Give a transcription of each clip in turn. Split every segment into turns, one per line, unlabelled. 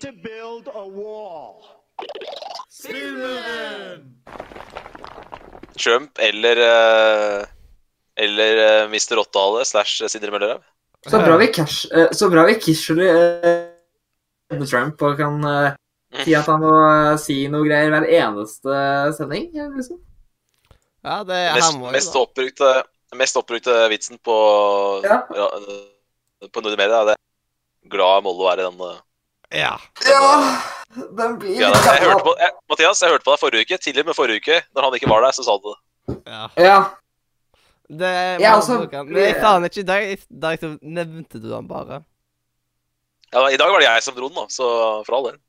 to build a wall.
Trump eller eh, Eller eh, Mr. Åttehale slash Sindre Møllerhaug.
Så bra vi, cash, eh, så bra vi casually eh, på Trump og kan eh,
Mm.
si at han må eh, si noe greier hver eneste sending. eh, liksom.
Ja, det her
Mest,
må
mest,
jo da.
oppbrukte, mest oppbrukte vitsen på
Ja.
ja. På Nordre Media er det glad Mollo er i den eh,
Ja.
Ja, den blir
greia der. Jeg hørte på, jeg, Mathias, jeg hørte på deg forrige uke, tidligere med forrige uke. Når han ikke var der, så sa du det.
ja.
Ja,
Det må
Ja, altså,
man bruke. Men jeg sa han ikke i dag. I dag så nevnte du han bare.
Ja, I dag var det jeg som dro den, da, så for all del.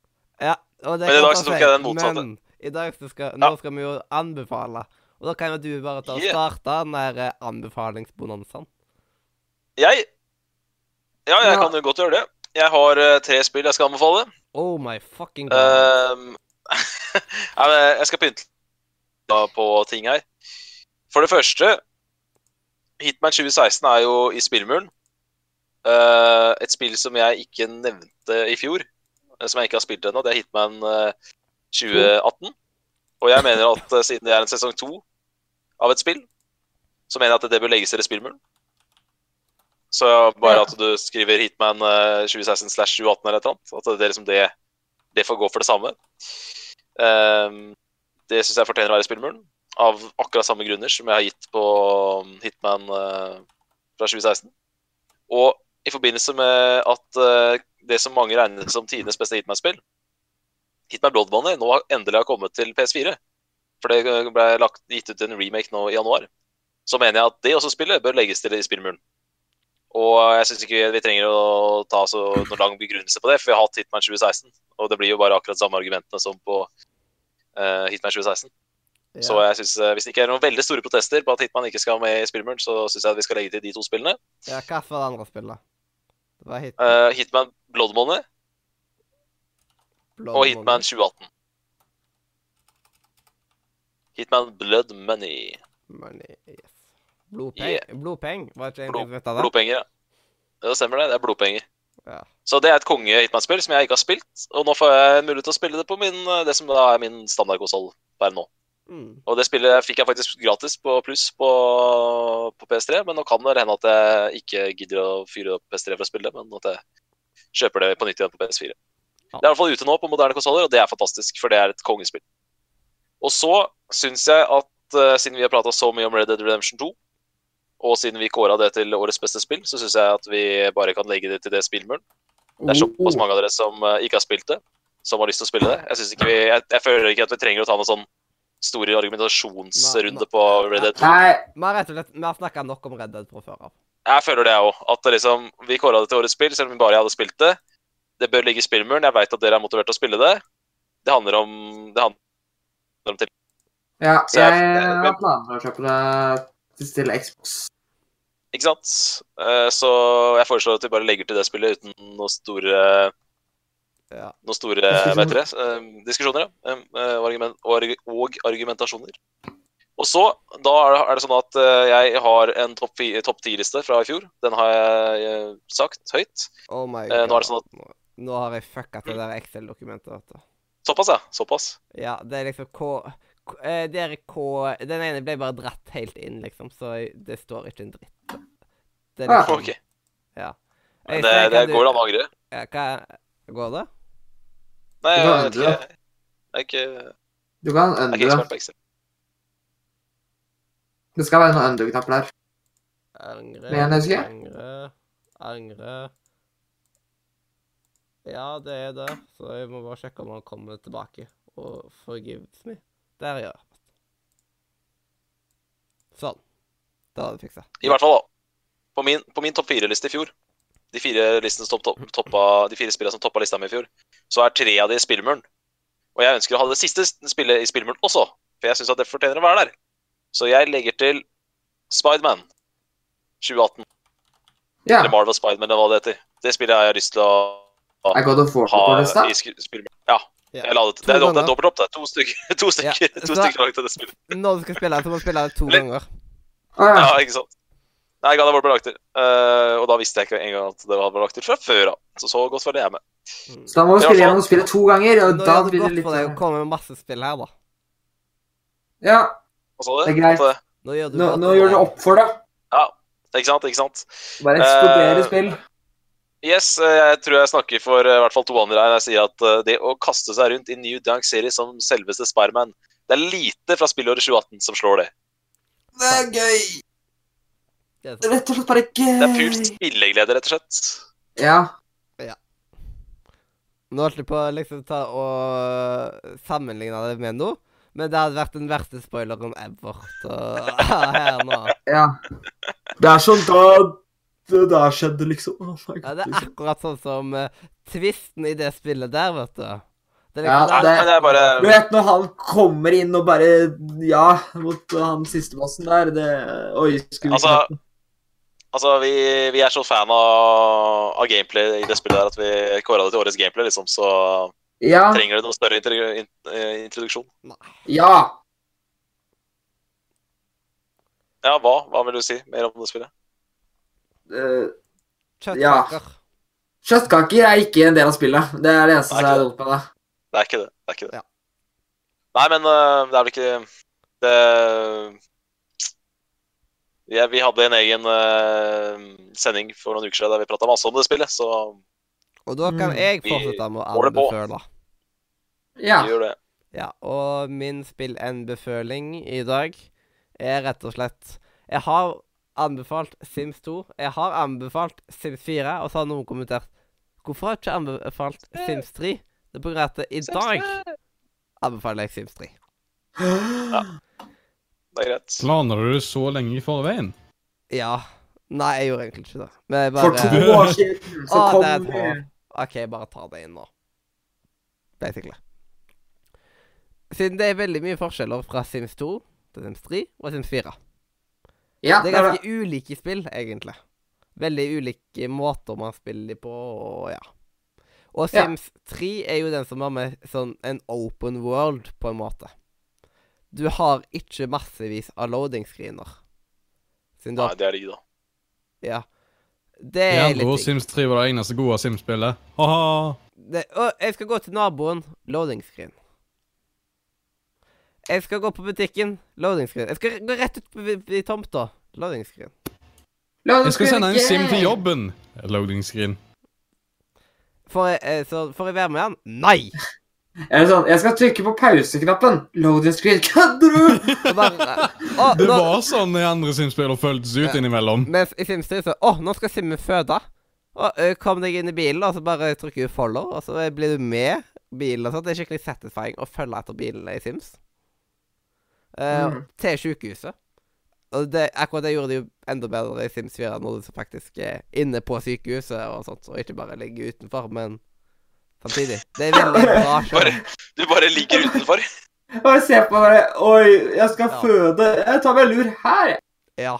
Ja, og det
Men i
kan
dag
ta
så tok
seg,
jeg den motsatte.
Men i dag så skal,
Ja.
nå skal vi jo anbefale. Og da kan jo du bare ta og
Yeah.
starte den der eh, anbefalingsbonanzaen.
Jeg Ja, jeg
Ja.
kan jo godt gjøre det. Jeg har eh, tre spill jeg skal anbefale.
Oh my fucking god.
Ehm, Nei, men jeg skal pynte da på ting her. For det første Hitman 2016 er jo i spillmuren. Eh, et spill som jeg ikke nevnte i fjor, eh, som jeg ikke har spilt ennå, det er Hitman eh, 2018. Og jeg mener at eh, siden det er en sesong to av et spill, så mener jeg at det bør legges til i spillmuren. Så bare at du skriver Hitman eh, 2016 slash 2018 eller et eller annet, at det er liksom det det får gå for det samme. Ehm, det syns jeg fortjener å være i spillmuren, av akkurat samme grunner som jeg har gitt på um, Hitman eh, fra 2016. Og i forbindelse med at eh, det som mange regner som tidenes beste Hitman-spill, Hitman Blood Money, nå har endelig har kommet til PS4. For det ble lagt, gitt ut en remake nå i januar. Så mener jeg at det også spillet bør legges til i spillmuren. Og jeg syns ikke vi trenger å ta så noen lang begrunnelse på det, for vi har hatt Hitman 2016. Og det blir jo bare akkurat samme argumentene som på eh, Hitman 2016. Så
ja.
jeg synes, eh, hvis det ikke er noen veldig store protester på at Hitman ikke skal med i spillmuren, så syns jeg at vi skal legge til de to spillene.
ja, hva for det andre spillet? Det var hit,
Eh, Hitman Blood Money
Blood
og
Money.
Hitman 2018. Hitman Blood Money.
Money, yes. Blodpeng? Blodpeng? Var ikke egentlig
Blod-
vet av det?
Blodpenger, ja. Ja, Det stemmer det. Det er blodpenger.
Ja.
Så det er et konge-Hitman-spill som jeg ikke har spilt, og nå får jeg en mulighet til å spille det på min, eh, det som da er min standardkonsoll per nå.
Mm.
Og det spillet fikk jeg faktisk gratis på pluss på, på PS3, men nå kan det hende at jeg ikke gidder å fyre opp PS3 for å spille det, men at jeg kjøper det på nytt igjen på PS4.
Ja.
Det er i hvert fall ute nå på moderne konsoller, og det er fantastisk, for det er et kongespill. Og så syns jeg at eh, siden vi har prata så mye om Red Dead Redemption 2, og siden vi kåra det til årets beste spill, så syns jeg at vi bare kan legge det til det spillmuren. Det er
Oh.
såpass mange av dere som eh, ikke har spilt det, som har lyst til å spille det. Jeg, synes ikke vi, jeg, jeg føler ikke at vi trenger å ta noen sånn stor
Nei, nei.
argumentasjonsrunde på Red Dead 2.
Nei,
Vi har rett og slett vi har snakka nok om Red Dead fra før av.
Jeg føler det òg. At det liksom, vi kåra det til årets spill, selv om bare jeg hadde spilt det. Det bør ligge i spillmuren. Jeg veit at dere er motivert til å spille det. Det handler om, det handler om til.
ja,
Så jeg-
jeg har planer om å kjøpe det til Xbox.
Ikke sant? Eh, Så jeg foreslår at vi bare legger til det spillet uten noe store
Ja.
noen store vet dere, eh, diskusjoner ja. Em, eh, og, argument, og, arg- og argumentasjoner. Og så, da er det- er det sånn at eh, jeg har en topp fi- topp ti-liste fra i fjor. Den har jeg eh, sagt høyt.
Oh my god.
Eh, nå er det sånn
Nå, nå har jeg fucka til det der Excel-dokumentet, vet du.
Såpass, ja. Såpass.
Ja, det er liksom K... K eh, det er K... Den ene ble bare dratt helt inn, liksom, så jeg, det står ikke en dritt. Det liksom-
Ah.
Ok.
Jeg
Men det,
ser-
det
kan du-
går an å angre.
Ja, hva Går det?
Nei,
Du
jeg
kan
vet
endre
ikke. Jeg er ikke, jeg
Du kan
er ikke
undre.
ekspert på Excel.
Det skal være noen undre-knapper der.
Angre
Men jeg husker.
Angre Angre Ja, det er det. Så jeg må bare sjekke om han kommer tilbake og forgives me. Der, ja. Sånn. Da har du fiksa.
I hvert fall, da. På min, på min topp fire-liste i fjor, de fire, listene som topp, toppa, de fire spillene som toppa lista mi i fjor, så er tre av de i spillmuren. Og jeg ønsker å ha det siste spillet i spillmuren også, for jeg syns det fortjener å være der. Så jeg legger til Spiderman 2018,
Ja,
eller Marvel Spiderman, eller hva det heter. Det spillet har jeg lyst til å
jeg går til å få
ha
på lista.
i sk- spillmuren. Ja,
Ja.
jeg la det til. Det er, dobbelt- det er dobbelt opp, det. To stykker, to stykker,
Ja,
to
så-
stykker lagt til det spillet.
Når du skal spille, så må du spille det to
Eller-
ganger.
Å ja.
Ja, ikke sant. Nei, jeg ga det vår på lagter. Eh, og da visste jeg ikke engang at det var på lagter fra før av. Så så godt var det jeg med.
Mm.
Så da må du
Ja,
spille
faen.
gjennom spillet to ganger, og
Nå
da
gjør det
blir det
godt
litt sånn.
for deg å komme med masse spill her, da.
Ja,
Hva sa du?
Det er greit.
At, eh,
Nå gjør du
nå,
godt
nå
for
gjør
deg.
det opp for deg.
Ikke sant, ikke sant?
Bare eksplodere
Eh,
spill.
Yes, eh, jeg tror jeg snakker for eh, i hvert fall to andre her når jeg sier at eh, det å kaste seg rundt i New Dunk Series som selveste Spiderman Det er lite fra spillåret 2018 som slår det.
Det er gøy.
Det er sant.
Rett og slett bare gøy.
Det er pult spilleglede, rett og slett.
Ja.
Nå holdt jeg på å liksom ta og sammenligne det med noe, men det hadde vært den verste spoileren ever. Så her nå.
ja.
Det er sånn da Det der skjedde, liksom. Oh my
Ja,
God,
det er
liksom.
akkurat sånn som eh, tvisten i det spillet der, vet du. Det er
Ja,
liksom-
Nei,
det-
men det er bare
Du vet når han kommer inn og bare Ja, mot han siste bossen der, det Oi, skulle vi
Altså, altså vi, vi er så fan av, av gameplay i det spillet der at vi kåra det til årets gameplay, liksom, så
Ja.
trenger det noen større intro- in, eh, introduksjon.
Ja.
Ja, hva? Hva vil du si mer om det spillet?
eh,
Kjøttkaker.
Kjøttkaker er ikke en del av spillet. Det er det eneste som
Det er ikke
er
det.
dumt med det.
Det er ikke det. det, er ikke det.
Ja.
Nei, men øh, det er vel ikke det eh, ja, Vi hadde en egen øh, sending for noen uker siden der vi prata masse om det spillet, så
Og da kan
Mm.
jeg
Vi
fortsette med å
går det på.
anbefale.
Ja.
vi gjør det.
Ja, og min spill-anbefaling i dag er rett og slett Jeg har anbefalt Sims 2. Jeg har anbefalt Sims 4, og så har noen kommentert Hvorfor har jeg ikke anbefalt Sims 3? Det er på grunn av at i dag anbefaler jeg Sims 3.
Det er greit.
Planla du det så lenge i forveien?
Ja. Nei, jeg gjorde egentlig ikke det. Men jeg bare
For to år siden så
Å, Ah, det er
kom
et hår. OK, bare ta det inn nå. Basically. Siden det er veldig mye forskjeller fra Sims 2 til Sims 3 og Sims 4.
Ja,
Det er
det er det.
ganske ulike spill, egentlig. Veldig ulike måter man spiller de på, og ja. Og
Ja.
Sims 3 er jo den som har med sånn en open world, på en måte. Du har ikke massevis av loading screener. Siden du
Nei,
har
det er digg, da.
Ja. Det
I
er
andre ord,
litt digg.
Sims 3 var det eneste gode Sims-spillet. Ha-ha!
Det- Å, jeg skal gå til naboen. Loading screen. Jeg skal gå på butikken. Loading screen. Jeg skal gå rett ut på vi- vi tomta. Loading screen.
Jeg skal sende en Sim til jobben. Loading screen.
Får jeg, eh, så får jeg være med han? Nei!
Er det sånn, Jeg skal trykke på pauseknappen. Loading screen. Kødder du?!
Og bare, eh, å,
Det
nå,
var sånn i andre Sims-spill og føltes ut
Ja.
innimellom.
mens i Sims 3 så Å, nå skal Simme føde. Og ø, kom deg inn i bilen, og så bare trykker du folder, og så blir du med bilen. og sånt. Det er skikkelig satisfying å følge etter bilene i Sims. Eh,
Mm.
Til sykehuset. Og det, akkurat det gjorde de jo enda bedre i Sims 4, når du så faktisk er inne på sykehuset og sånt, og ikke bare ligger utenfor, men samtidig. Det er veldig bra.
Bare,
skjønner du.
du bare ligger utenfor.
Bare se på bare Oi, jeg skal
Ja.
føde. Jeg tar meg en lur her, jeg.
Ja.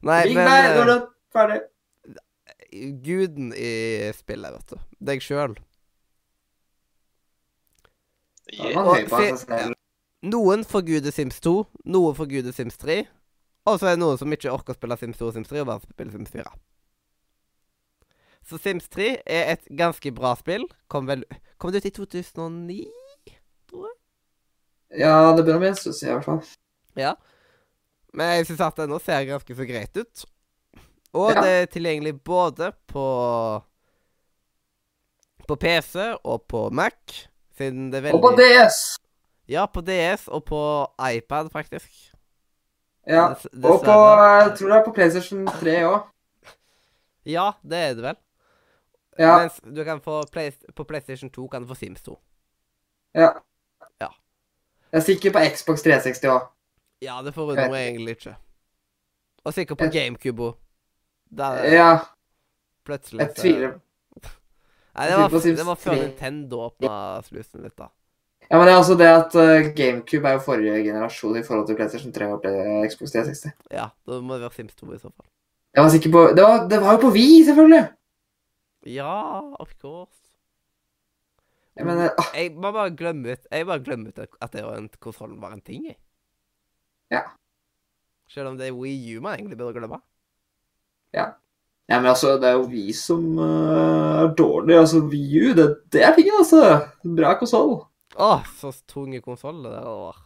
Nei,
Ring
men
meg
eh,
når du er ferdig.
guden i spillet, vet du. Deg sjøl.
Da er
Yeah.
man høy på
Og
seg
se-
selv.
Noen forguder Sims 2, noen forguder Sims 3, og så er det noen som ikke orker å spille Sims 2 og Sims 3, og bare spiller Sims 4. Så Sims 3 er et ganske bra spill. Kom, vel, kom det ut i 2009?
Ja, det bør jeg synes jeg, i hvert fall.
Men jeg syns at det nå ser ganske så greit ut. Og
Ja.
det er tilgjengelig både på På PC og på Mac, siden det er veldig
Og på DS.
Ja, på DS og på iPad, faktisk.
Ja.
Dess-
Og på
dessverre.
Jeg tror det er på PlayStation 3 òg.
Ja, det er det vel.
Ja.
Mens du kan få Play, på PlayStation 2 kan du få Sims 2.
ja.
Ja.
Jeg er sikker på Xbox 360 òg.
Ja, det
Eh,
forundrer meg egentlig ikke. Og sikkert på
Jeg-
GameCube òg. Der er det
Ja.
plutselig
eh, Jeg
så-
tviler.
Nei,
jeg
det var,
tviler på Sims
det var før
3.
Nintendo åpna slusen litt, da.
Ja, men det er også det at eh, GameCube er jo forrige generasjon i forhold til PlayStation 3 og Play- Xbox 360.
Ja, da må det være Sims 2 i så fall.
Jeg var sikker på Det var, det var jo på Wii, selvfølgelig!
Ja, of course.
Jeg mener, ah,
Jeg må bare glemme ut Jeg bare glemmer ut at det var en konsollen var en ting, jeg.
Ja.
Selv om det er Wii U man egentlig burde glemme.
Ja, men altså, det er jo vi som eh, er dårlige. Altså, VU, det, det er tingen, altså. Bra konsoll.
Å, så tunge konsoller det var.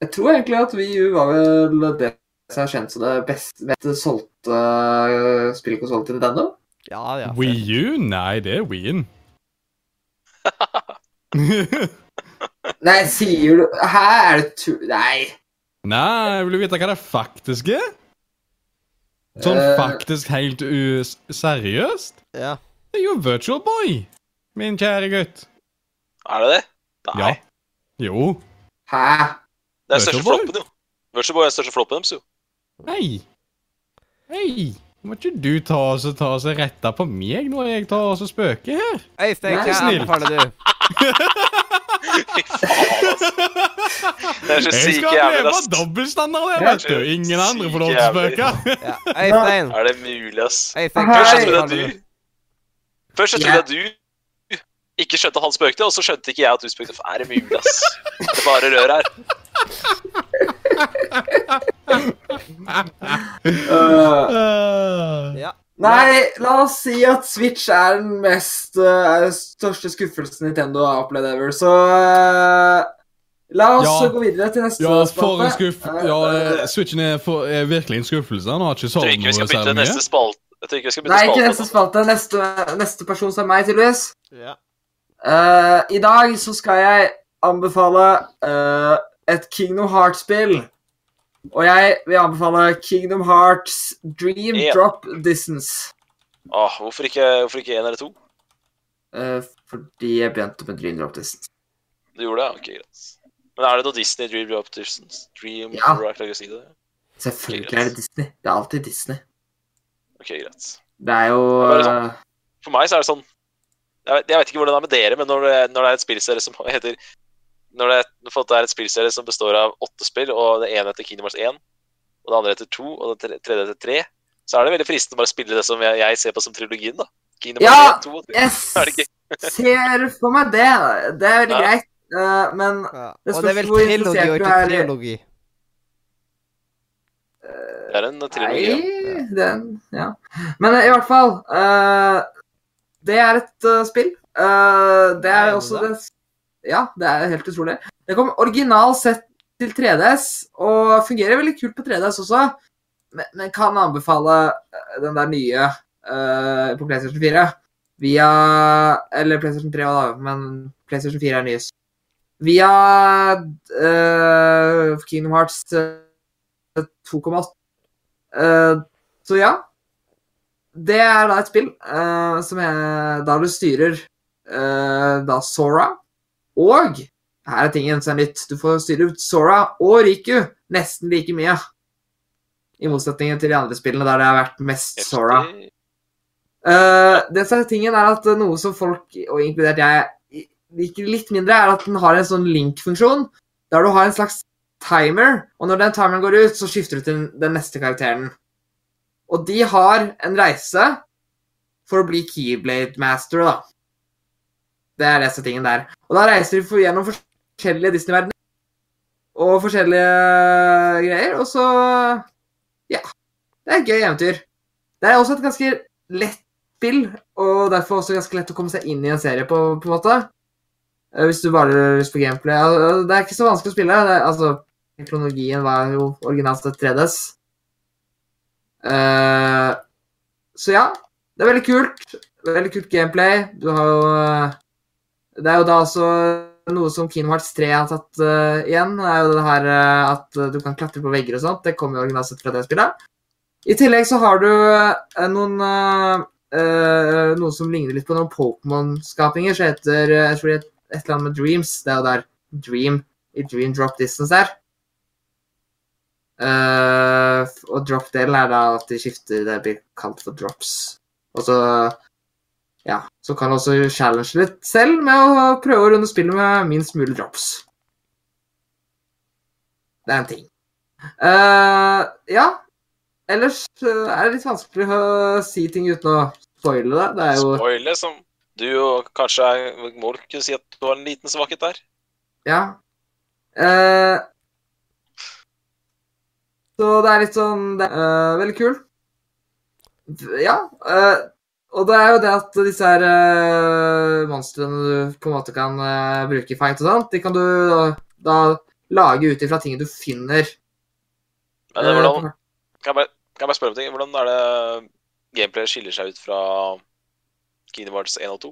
Jeg tror egentlig at VU var vel det som er kjent som det best, best solgte eh, spillkonsollen til Nintendo.
Ja, ja.
Wii U? Nei, det er Wien.
Nei, sier du Hæ, er det tu... Nei.
Nei, vil du vite hva det faktisk er? Sånn
Eh.
faktisk helt u seriøst?
ja.
Det er jo Virtual Boy, min kjære gutt.
Er det det? Nei.
Ja. Jo.
Hæ?
Det er den største
Virtual Boy?
floppen, jo. Virtual Boy er den største floppen deres, jo.
Hei. Hei. Må ikke du ta og så- ta og så rette på meg når jeg tar og så spøker her?
Øystein,
Vær
hva
snill.
anbefaler du?
Fy faen, altså. Det er så
Jeg
sykt
skal
jævlig,
leve
ass.
av dobbeltstandard, jeg
Ja.
vet du. Ingen andre får lov til å
Sykt
spøke.
Ja. Øystein.
Er det mulig, ass?
Øystein, hva
Først så
Hei.
trodde
anbefaler
jeg
du?
du Først så
Ja.
trodde jeg du ikke skjønte at han spøkte, og så skjønte ikke jeg at du spøkte. Er det mulig, ass? Det er bare rør her.
Eh,
Eh,
Ja.
nei, la oss si at Switch er den mest eh, er den største skuffelsen Nintendo har opplevd ever, så eh, La oss
Ja.
gå videre til neste
Ja, for en skuff...
Eh,
Ja,
eh,
eh, Switchen er, for, er virkelig en skuffelse. Han har ikke
Jeg tror
sovet
ikke vi skal
noe
bytte
særlig mye.
neste spalte. Jeg tror ikke vi skal bytte
Nei, ikke neste
spalte.
spalte. Neste, neste person som er meg, tydeligvis.
Ja.
Eh, I dag så skal jeg anbefale eh, et Kingdom Hearts-spill. Og jeg vil anbefale Kingdom Hearts Dream
Ja.
Drop Distance.
Åh, hvorfor ikke hvorfor ikke én eller to?
Eh, fordi jeg begynte med Dream Drop Distance.
Du gjorde det? Ok, greit. Men er det noe Disney Dream Drop Distance? Dream
Ja.
Rock, la oss si det.
Selvfølgelig
Greit.
er det Disney. Det er alltid Disney.
Ok, greit.
Det er jo
Det er bare sånn.
eh,
For meg så er det sånn Jeg vet, jeg vet ikke hvordan det er med dere, men når det, når det er et spillserie som heter Når det, når det er et spillserie som består av åtte spill, og det ene heter Kingdom Hearts 1, og det andre heter 2, og det tre- tredje heter 3, så er det veldig fristende å bare spille det som jeg, jeg ser på som trilogien, da. Kingdom Hearts
Ja!
1, 2 og 3.
Jeg
Er det
ser for meg det. Det er veldig
Ja.
greit. eh, men
Ja.
Det
Og det er
spørs
vel trilogi
hvor
og
interessert du
ikke
er i-
trilogi.
Det er en trilogi. ja.
Nei, den, ja. Men eh, i hvert fall eh, Det er et eh, spill. Eh, det
Er
er
det
også
det?
det Ja, det er helt utrolig. Det kom original sett til 3DS, og fungerer veldig kult på 3DS også. Men, men kan anbefale eh, den der nye eh, på PlayStation 4 via Eller PlayStation 3 også, da, men PlayStation 4 er nyest. Via eh, Kingdom Hearts eh, 2,8 Eh, så ja. Det er da et spill eh, som er da du styrer eh, da Sora og Her er tingen som er nytt. Du får styre ut Sora og Riku nesten like mye. I motsetning til de andre spillene der det har vært mest Sora.
Heftig.
Eh, det som er tingen er at noe som folk, og inkludert jeg, liker litt mindre, er at den har en sånn link-funksjon, der du har en slags timer, og når den timeren går ut, så skifter du til den neste karakteren. Og de har en reise for å bli Keyblade Master, da. Det er det som er tingen der. Og da reiser de for- gjennom forskjellige Disney-verdener, og forskjellige greier, og så Ja. Det er et gøy eventyr. Det er også et ganske lett spill, og derfor også ganske lett å komme seg inn i en serie på, på en måte. Eh, Hvis du bare har lyst på gameplay. Eh, Det er ikke så vanskelig å spille. Det, er- altså, kronologien var jo originalt sett 3DS. Eh, så ja, det er veldig kult. Veldig kult gameplay. Du har jo eh, Det er jo da også noe som Kingdom Hearts 3 har tatt eh, igjen. Det er jo det her eh, at eh, du kan klatre på vegger og sånt. Det kommer jo originalt sett fra det spillet. I tillegg så har du eh, noen eh, eh, Noe som ligner litt på noen Pokémon-skapninger, som heter eh, Jeg tror det het et eller annet med Dreams. Det er jo der Dream i Dream Drop Distance er. Eh, f- og drop-delen er da at de skifter Det blir kalt for drops. Og så Ja. Så kan du også challenge litt selv med å prøve å runde spillet med minst mulig drops. Det er en ting. Eh, ja. Ellers eh, er det litt vanskelig å si ting uten å spoile det. Det er jo
Spoiler som du jo kanskje er, må du kunne si at du har en liten svakhet der.
Ja. Eh, så det er litt sånn det er, eh, Veldig kult. Ja. eh, og det er jo det at disse her eh, monstrene du på en måte kan eh, bruke i fight og sånt, de kan du da, da lage ut ifra ting du finner.
Men eh,
eh,
hvordan,
på-
kan, jeg bare, kan jeg bare spørre om ting? Hvordan er det gameplayet skiller seg ut fra Kingdom Hearts 1 og 2?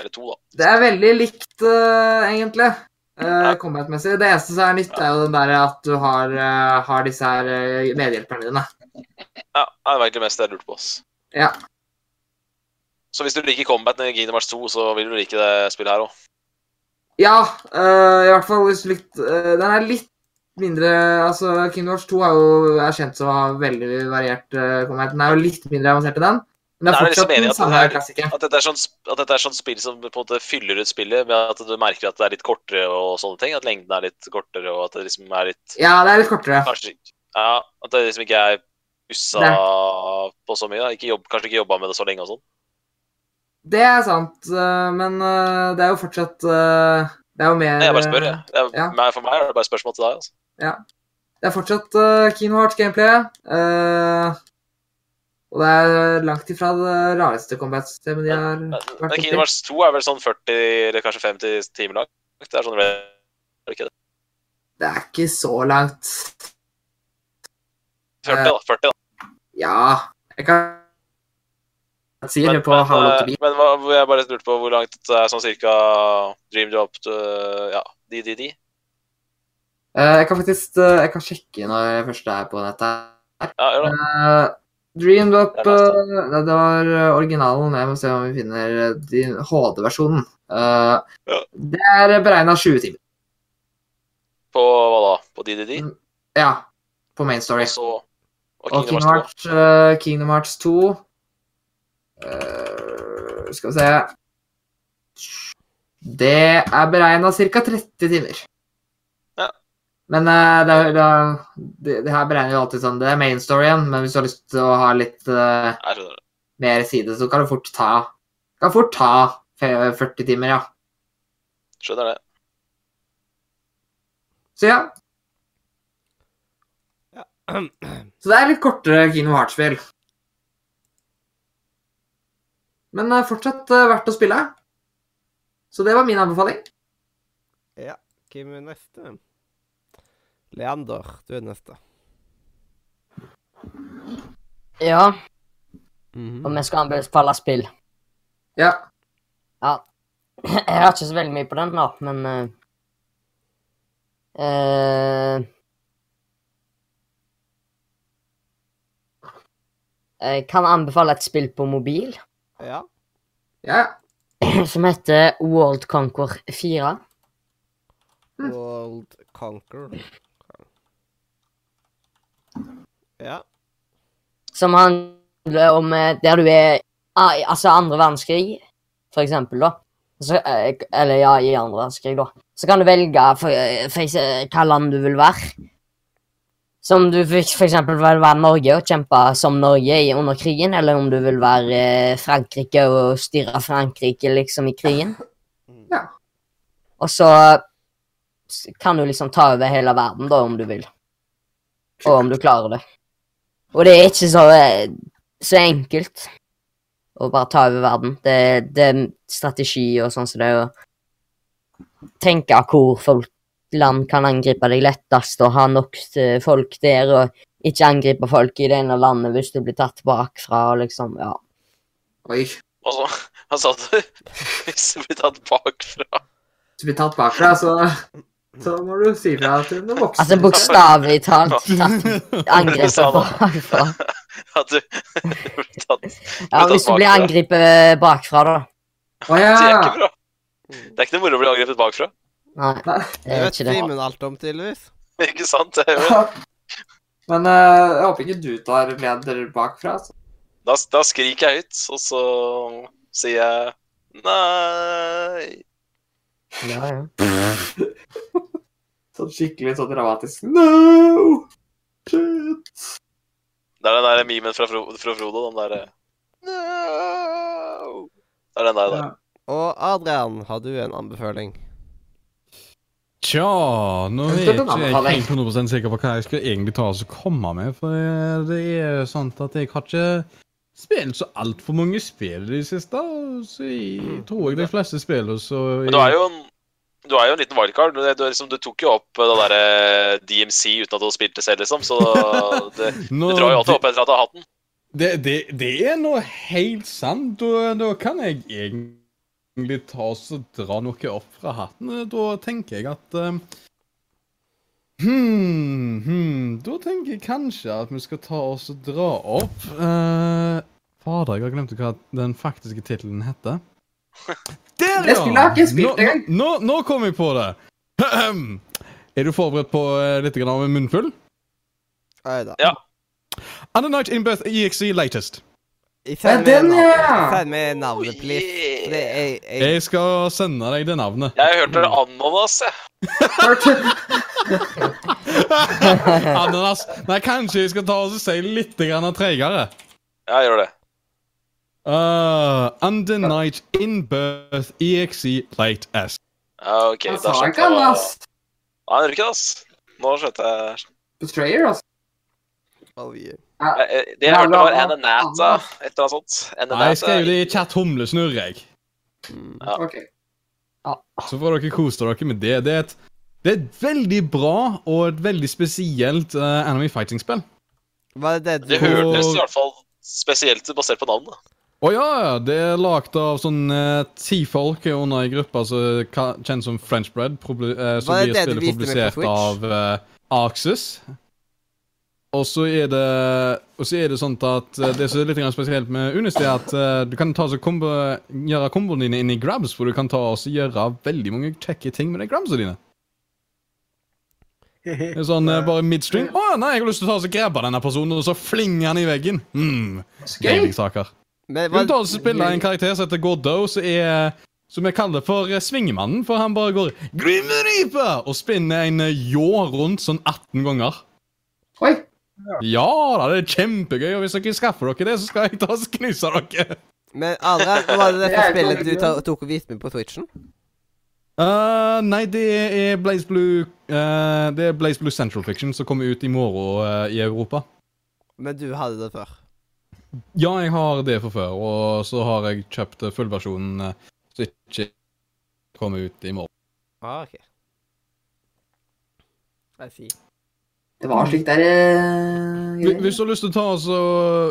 Eller 2, da.
Det er veldig likt, eh, egentlig. Uh,
Ja.
Combat-messig. Det eneste som er nytt, er jo den der at du har, eh, har disse her eh, medhjelperne dine.
Ja, det var egentlig mest det jeg lurte på. ass.
Ja.
Så hvis du liker combat i Kingdom Hearts 2, så vil du like det spillet her òg.
Ja, eh, i hvert fall hvis du likte eh, Den er litt mindre Altså, Kingdom Hearts 2 er jo er kjent som å ha veldig variert eh, combat. Den er jo litt mindre avansert enn den, men det
Da
er
er det liksom
fortsatt
enig
den
at
samme
det er-
klassikeren.
At dette er sånn, sp- at dette er sånn spill som på en måte fyller ut spillet med at du merker at det er litt kortere og sånne ting. At lengden er litt kortere, og at det liksom er litt
Ja, det er litt kortere.
Kanskje Ja, at det liksom ikke er ussa på så mye. da. Ikke jobb, kanskje ikke jobba med det så lenge og sånn.
Det er sant, eh, men eh, det er jo fortsatt eh, Det er jo mer
Nei, Jeg bare spør, jeg. Det er,
Eh, Ja. Mm,
meg- For meg er det bare spørsmål til deg. altså.
Det er fortsatt uh, Kingdom Hearts-gameplay. eh, og det er langt ifra det rareste combat-systemet de har
Men,
vært
men
borti.
Kingdom Hearts 2 er vel sånn 40 eller kanskje 50 timer langt? Det er sånn det er ikke det?
Det er ikke så langt. Eh,
40, da. 40, da.
Ja Jeg kan si det på
men,
Howl of the
eh,
Bee.
men hva, hvor jeg bare lurte på hvor langt det er sånn cirka Dream Job to, Ja, de, de, de.
Eh, Jeg kan faktisk eh, jeg kan sjekke når jeg først er på nettet.
Ja, gjør det.
Uh, Dreamed Up
Det er last,
eh, Det det var eh, originalen. Jeg må se om vi finner eh, din- HD-versjonen. Eh,
Ja.
Det er beregna 20 timer.
På hva da? På de, de, de?
Ja. På main story.
Og så og
Mm. Og
Kingdom Hearts
Hearts,
2.
eh, Kingdom Hearts 2 eh, Skal vi se Det er beregna ca. 30 timer.
Ja.
Men eh, det, er- det, er- det, det her beregner jo alltid sånn Det er main storyen, men hvis du har lyst til å ha litt eh,
Jeg skjønner det.
mer side, så kan du fort ta Kan fort ta fe- 40 timer, ja.
Skjønner det.
Så ja. Så det er litt kortere Kingdom Hearts-spill. Men eh, fortsatt eh, verdt å spille. Så det var min anbefaling.
Hvem er neste? Leander, du er neste.
Ja, og
Mhm.
vi skal anbefale spill.
Ja.
Jeg har ikke så veldig mye på den, da, men eh, eh, Jeg kan anbefale et spill på mobil
Ja.
ja.
som heter World Conquer 4.
Mm.
World Conquer. Ja.
Som handler om eh, der du er ah, i- Altså andre verdenskrig, for eksempel, da. Så, eh, eller ja, i andre verdenskrig, da. Så kan du velge for, eh, for, ekse- hva land du vil være. Som du for, for eksempel vil være Norge og kjempe som Norge i, under krigen, eller om du vil være eh, Frankrike og styre Frankrike liksom i krigen.
Ja.
Og så s- kan du liksom ta over hele verden, da, om du vil. Og om du klarer det. Og det er ikke så, eh, så enkelt å bare ta over verden. Det, det er strategi og sånn som det er å tenke hvor folk, land kan angripe deg lettest, og ha nok eh, folk der, og ikke angripe folk i det ene landet hvis du blir tatt bakfra, og liksom, ja.
Oi.
Og så Han sa du Hvis du blir tatt bakfra
Hvis du blir tatt bakfra, så, så må du si fra til den voksne.
Altså bokstavelig talt tatt- angripe
Sa det.
bakfra.
At du, du blir tatt Det
Ja, hvis du blir angrepet bakfra, da.
Å
er
ja.
ikke bra.
Mm.
Det er ikke noe moro å bli angrepet bakfra.
Nei,
Det
det er
vet
ikke det.
Simen alt om, tydeligvis.
Ikke sant? Det er jo-
Men eh, jeg håper ikke du tar leder bakfra. Altså.
Da, da skriker jeg ut, og så sier jeg Nei
Ja, ja.
Sånn skikkelig sånn dramatisk. No! Shit!
Det er den der memen fra, Fro fra Frodo, den derre No! Det er den der, der.
Ja.
Og Adrian, har du en anbefaling?
Tja, nå
Jeg skal
er
ta
jeg ikke
den
jeg
av deg.
helt 100 sikker på hva jeg skal egentlig ta og så komme med, for eh, det er sant at jeg har ikke spilt så altfor mange spill i det siste, og så jeg tror jeg de fleste spiller så
Men du er jo en, du er jo en liten wildcard. Du, du, er liksom, du tok jo opp eh, det derre DMC uten at du spilte selv, liksom. Så det, du
Nå-
drar jo alltid opp etter at du har hatt den.
Det, det, det er noe helt sant, og da kan jeg egentlig ta oss og dra noe opp fra hatten. Da tenker jeg at eh, hmm, hmm, Da tenker jeg kanskje at vi skal ta oss og dra opp eh, Fader, jeg har glemt hva den faktiske tittelen heter. Der,
Det spillet har ikke jeg spilt
Nå-
engang.
Nå, nå kom jeg på det. Er du forberedt på eh, litt grann av en munnfull?
Oi da.
Under Night in Birth EXE latest.
Jeg
Det er
sender meg
den,
navnet.
ja!
Send meg navnet, please. Det
yeah.
er, jeg,
Jeg skal sende deg det navnet.
Jeg hørte ananas, jeg.
Hørte-
Ananas. Nei, kanskje jeg skal ta og si litt grann treigere.
Ja, jeg gjør det.
Uh, under night in birth exe late as.
Ja, ok.
Han
da
sa
skjønte
ikke
jeg hva-
Anas.
Nei, han gjør ikke det, ass. Nå skjønte jeg
Betrayer, altså.
jeg,
Eh, eh, Det jeg
Ja,
hørte,
bra,
var
bra.
Ananata, et eller annet sånt.
Nei, jeg
Ananata.
skrev det i chat humlesnurr, jeg.
Ok.
Så får dere kose dere med det. Det er et, det er et veldig bra og et veldig spesielt uh, anime fighting-spill.
Var det det
Det
du
hørtes i hvert fall spesielt ut basert på navnet.
Å ja, ja, det er lagd av sånn eh, ti folk under ei gruppe som ka- kjent som French Bread, probl- eh, som
Var det
blir
det du
spillet
viste meg på
publisert
Twitch?
av eh, Axis. Og så er det Og så er det sånt at eh, det som er litt grann spesielt med Unis, det er at eh, du kan ta så kombo, gjøre komboene dine inn i grabs, hvor du kan ta og så gjøre veldig mange kjekke ting med de grabsene dine. Det er sånn eh, bare midstream. Å nei, jeg har lyst til å ta og så grabbe denne personen, og så flinge han i veggen. Mm,
Skøy!
Deilige saker.
Men
Hun
var,
tar og spiller en karakter som heter Gordo, som er som jeg kaller for eh, Svingemannen, for han bare går Grim Reaper! og spinner en eh, ljå rundt sånn 18 ganger.
Oi!
Ja da, det er kjempegøy, og hvis dere skaffer dere det, så skal jeg ta og knuse dere.
men Adrian, var det dette
Jeg er
spillet du
ikke-
ta- tok og viste meg på Twitchen?
Eh, nei, det er Blaze Blue eh, Det er Blaze Blue Central Fiction som kommer ut i morgen eh, i Europa.
Men du hadde det før.
Ja, jeg har det for før, og så har jeg kjøpt eh, fullversjonen eh, som ikke kommer ut i morgen.
Ah, ok. Jeg sier.
Det var slik der eh,
Hvis- Hvis
greier.
du har lyst til å ta så,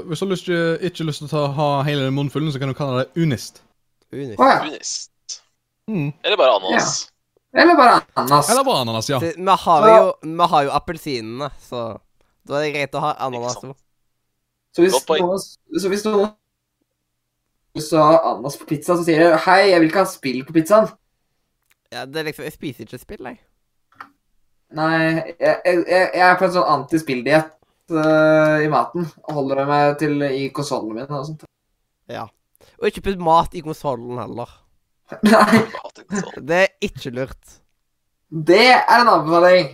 Hvis du har lyst til, ikke lyst til å ta, ha hele den munnfullen, så kan du kalle det unist.
Unis.
Å ja.
Unist.
Mm.
Eller bare ananas.
Eller bare ananas.
Eller bare ananas, ja.
Se, Vi har jo, vi har jo appelsinene, så da er det greit å ha ananas
Ikke
òg.
Så hvis
Godt poeng.
noen, så hvis noen så har ananas på pizza, så sier de hei, jeg vil ikke ha spill på pizzaen.
Ja, det er liksom, jeg spiser ikke spill, jeg.
Nei, jeg, jeg, jeg jeg er på en sånn antispilldiett uh, i maten. Og holder meg til i konsollene mine og sånt.
Og ikke putt mat i konsollen heller.
Nei,
Sånn.
Det er ikke lurt.
det er en anbefaling.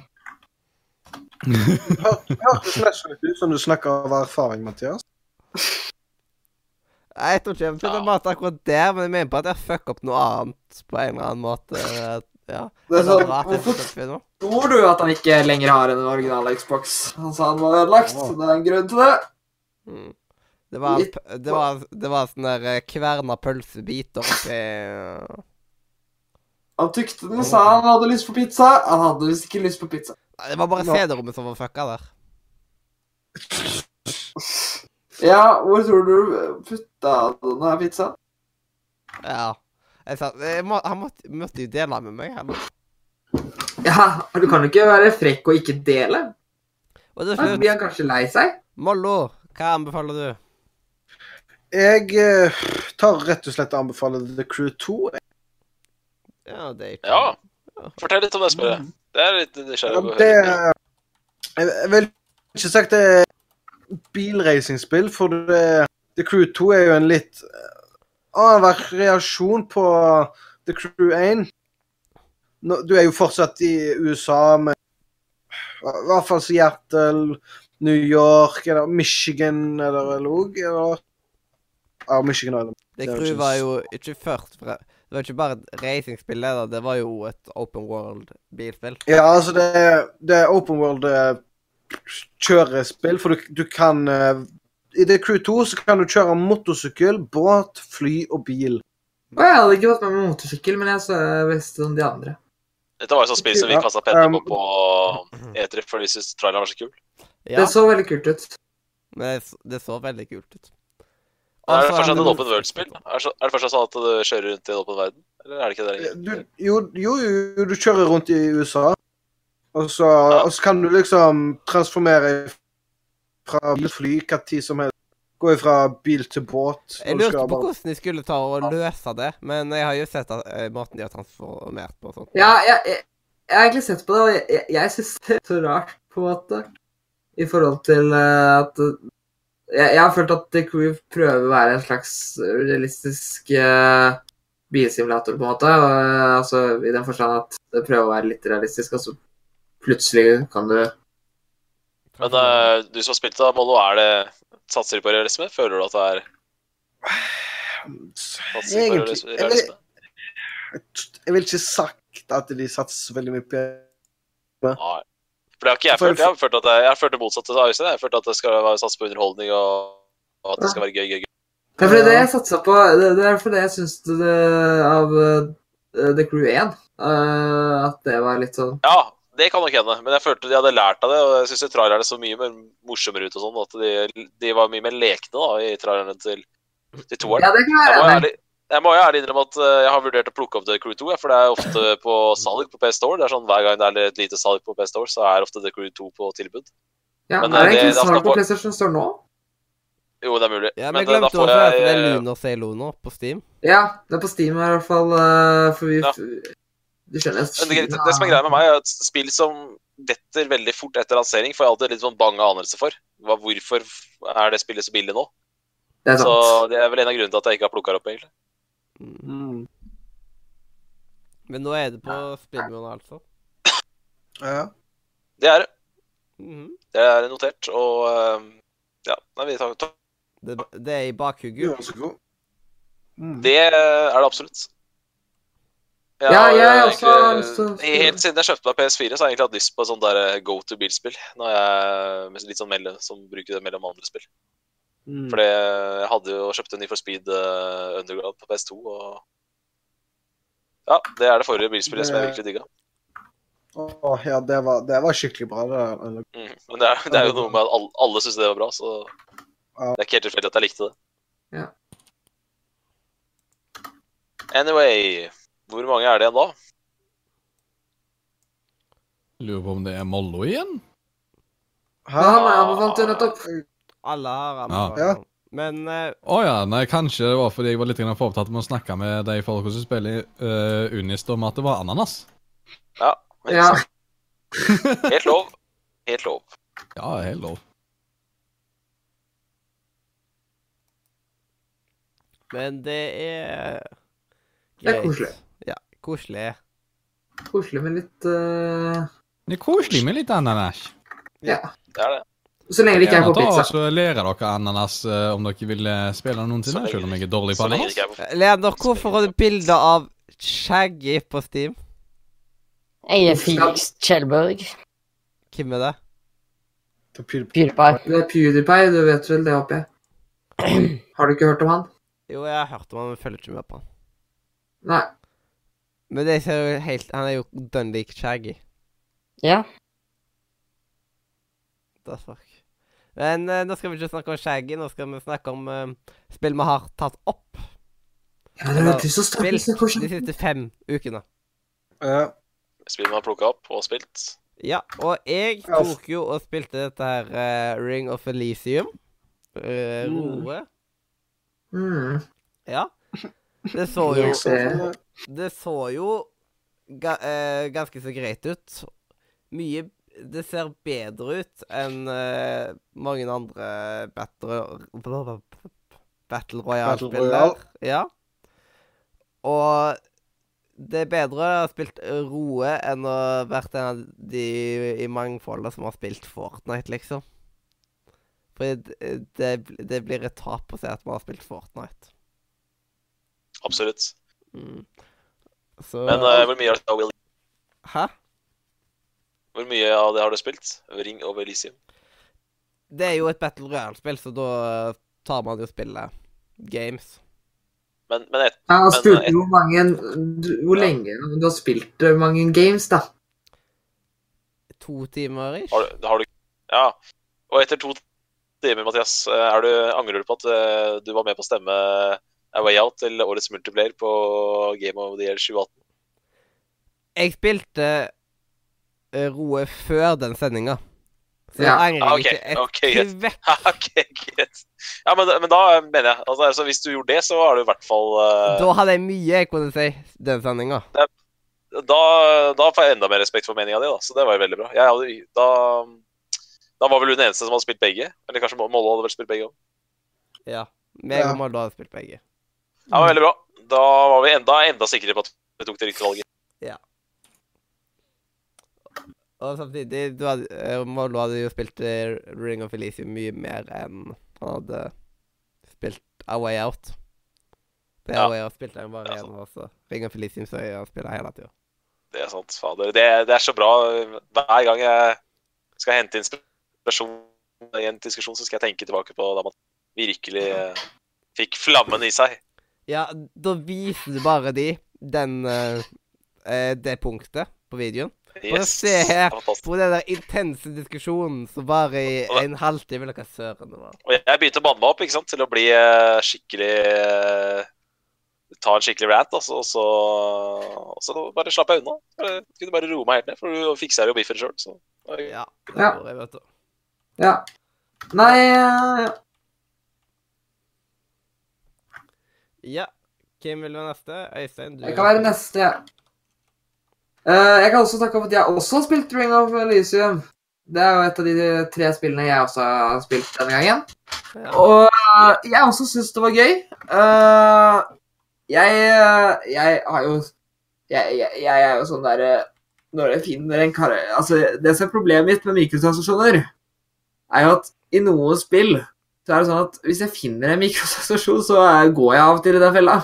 Hørtes nesten litt ut som du snakka av erfaring, Mathias.
Nei, Jeg tror ikke jeg vil putte
Ja.
mat akkurat der, men jeg mener på at jeg fucker opp noe annet på en eller annen måte. Ja.
Det er
Eller
sånn,
rart jeg
hvorfor
putter opp i noe.
tror du at han ikke lenger har en original Xbox? Han sa han var ødelagt, så det er en grunn til det.
Mm. Det var,
Litt-
p- det var, det var sånn der eh, kverna pølsebiter oppi eh,
Han tykte den, sa han hadde lyst på pizza. Han hadde visst ikke lyst på pizza.
Nei, Det var bare
Nå-
CD-rommet som var fucka der.
Ja, hvor tror du du putta denne pizzaen?
Ja. Jeg sa, jeg må, han måtte, måtte jo dele med meg. Heller.
Ja, du kan jo ikke være frekk og ikke dele.
Og til
Da
slutt,
blir han kanskje lei seg.
Mollo, hva anbefaler du?
Jeg eh, tar rett og slett og anbefaler The Crew 2.
Ja, det er ikke
Ja. Fortell litt om det spillet. Det er litt nysgjerrig på å
Det
høre.
er- Jeg vil ikke sagt det er bilracingspill, for det, The Crew 2 er jo en litt eh, annenhver reaksjon på The Crew 1. Nå, du er jo fortsatt i USA med i hvert fall Seattle, New York eller Michigan eller Log, eller Ja, Michigan eller
Det
Det er jo
Crew
ikke
var
s-
jo ikke først fra Det var ikke bare et racingspill, det, da. Det var jo et open world-bilspill.
Ja, altså det, er- det er open world eh, kjørespill, for du, du kan eh, I The Crew 2 så kan du kjøre motorsykkel, båt, fly og bil.
Og jeg hadde ikke fått med meg motorsykkel, men jeg så visste om de andre.
Dette var jo sånn spill som vi
Ja,
kasta penger på
um,
på E3 fordi vi syntes traileren var så kul.
Ja,
Det så veldig kult ut.
men det, s- det så veldig kult ut.
Er
Og
det
så
fortsatt
det
et
noe-
Open World-spill? Er det så- er det fortsatt sånn at du kjører rundt i en åpen verden? Eller er det ikke det lenger?
Du, jo, jo, jo, du kjører rundt i USA, og så, og så kan du liksom transformere fra bil, fly, hva tid som helst. Gå fra bil til båt.
Jeg
og du skal
lurte på
bare-
hvordan de skulle ta og løse det, men jeg har jo sett at, eh, måten de har transformert på og sånt.
Ja, jeg, jeg, jeg har egentlig sett på det, og jeg, jeg, jeg syns det er så rart, på en måte, i forhold til eh, at eh, jeg, jeg har følt at The Crew prøver å være en slags realistisk eh, bilsimulator, på en måte. Og, eh, altså, I den forstand at det prøver å være litt realistisk, og så plutselig kan du
Men eh, du som har spilt det, Mollo, er det satser de på realisme? Føler du at det er satser de på
Egentlig-
realisme?
jeg vet-
realisme?
Jeg vil ikke sagt at de satser veldig mye på
Nei. For det har ikke jeg
For-
følt. Jeg har følt, at det, jeg har følt det motsatte av Øystein. Jeg har følt at det skal være satse på underholdning, og, og at det skal være gøy, gøy, gøy.
Det er fordi det jeg satsa på Det, det er fordi jeg syns det, det- av eh, The Crew 1 eh, at det var litt sånn
Ja, det kan nok hende, men jeg følte de hadde lært av det, og jeg syns trailerne så mye mer morsommere ut og sånn, at de, de var mye mer lekne da, i trailerne til, til toeren.
Ja, det kan
Jeg
jeg
må jo
være enig i.
ærlig, jeg må jo ærlig innrømme at eh, jeg har vurdert å plukke opp The Crew 2, jeg, for det er ofte på salg på PS Store. Det er sånn Hver gang det er et lite salg på PS Store, så er ofte The Crew 2 på tilbud.
Ja, er
men, eh,
det
det-
egentlig
det skal
salg på
få-
PlayStation Store nå?
Jo, det er mulig.
Ja, men jeg
men eh, da
glemte
får
også at det er
jeg
Lunar Sailor nå, på Steam.
Ja, det er på Steam i hvert fall. eh, for vi
Ja.
Du skjønner
Men det, det som er greia med meg, er at spill som detter veldig fort etter lansering, får jeg alltid litt sånn bange anelse for. Hva, hvorfor er det spillet så billig nå?
Det er
Så
sant.
det er vel en av grunnene til at jeg ikke har plukka det opp, egentlig.
Mm. Men nå er det på spillmuren, altså.
Ja.
Det er det.
Mhm.
Det er notert. Og eh, ja, nei, vi tar, tar.
det, det er i
Jo,
bakhugget.
så god. Mm.
Det eh, er det absolutt. Jeg
Ja,
har,
jeg
eh,
også har lyst til å
egentlig- Helt siden jeg kjøpte meg PS4, så har jeg egentlig hatt lyst på sånn der go to bilspill. Når jeg litt sånn mellom, som bruker det mellom andre spill.
Mm.
For det- jeg hadde jo kjøpt en Need for Speed eh, Underground på PS2, og Ja, det er det forrige bilspillet som jeg
Det-
virkelig digga.
Åh, ja, det var, det var skikkelig bra. Det der. eller-
Mm. Men det er, det er jo noe med at alle, alle syns det var bra, så
Ja.
det er ikke helt tilfeldig at jeg likte det.
Ja.
Anyway, hvor mange er det igjen da?
Lurer på om det er Mollo igjen?
Hæ?
Ja, han anbefalte jo nettopp.
Alle har
Ja.
anbefalt. Men eh,
Å ja, nei, kanskje det var fordi jeg var litt grann for opptatt med å snakke med de folka som spiller uh, Unist, om at det var ananas.
Ja.
Helt lov. Helt lov.
Ja, helt lov.
Men det er
Det er
greit.
koselig.
Ja, koselig.
Koselig med litt eh,
Det er koselig med litt ananas.
Det er det.
Så lenge det ikke er
Gjerne
på
ta og
pizza.
så lærer dere ananas eh, om dere vil eh, spille noen til,
Så lenge-
selv om jeg er dårlig
Så
på
lenge det
ananas.
ikke er på
Eh, Leander, hvorfor har du bilde av Shaggy på Steam?
Jeg er Felix Kjellberg.
Hvem er det?
Det er PewDiePie.
PewDiePie.
Det er PewDiePie, du vet vel det, håper jeg. Har du ikke hørt om han?
Jo, jeg har hørt om han, men følger ikke med på han.
Nei.
Men det ser jo helt Han er jo dønn lik Shaggy.
Ja.
The fuck. Men eh, nå skal vi ikke snakke om Shaggy, nå skal vi snakke om eh, spill vi har tatt opp.
Ja, det var du som
Spill
startet så
de
koselig.
siste fem ukene.
Ja.
Spill man har plukka opp og spilt.
Ja, og jeg
Ja.
tok jo og spilte dette her eh, Ring of Elicium. Uh,
Mm.
Roe.
Mm.
Ja. Det så jo
Jeg ser.
sånn, eh,
Det så jo ga, eh, ganske så greit ut. Mye Det ser bedre ut enn eh, mange andre battle, battle
Battle
Royale-spiller.
Royale.
Ja. Og det er bedre å ha spilt roe enn å ha vært en av de i mangfoldet som har spilt Fortnite, liksom. For det, det, det blir et tap å si at man har spilt Fortnite.
Absolutt.
Mm. Så
Men eh, hvor, mye, av Will-
Hæ?
hvor mye av det har du spilt? Ring over Elisium.
Det er jo et Battle Royale-spill, så da eh, tar man jo spillet games.
Men, men et,
Ja, Jeg
Men,
spurte
eh,
hvor mange du- Hvor
Ja.
lenge du har spilt eh, mange games, da.
To timer ish.
har, du- har du Ja. Og etter to timer, Mathias, eh, er du, angrer du på at eh, du var med på å stemme A Way Out til årets multiplayer på Game of the Year 2018?
Jeg spilte eh, Roe før den sendinga. Så jeg
Ja.
angrer
Ah, ok,
ikke
ok,
et
greit.
kvekk.
ok, greit. Ja, men, men da mener jeg altså, altså, Hvis du gjorde det, så har du i hvert fall eh,
Da hadde jeg mye jeg kunne si den sendinga.
da, da får jeg enda mer respekt for meninga di, da. Så det var jo veldig bra. Jeg hadde, da, da var vel hun den eneste som hadde spilt begge. Eller kanskje Molle hadde vel spilt begge òg.
Ja. Meg
Ja.
og Molde hadde spilt begge.
Ja, men veldig bra. Da var vi enda, enda sikrere på at vi tok det riktige valget.
Og samtidig du hadde, eh, Molde hadde jo spilt eh, Ring of Elisium mye mer enn han hadde spilt A Way Out. Det
Ja.
A Way Out spilte han bare
Ja,
igjen, altså. Ring of Elisium så jeg spiller hele tida.
Det er sant. Fader. Det, det er så bra. Hver gang jeg skal hente inspirasjon i en diskusjon, så skal jeg tenke tilbake på da man virkelig eh, fikk flammen i seg.
Ja, da viser du bare de den eh, eh, det punktet på videoen. Bare
Yes.
se her.
Fantastisk.
På den der intense diskusjonen som var i
Og det-
en halvtime eller hva søren det var.
Og jeg begynte å banne meg opp ikke sant? til å bli eh, skikkelig eh, Ta en skikkelig rant, altså, og, så, og så bare slapp jeg unna. Bare, kunne bare roe meg helt ned, for du fikser jo biffen sjøl. Så det
Ja. det
Ja.
gjorde jeg, vet du.
Ja. Nei eh, ja.
ja. Hvem vil være neste? Øystein? Du
Jeg kan være neste, jeg. Eh, jeg kan også snakke om at jeg også har spilt Ring of Elysium. Det er jo et av de tre spillene jeg også har spilt denne gangen.
Ja.
Og eh, jeg også syns det var gøy. Eh, jeg, eh, jeg har jo jeg, jeg, jeg er jo sånn derre Når jeg finner en kar... Altså, det som er problemet mitt med mikrotransaksjoner, er jo at i noen spill så er det sånn at hvis jeg finner en mikrotransaksjon, så eh, går jeg av og til i den fella.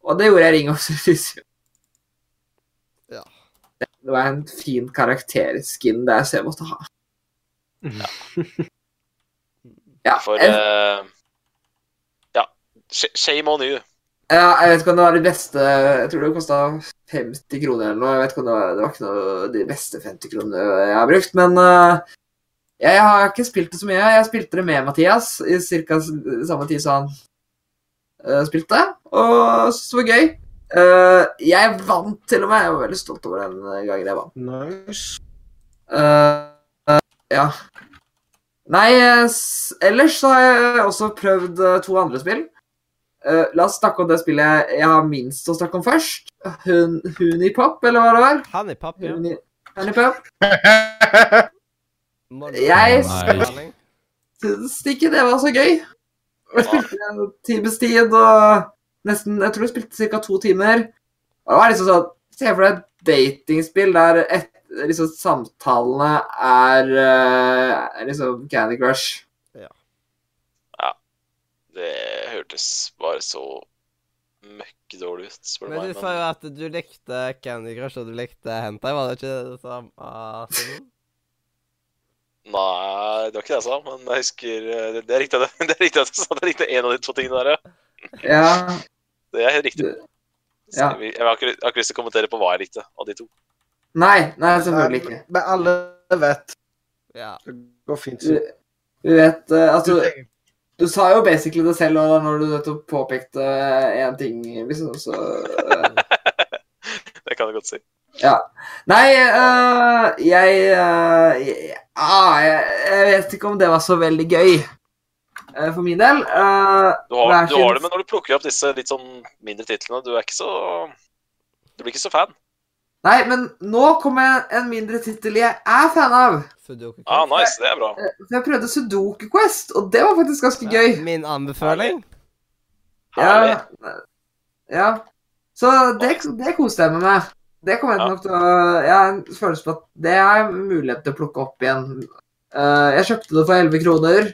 Og det gjorde jeg i Ring of Service.
Ja.
Det var en fin karakterskin der, så jeg måtte ha. Ja,
For
jeg,
eh, Ja. sh- Shame on you.
ja, jeg vet ikke om det var det beste Jeg tror det kosta 50 kroner eller noe. Jeg vet ikke om det var, det var ikke noe de beste 50 kronene jeg har brukt, men eh, jeg har ikke spilt det så mye. Jeg spilte det med Mathias i ca. samme tid som han eh, spilte, og syntes det var gøy. Eh, jeg vant til og med. Jeg var veldig stolt over den eh, gangen jeg vant.
Nice.
Eh, eh, ja. Nei, eh, s- ellers så har jeg også prøvd eh, to andre spill. Eh, la oss snakke om det spillet jeg, jeg har minst å snakke om først. Hun, Hunipop, eller hva det var?
Han er papp, ja.
Huni, Hunipop.
Molde-
Jeg
Nei.
Syns ikke det var så gøy. Jeg spilte en times tid og nesten Jeg tror jeg spilte ca. to timer. Og det var liksom sånn Se for deg et datingspill der et, liksom samtalene er eh, er liksom Candy Crush.
Det hørtes bare så møkkedårlig ut, spør du
Men
meg.
du sa jo at du likte Candy Crush og du likte Hentai, var det ikke det som ah, Simon?
Nei, det var ikke det jeg sa, men jeg husker eh, Det, det er riktig, det. Det er riktig at jeg sa det er riktig en av de to tingene der, ja.
Ja.
Det er helt riktig. Så
Ja.
Jeg, jeg har ikke jeg har ikke lyst til å kommentere på hva jeg likte av de to.
Nei, nei, selvfølgelig ikke.
Eh, Men alle vet.
Ja.
Det går fint.
Du, du vet eh, Altså,
Du-
du sa jo basically det selv da når du nettopp påpekte én ting, liksom, så eh,
Det kan jeg godt si.
Nei, eh, jeg, eh, jeg, ah, jeg Jeg vet ikke om det var så veldig gøy eh, for min del. Eh,
Du har,
Hver
du har det,
sin-
men når du plukker opp disse litt sånn mindre titlene, du er ikke så Du blir ikke så fan.
nei, men nå kom jeg en mindre tittel jeg er fan av.
Sudoku Quest.
Ah, nice, det er bra.
Eh, For jeg prøvde Sudoku Quest, og det var faktisk ganske
Ja,
gøy.
Min anbefaling?
Herlig.
Ja. ja. Så det, det koste jeg meg med. Det kommer jeg
Ja.
nok til å Jeg har en følelse på at det er mulighet til å plukke opp igjen. Eh, jeg kjøpte det for 11 kroner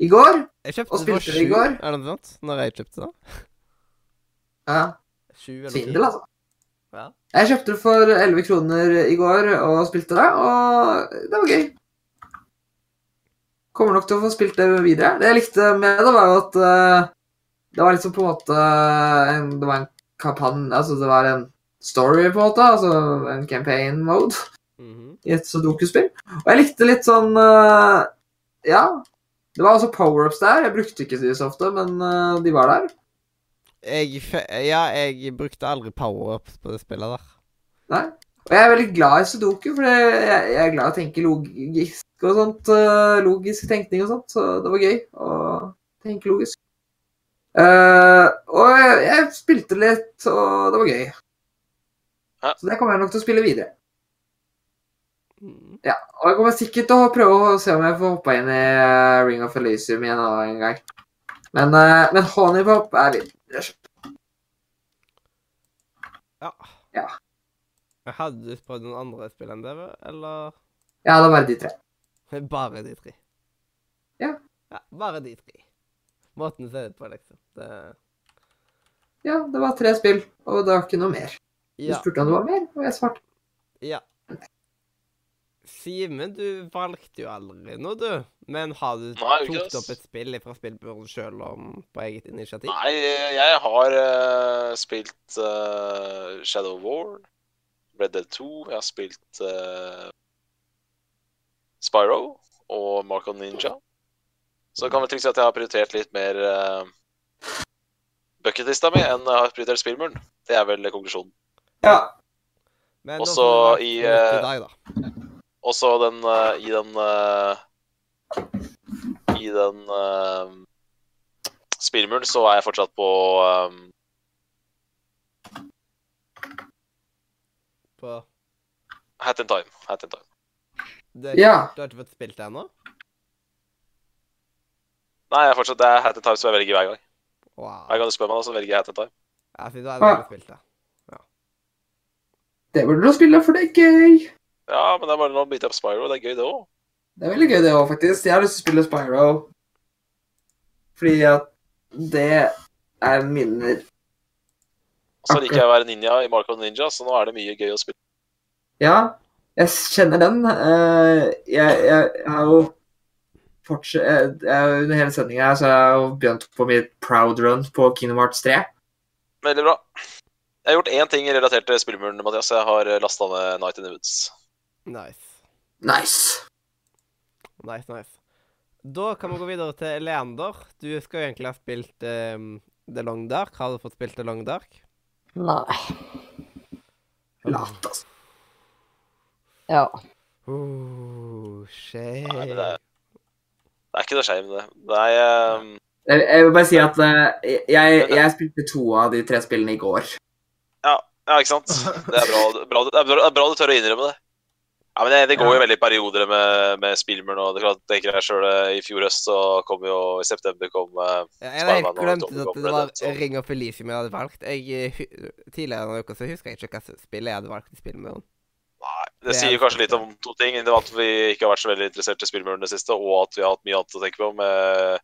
i går.
Jeg kjøpte det for
Og spilte det i
sju,
går.
er det noe sånt? Når jeg kjøpte det?
Ja,
Sju eller
svindel, altså.
Ja.
Jeg kjøpte det for 11 kroner i går og spilte det, og det var gøy. Kommer nok til å få spilt det videre. Det jeg likte med det, var jo at eh, det var liksom på en måte en, Det var en kampanje Altså, det var en story, på en måte. Altså en campaign mode
Mhm.
i et sudoku-spill. Og jeg likte litt sånn eh, Ja. Det var også power-ups der. Jeg brukte ikke de så ofte, men eh, de var der.
Jeg fe- Ja, jeg brukte aldri power-ups på det spillet der.
Og jeg er veldig glad i sudoku, for jeg, jeg jeg er glad i å tenke logisk og sånt. øh, Logisk tenkning og sånt, så det var gøy å tenke logisk. Eh, og jeg, jeg spilte litt, og det var gøy.
Ja.
Så det kommer jeg nok til å spille videre.
Mm.
Og jeg kommer sikkert til å prøve å se om jeg får hoppa inn i eh, Ring of Elysium igjen en annen gang. Men, eh, men Honeypop er litt
Ja.
Ja.
Men Hadde du prøvd noen andre spill enn det, eller
Ja, det var bare de tre.
bare de tre?
Ja.
ja bare de tre. Måten du ser det på, liksom. Det
Ja, det var tre spill, og det var ikke noe mer. Du
Ja.
spurte om det var mer, og jeg svarte.
Simen, du valgte jo aldri noe, du. Men har du
Nei, jeg
tok
gjorde ikke det,
du
ass.
opp et spill fra spillbyrden sjøl om på eget initiativ?
Nei, jeg har eh, spilt eh, Shadow War, Red Dead 2, jeg har spilt eh, Spyro og Marco Ninja. Så det kan vel trygt si at jeg har prioritert litt mer uh, bucketlista mi enn jeg har prioritert spillmuren. Det er vel konklusjonen.
Ja,
Men nå
Også
får du
i,
valgt noe nytt
eh,
dag, da.
Også den eh, i den eh, I den eh, spillmuren så er jeg fortsatt på eh,
På
Hat in Time. Hat in Time.
det,
Ja.
Du har ikke fått spilt det ennå?
Nei, jeg er fortsatt, det er Hat in Time som jeg velger hver gang.
Wow.
Hver gang du spør meg, da, så velger jeg Hat in Time.
Ja, siden du har aldri
Ah.
spilt det.
Det burde du spille, for det er gøy.
Ja, men det er bare nå biter jeg på Spyro. Det er gøy, det òg.
Det er veldig gøy, det òg, faktisk. Jeg har lyst til å spille Spyro. Fordi at det er minner.
Og så liker jeg å være ninja i Marco Ninja, så nå er det mye gøy å spille.
Ja, jeg kjenner den. Eh, Jeg, jeg, jeg har jo fortsatt jeg, jeg, Under hele sendinga så har jeg jo begynt på mitt proud run på Kingdom Hearts 3.
Veldig bra. Jeg har gjort én ting relatert til spillmuren, Mathias. Jeg har lasta ned Night in the Woods.
Nice.
Nice.
Nice, nice. Da kan vi gå videre til Leander. Du skal jo egentlig ha spilt ehm, The Long Dark. Har du fått spilt The Long Dark?
Nei.
Lat, altså.
Ja.
Oh, shit.
Nei, men det er- Det er ikke noe shame, det. Det er eh,
Jeg, jeg vil bare si at eh, jeg, jeg spilte to av de tre spillene i går.
Ja, ikke sant? Det er bra, bra, det er bra, det er bra du tør å innrømme det. Ja, men Det, det går jo veldig i perioder med, med spillmuren. og det er klart, tenker jeg selv, eh, I fjor høst så kom jo I september kom eh,
Ja, Jeg hadde helt
Spider-Man og
glemt at
Double Double
det
Red
var
Dead, så-
Ring of Elysium jeg hadde valgt. Jeg, eh, hu- tidligere denne uka så husker jeg ikke hva spillet jeg hadde valgt i spillmuren.
Nei,
Det
det sier
er
jo kanskje litt om to ting. Det var At vi ikke har vært så veldig interessert i spillmuren i det siste, og at vi har hatt mye annet å tenke på med,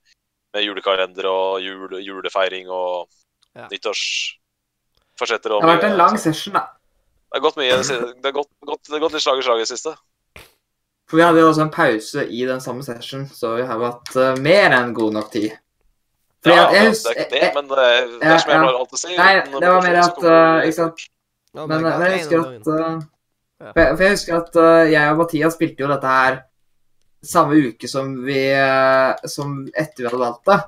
med julekalender og jul, julefeiring og
Ja.
nyttårsforsetter. Og
Det har vært
mye-
en lang session, da.
Det har gått mye i det siste. Det har gått, gått, det har gått litt slag i slag i det siste.
For vi hadde jo også en pause i den samme session, så vi har jo hatt eh, mer enn god nok tid. Fordi
Ja,
at jeg
ja, det er
husker
ikke det, men det, er- det
ja,
er som jeg
ja.
pleier alltid å si.
Nei,
uten
det var mer
motivasjon så
at,
kommer
eh,
det-
ikke sant?
Oh my
Men,
God,
men jeg
en
husker
av
at
dagene.
uh,
Ja.
for jeg, for jeg husker at uh, jeg og Mathias spilte jo dette her samme uke som vi uh, som etter vi hadde valgt det.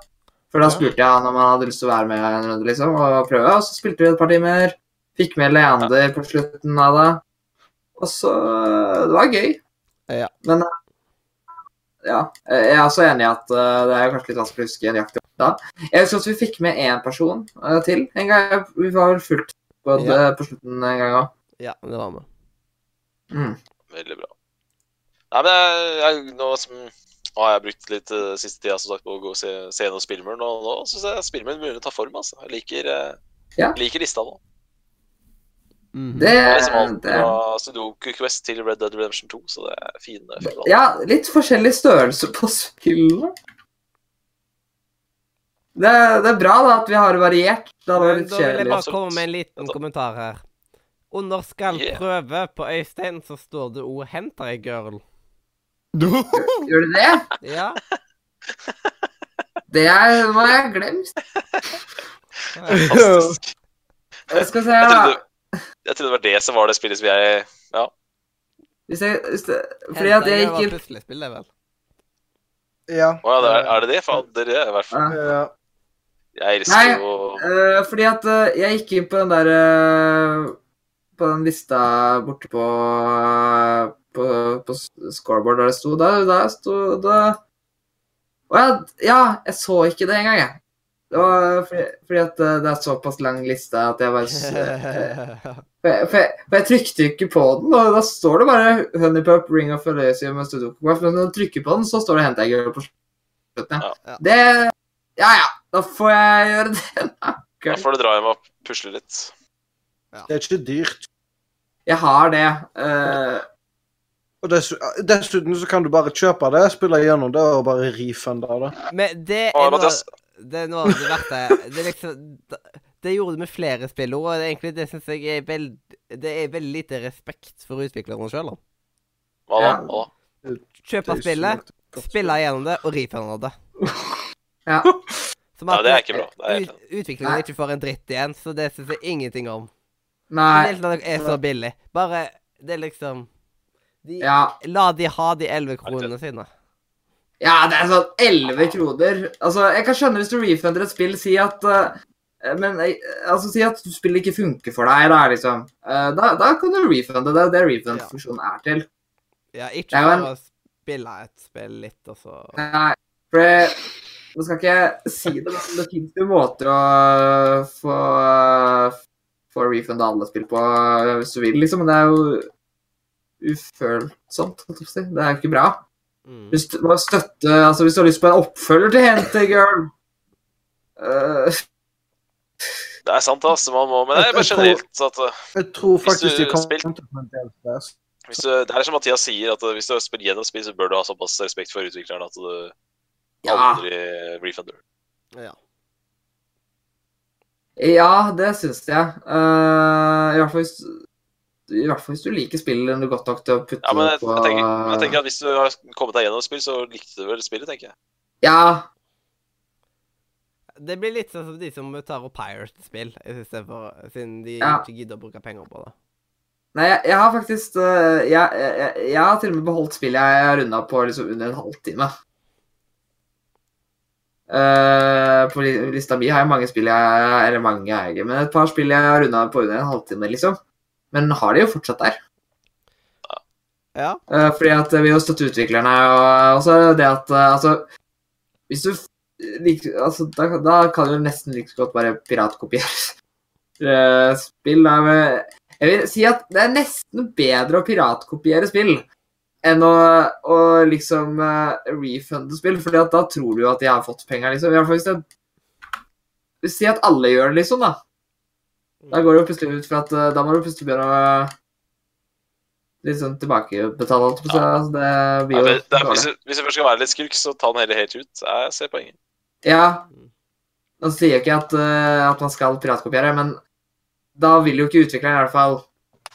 For da
Ja.
spurte jeg han om han hadde lyst til å være med en runde liksom, og prøve, og så spilte vi et par timer. Fikk med Leander på slutten av det. Og så uh, Det var gøy.
Ja.
Men uh, ja, jeg er også enig i at uh, det er kanskje litt vanskelig å huske nøyaktig da. Jeg husker at vi fikk med én person uh, til en gang. Vi var vel fullt på, det, på slutten en gang òg.
Ja, det var med.
Mm.
Veldig bra. Nei, men jeg, jeg, nå som nå har jeg brukt litt eh, siste tida som sagt, på å gå og se, se gjennom spillmuren, og nå syns jeg spillmuren begynner å ta form. altså. Jeg liker, eh,
Ja.
liker lista nå.
Det,
Det er liksom alt
det
fra Sudoku Quest til Red Dead Redemption 2, så det er fine. fine
Ja, litt forskjellig størrelse på spillene. Det, det er bra da at vi har variert. Da var
Men
det litt
da vil jeg
kjedelig.
bare komme med en liten kommentar her. Under skal
Altså- Yeah.
prøve på Øystein så står det ordet 'henter ei girl'.
Gjør det det?
Ja.
Det er, må jeg ha glemt.
Fantastisk.
Jeg skal se
Jeg
da.
trodde, jeg trodde det var det som var det spillet som jeg
Hvis jeg, hvis det, fordi at jeg gikk inn
Puslespill, det vel.
Ja.
Å ja, det er, er det det? Fader, det er i hvert fall
Ja.
ja.
Jeg
Nei.
elsker jo
Eh, Fordi at eh, jeg gikk inn på den der eh, På den lista borte på eh, På, på scoreboard der det sto Da, da sto da Å ja, ja, jeg så ikke det engang, jeg. Det var fordi, fordi at eh, det er såpass lang liste at jeg bare s- For jeg, for, jeg, for jeg trykte ikke på den, og da står det bare Honeypup, Ring of Elysium og Studiocompass, men når du trykker på den, så står det Hentager på slutten. Ja.
Ja.
Det Ja ja, da får jeg gjøre det.
Da får du dra hjem og pusle litt.
Det er ikke dyrt.
Jeg har det. eh,
Og dessu- dessuten så kan du bare kjøpe det, spille gjennom det og bare refunde det.
Men det
Å,
er noe,
Mathias.
det er noe av det verste Det er liksom da- Det gjorde vi med flere spillord, og det, er egentlig, det syns jeg er veldig Det er veldig lite respekt for utviklerne sjøl.
Hva da?
Ja.
Hva da?
Kjøpe spillet, spille gjennom det og refunda det.
Ja.
Som
Ja,
at
det er ikke bra. Det er
ut- Utviklerne ikke får en dritt igjen, så det syns jeg ingenting om. Det
nei.
er helt er så billig. Bare Det er liksom de,
Ja.
La de ha de elleve kronene sine.
ja, det er sånn 11 kroner. Altså, jeg kan skjønne hvis du refunder et spill, si at eh, men eh, altså, si at spillet ikke funker for deg, da, liksom. Eh, da, da kan du refunde det. Det er refund-funksjonen er til.
Ja,
Det
ikke
er jo en-
bare å spille et spill litt, og så
Nei, for det, nå skal ikke jeg si det, men det finnes jo måter å eh, få, eh, få refunda alle spill på hvis du vil, liksom. Men det er jo ufølsomt, holdt jeg på å si. Det er jo ikke bra.
mm.
Hvis du må støtte, altså hvis du har lyst på en oppfølger til Hente Girl eh,
Det er sant, altså. Man må Men det er bare generelt at uh,
Jeg tror faktisk
du
de kommer
spilt-
til å en del plass.
hvis du, Det er som Mathias sier, at uh, hvis du spiller gjennom spill, så bør du ha såpass respekt for utvikleren at du
ja,
aldri refunder.
Ja.
ja, det syns jeg. Eh, i, hvert fall hvis, I hvert fall hvis du liker spillet godt nok til å putte
Ja, men jeg,
det på
jeg, tenker, jeg tenker at hvis du har kommet deg gjennom et spill, så likte du vel spillet, tenker jeg.
Ja,
Det blir litt sånn som de som tar og pirate spill, istedenfor siden de
Ja.
ikke gidder å bruke penger på det.
Nei, jeg, jeg har faktisk øh, jeg, jeg, jeg har til og med beholdt spillet jeg har runda på liksom under en halvtime. Eh, på li- lista mi har jeg mange spill jeg Eller mange jeg eier, men et par spill jeg har runda på under en halvtime, liksom. Men har de jo fortsatt der.
Ja.
Eh, fordi at vi jo støtter utviklerne, og også det at eh, Altså, hvis du f- lik, altså, da, da kan du nesten like så godt bare piratkopiere eh, spill. Da, med, jeg vil si at det er nesten bedre å piratkopiere spill enn å, å liksom eh, refunde spill, fordi at da tror du jo at de har fått penger, liksom. I hvert fall hvis det Si at alle gjør det, liksom, da. Da går det jo plutselig ut fra at eh, da må du plutselig begynne å litt sånn tilbakebetale alt. Så altså, det
Nei,
blir jo
men det er,
dårlig.
hvis, du, hvis du først skal være litt skurk, så ta den heller helt ut. Jeg ser poenget.
Ja. Nå sier jeg ikke at, eh, at man skal piratkopiere, men da vil jo ikke utvikleren i hvert fall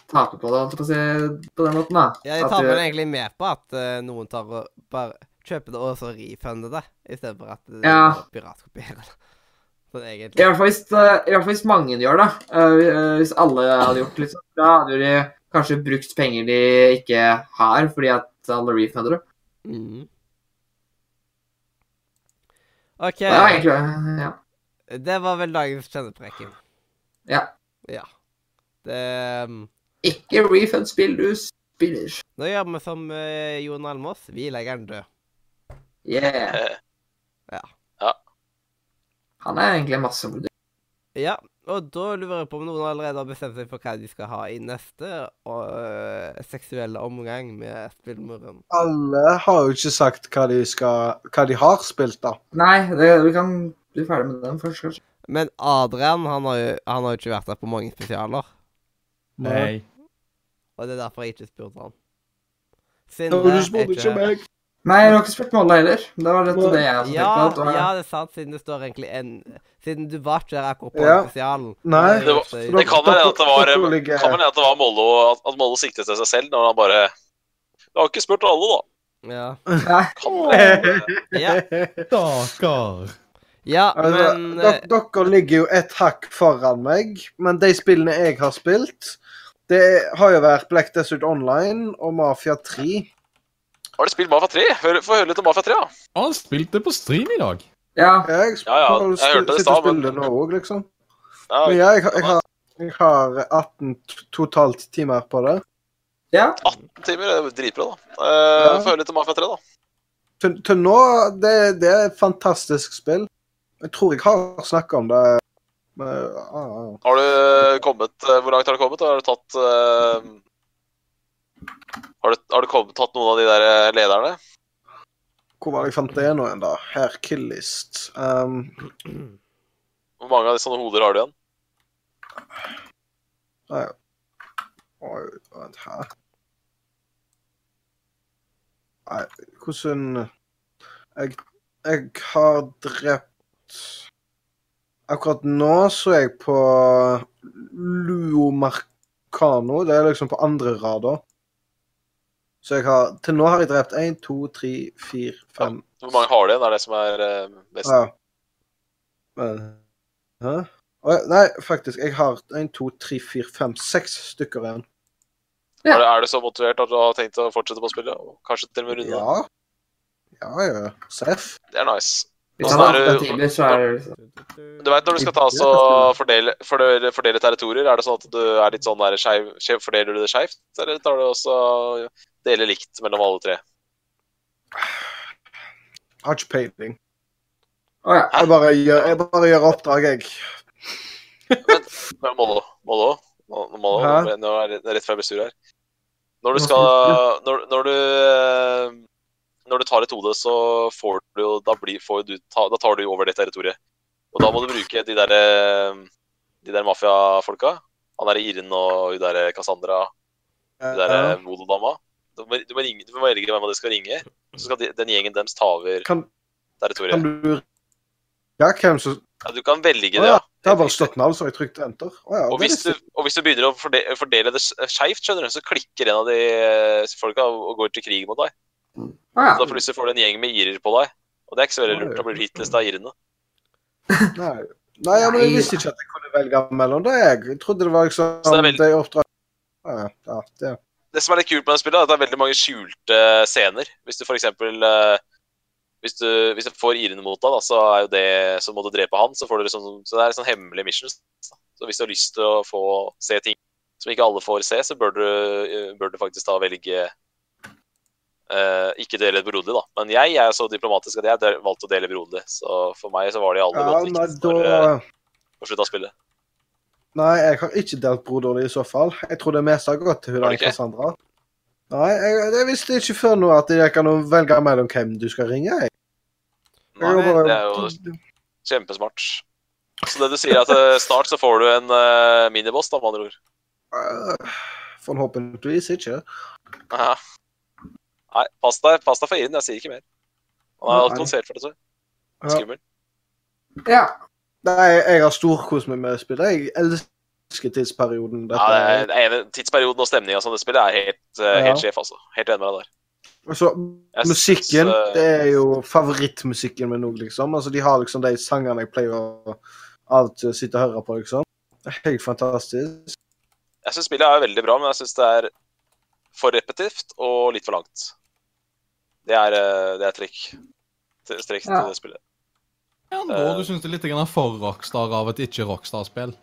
tape på det, holdt jeg på å si, på den måten, da.
ja jeg
At eh,
tar
du-
vel egentlig med på at eh, noen tar og bare kjøper det og så refunder det, istedenfor at de
Ja.
bare piratkopierer det. Sånn
I
egentlig.
hvert fall hvis, eh, i hvert fall hvis mange gjør det. Eh, Hvis alle hadde gjort litt sånn, da hadde de kanskje brukt penger de ikke har, fordi at alle refunder det.
Mm. OK.
Ja, egentlig, eh, ja.
Det var vel dagens kjennepreken.
Ja.
Ja. Det um,
Ikke refund spill du spiller.
Nå gjør vi som eh, Jon Almås. Vi legger den død.
Yeah.
Eh,
Han er egentlig masse morder.
Ja, og da lurer jeg på om noen allerede har bestemt seg for hva de skal ha i neste og, eh, seksuelle omgang med spillmuren.
Alle har jo ikke sagt hva de, skal, hva de har spilt, da.
Nei, det, vi kan bli ferdig med den først, kanskje.
Men Adrian han har jo han har jo ikke vært der på mange spesialer,
Nei.
og det er derfor jeg ikke spurte han.
Nå,
Sindre
Du
er
spurte ikke
her.
meg.
Nei, jeg har ikke spurt med alle heller. Det var litt av det jeg også
Ja,
tenkte på. at det var-
eh,
ja, det er sant, siden det står egentlig en Siden du var ikke der akkurat på
Ja.
spesialen. Eh,
Nei.
Det var-
Så
Eh, Det kan være at det var,
dere ligger-
kan være at det var Mollo, at- at Mollo siktet til seg selv når han bare Jeg har ikke spurt alle, da.
Ja.
Kan det
Ja,
Stakkar.
ja
Altså,
men
dere,
eh,
dere ligger jo et hakk foran meg, men de spillene jeg har spilt Det har jo vært Black Desert Online og Mafia 3.
Har du spilt Mafia 3? Hør, få høre litt om Mafia 3, da.
Han spilte på stream i dag.
Ja.
Jeg,
Ja, ja, jeg hørte det i
sitter og
stad, men-
spiller nå òg, liksom.
Ja,
Men ja, jeg, har- jeg, har, jeg har 18 t- totalt timer på det.
ja.
timer, det er jo Dritbra, da. Eh,
Ja.
Få høre litt om Mafia 3, da.
Til, til nå det, det er et fantastisk spill. Jeg tror jeg har snakka om det men, ah,
Har du kommet eh, Hvor langt har du kommet? og Har du tatt eh, Har du, har du kommet, tatt noen av de der eh, lederne?
Hvor var det jeg fant det nå igjen, da? Her, Killist. Um,
Hvor mange av de sånne hoder har du igjen?
Oi, vent her Nei, hvordan jeg, jeg har drept Akkurat nå så er jeg på Luo Marcano. Det er liksom på andre rad, da. Så jeg har Til nå har jeg drept én, to, tre, fire, fem
Hvor mange har du igjen? er det som er eh, best?
ja. Men Hæ? Å, Nei, faktisk. Jeg har én, to, tre, fire, fem, seks stykker igjen.
Ja.
Er, du, er du så motivert at du har tenkt å fortsette på spillet? Og kanskje til og med runde det?
Ja. Ja, ja. Seff.
Det er nice.
Hvis han har åtte timer, så er det liksom-
Du veit når du skal ta så fordele, fordele, fordele territorier, er det sånn at du er litt sånn der skeiv, skeiv, fordeler du det skeivt, eller tar du også deler likt mellom alle tre?
Har ikke peiling.
Å ja.
Jeg bare gjør, jeg bare gjør oppdrag, jeg.
Men Mollo, Mollo, Mollo, Mollo
Hæ?
nå er det det er rett før jeg blir sur her. Når du
Nå
skal
skal
Når, når du eh, Når du tar et hode, så får du jo Da, blir, får du, ta, da tar du jo over det territoriet. Og da må du bruke de der eh, De der mafiafolka. Han derre Irin og hun derre Cassandra, hun derre Vodo-dama. Du må, du, må ringe, du må velge hvem av de skal ringe. Så skal de, den gjengen deres ta over
Kan, kan
territoriet.
du Ja, hvem som
Ja, du kan velge
Å
det,
ja.
ja.
Det har bare stått navn, så jeg trykte enter. Å ja.
Og
det
hvis, du,
visste jeg.
og hvis du begynner å forde- fordele det skeivt, skjønner du, så klikker en av de eh, folka og går til krig mot deg.
Å
Så da
ja.
plutselig får du en gjeng med irer på deg. Og det er ikke så veldig lurt. Da blir du hitlist av irene.
Nei. Nei, ja, men jeg
Nei.
visste ikke at jeg kunne velge mellom det. Jeg Jeg trodde det var liksom
Så det er veldig-
det oppdrag... Ja, ja, ja, det.
Det som er litt kult med det spillet, er at det er veldig mange skjulte eh, scener. Hvis du for eksempel eh, hvis du, hvis du får irene mot deg, da, så, er jo det, så må du drepe han. Så, får du liksom, så det er sånn hemmelig missions. da. Så hvis du har lyst til å få se ting som ikke alle får se, så bør du, eh, bør du faktisk da velge eh, Ikke dele broderlig, da. Men jeg er så diplomatisk at jeg del- valgte å dele broderlig. Så for meg så var det aller
Ja,
godt
nei,
viktigst når, eh,
da
på slutten av spillet.
Nei, jeg har ikke delt broderlig i så fall. Jeg tror det meste har gått til hun
Har
der
du ikke?
Cassandra. Nei, jeg, jeg visste ikke før nå at jeg kan velge mellom hvem du skal ringe. Jeg.
Nei,
jeg bare-
det er jo Kjempesmart. Så det du sier er at eh, snart så får du en eh, miniboss, da, med andre ord.
Øh, Forhåpentligvis ikke.
Aha. Nei, pass deg, pass deg for Irin, jeg sier ikke mer. Han er
Nei.
alkoholisert for det, tror jeg.
Ja.
Skummel.
ja.
Nei, jeg har storkost meg med spillet. Jeg elsker tidsperioden.
Ja,
Dette.
det er, det er en- tidsperioden og stemninga som det spiller, er helt, eh, helt sjef, altså. Helt enig med deg der.
Altså,
Jeg syns,
musikken
eh,
det er jo favorittmusikken min nå, liksom. Altså, de har liksom de sangene jeg pleier å av og til sitte og høre på, liksom. Det er Helt fantastisk.
Jeg syns spillet er veldig bra, men jeg syns det er for repetitivt og litt for langt. Det er, eh, det er trekk. Strekk til
Ja.
det spillet.
Ja, nå, du syns det er litt grann for Rockstar av et ikke-Rockstar-spill?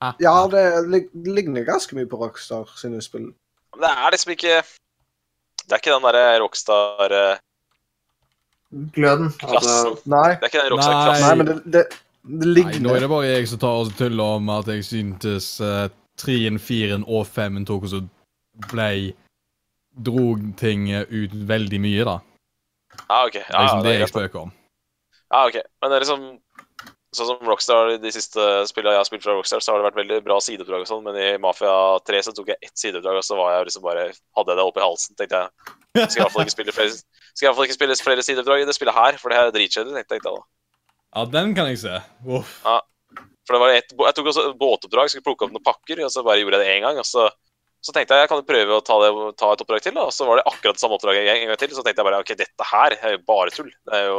Ah.
Ja, det lig- ligner ganske mye på Rockstar sine spill.
Men det er liksom ikke Det er ikke den derre rockstar eh,
Gløden. Altså,
Klassen.
Nei.
Det er ikke den rockstar-klassen.
Nei, men det, det, det ligner
Nei, nå er det bare jeg som tar og tuller om at jeg syntes uh, 3-en, 4-en og 5-en tok og så blei Drog ting ut veldig mye, da.
Ja, ok.
Det er
Ja,
liksom det
er greit, da.
jeg spøker om.
Ja, ok. Men det er liksom Sånn som Rockstar, de siste spillene jeg har spilt fra Rockstar, så har det vært veldig bra sideoppdrag og sånn, men i Mafia 3 så tok jeg ett sideoppdrag, og så var jeg liksom bare Hadde jeg det oppi halsen, tenkte jeg. Skal jeg iallfall ikke spille flere Skal jeg i hvert fall ikke spille flere sideoppdrag i det spillet her, for det her er dritkjedelig, tenkte jeg da.
Ja, den kan jeg se. Uff.
For det var et, Jeg tok også et båtoppdrag, skulle plukke opp noen pakker, og så bare gjorde jeg det én gang, og så Så tenkte jeg jeg kan jo prøve å ta, det, ta et oppdrag til, da. og så var det akkurat det samme oppdraget en gang- en gang til. Så tenkte jeg bare ok, dette her er jo bare tull. Det er jo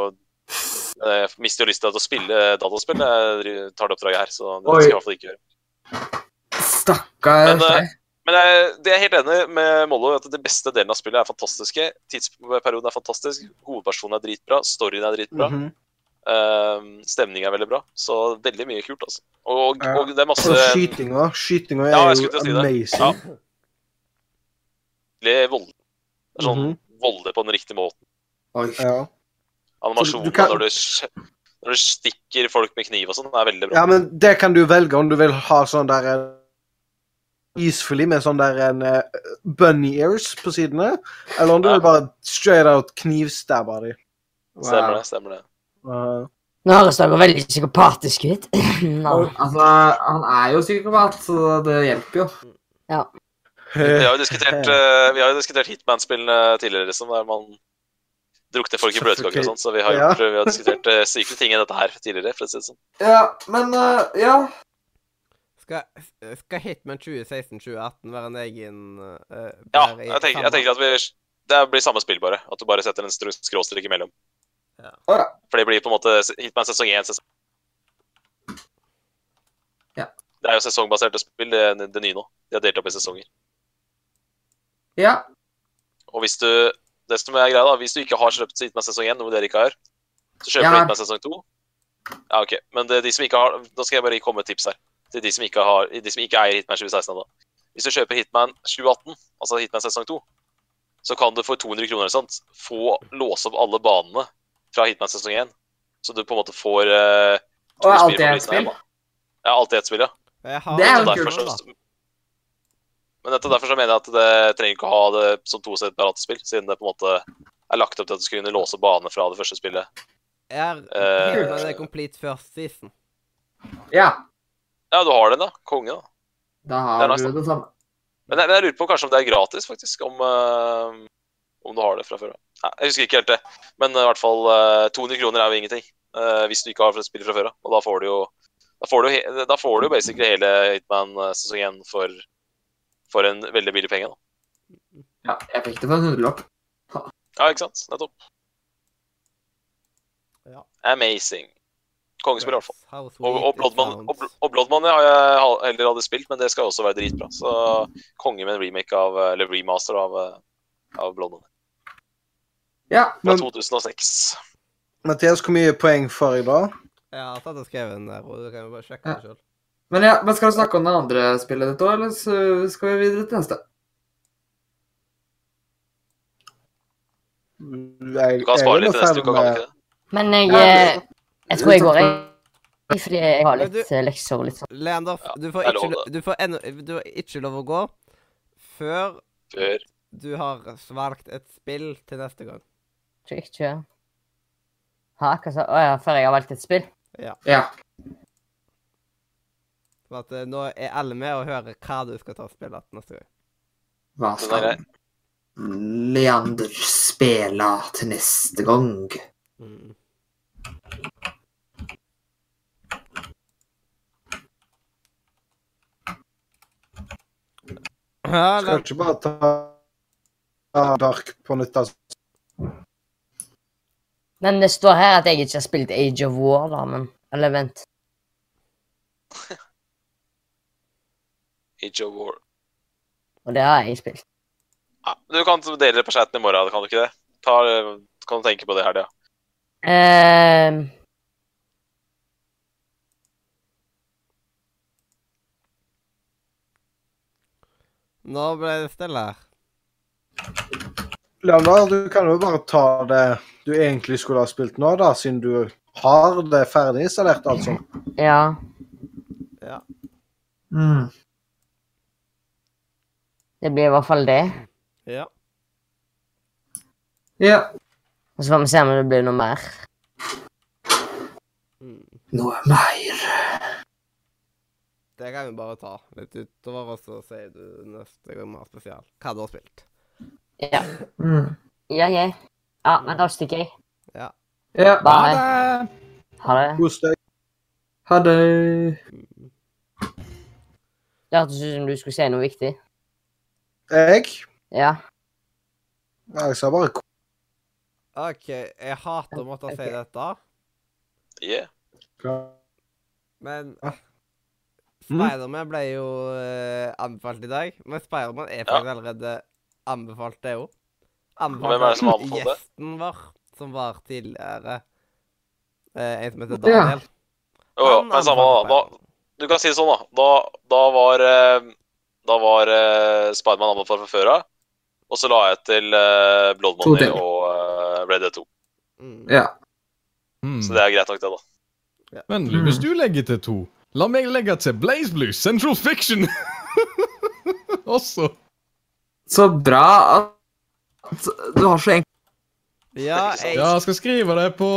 jeg mister jo lyst til å spille dataspill når jeg dri- tar det oppdraget her. så det
Oi.
skal jeg i hvert fall ikke gjøre.
Stakkars
Men, eh,
deg.
Men jeg, det er jeg helt enig med Mollo at det beste delen av spillet er fantastiske. Tidsperioden er fantastisk, hovedpersonen er dritbra, storyen er dritbra.
Mhm.
eh, stemningen er veldig bra. Så veldig mye kult, altså. Og,
Ja.
og det er masse
Og skytinga. Skytinga er
Altså, Ja, jeg
jo
skulle til å si det.
amazing.
Ja. veldig vold. Det er sånn
Mhm.
volde på den riktige måten.
ja. Så
Animasjonen
du kan-
når, du, s- når du stikker folk med kniv og sånn, er veldig bra.
ja, men det kan du velge om du vil ha sånn der eh, Isfully med sånn der en eh, bunny ears på sidene. Eller om du
Ja.
vil bare straight out knivstabbe de.
Stemmer
Wow.
det. stemmer det.
Uh,
Nå høres dere veldig psykopatiske ut. Nå.
Altså, han er jo psykopat, så det hjelper jo.
Vi har jo diskutert, eh, vi har jo diskutert Hitman-spillene tidligere, liksom, der man drukner folk i bløtkaker og sånn, så vi har, gjort, vi har diskutert eh, syke ting i dette her tidligere. for å si det sånn.
Ja, men eh, Ja.
Skal, skal Hitman 2016-2018 være en egen eh,
Ja,
være i
jeg tenker,
samme-
jeg tenker at vi, det blir samme spill, bare. At du bare setter en stru- skråstrek imellom.
Ja.
Å, ja.
For det blir på en måte Hitman sesong 1 sesong.
Ja.
Det er jo sesongbaserte spill, det, det nye nå. De har delt opp i sesonger.
ja.
Og hvis du det som er greia da, hvis du ikke har kjøpt Hitman sesong 1, noe dere ikke har, så kjøper
Ja.
du Hitman sesong 2. Ja, ok. Men det, er de som ikke har, da skal jeg bare komme med et tips her. Til de som ikke, har, de som ikke eier Hitman 2016 da. Hvis du kjøper Hitman 2018, altså Hitman sesong 2, så kan du for 200 kroner eller sånt, få låse opp alle banene fra Hitman sesong 1. Så du på en måte får eh, to
Og
spill
alltid
for
ett
prisen av
spill.
en, da. Ja, alltid ett spill, ja.
Jeg har
Det er
Så
jo
en
kult,
derfor,
plan, da.
så, men dette, derfor så mener jeg at det trenger ikke å ha det som to separate spill, siden det på en måte er lagt opp til at du skal kunne låse bane fra det første spillet.
Er
Eh,
Hitman er complete first season?
Ja.
Ja, du har den, da. Konge, da.
Da
Det er
har
nice,
du det samme.
Men jeg, men jeg lurer på kanskje om det er gratis, faktisk. Om, eh, om du har det fra før av. Nei, Jeg husker ikke helt det. Men eh, i hvert fall eh, 200 kroner er jo ingenting eh, hvis du ikke har spillet fra før av. Og da får du jo da får du, he- da får du jo basically hele Hitman eh, sesong 1 for, for en veldig billig penge. da.
Ja, jeg fikk det for en hundrelapp.
Ja, ikke sant? Nettopp.
Ja.
Amazing. Kongespill, i hvert fall.
How sweet
Og, og
it
Bloodmoney og,
sounds.
Bl- og Blood Money har jeg ha- heller aldri spilt, men det skal også være dritbra. Så konge med en remake av, eller remaster av, eh, av Blood Money.
Ja.
Fra
Men-
2006.
Mathias, hvor mye poeng får jeg da?
Jeg har tatt og skrevet den der, og du kan jo bare sjekke
Ja.
den sjøl.
Men, ja, men skal du snakke om det andre spillet ditt òg, eller så skal vi videre til neste?
Jeg,
Du kan
jeg
spare
er
litt
nå
til neste
ferdig
uke, kan du
med-
ikke det?
Men jeg, eh,
Ja,
jeg tror jeg går, jeg. Fordi jeg har
Men
litt
du-
eh, lekser og litt sånn.
Leander,
Ja,
du får,
det er
ikke,
lov,
lo- du, får ennå, du har ikke lov å gå før
Før.
du har valgt et spill til neste gang.
Tror jeg ikke Hæ, hva sa Å ja, før jeg har valgt et spill?
Ja.
For at eh, nå er alle med og hører hva du skal ta og spille til neste gang.
Hva
Den er
skal
grei.
Leander spille til neste gang? Mm.
Ja,
Skal
Leander,
ikke bare ta ta Dark på nytt, altså.
Men det står her at jeg ikke har spilt Age of War, da, men Eller vent.
Age of War.
Og det har jeg spilt.
Ja, du kan dele det på chatten i morgen, kan du ikke det? Ta, eh, kan du tenke på det i helga?
Ehm.
nå ble det stille her.
Leander, du kan jo bare ta det du egentlig skulle ha spilt nå, da, siden du har det ferdig installert, altså.
ja.
Mm.
Det blir i hvert fall det.
Ja.
Ja.
Og så får vi se om det blir noe mer.
Mm.
Noe mer.
Det kan vi bare ta litt utover, og så sier du neste gang vi har spesial hva du har spilt.
Ja.
Mm.
Ja, jeg. Ja, men da stikker jeg.
Ja.
Bye. Ha det.
Kos deg.
Ha det.
Det hørtes ut som du skulle si noe viktig.
Jeg?
Ja.
Nei, jeg sa bare ko.
OK, jeg hater å måtte si
Ok.
dette,
Yeah.
men
Ja.
Spiderman ble jo eh, anbefalt i dag. Men Spiderman er faktisk allerede anbefalt, det òg.
Hvem er det som
av
anbefalte det?
Gjesten vår, som var tidligere eh, En som heter
Ja.
Daniel.
Jo, jo,
Han
men samme da.
anbefalte
da.
Spider-Man.
Du kan si det sånn, da. Da, da var, eh, da var eh, Spiderman anbefalt fra før av. Og så la jeg til eh, Blood
To
Money
til.
og eh, Red Dead 2.
Mm.
Ja.
Hmm.
Mm.
Så det er greit nok, det, da.
Vennlig, hvis du legger til to, la meg legge til Blaze Blues, Central Fiction også.
Så bra at du har så enkelt
Ja, jeg
Ja, jeg skal skrive det på,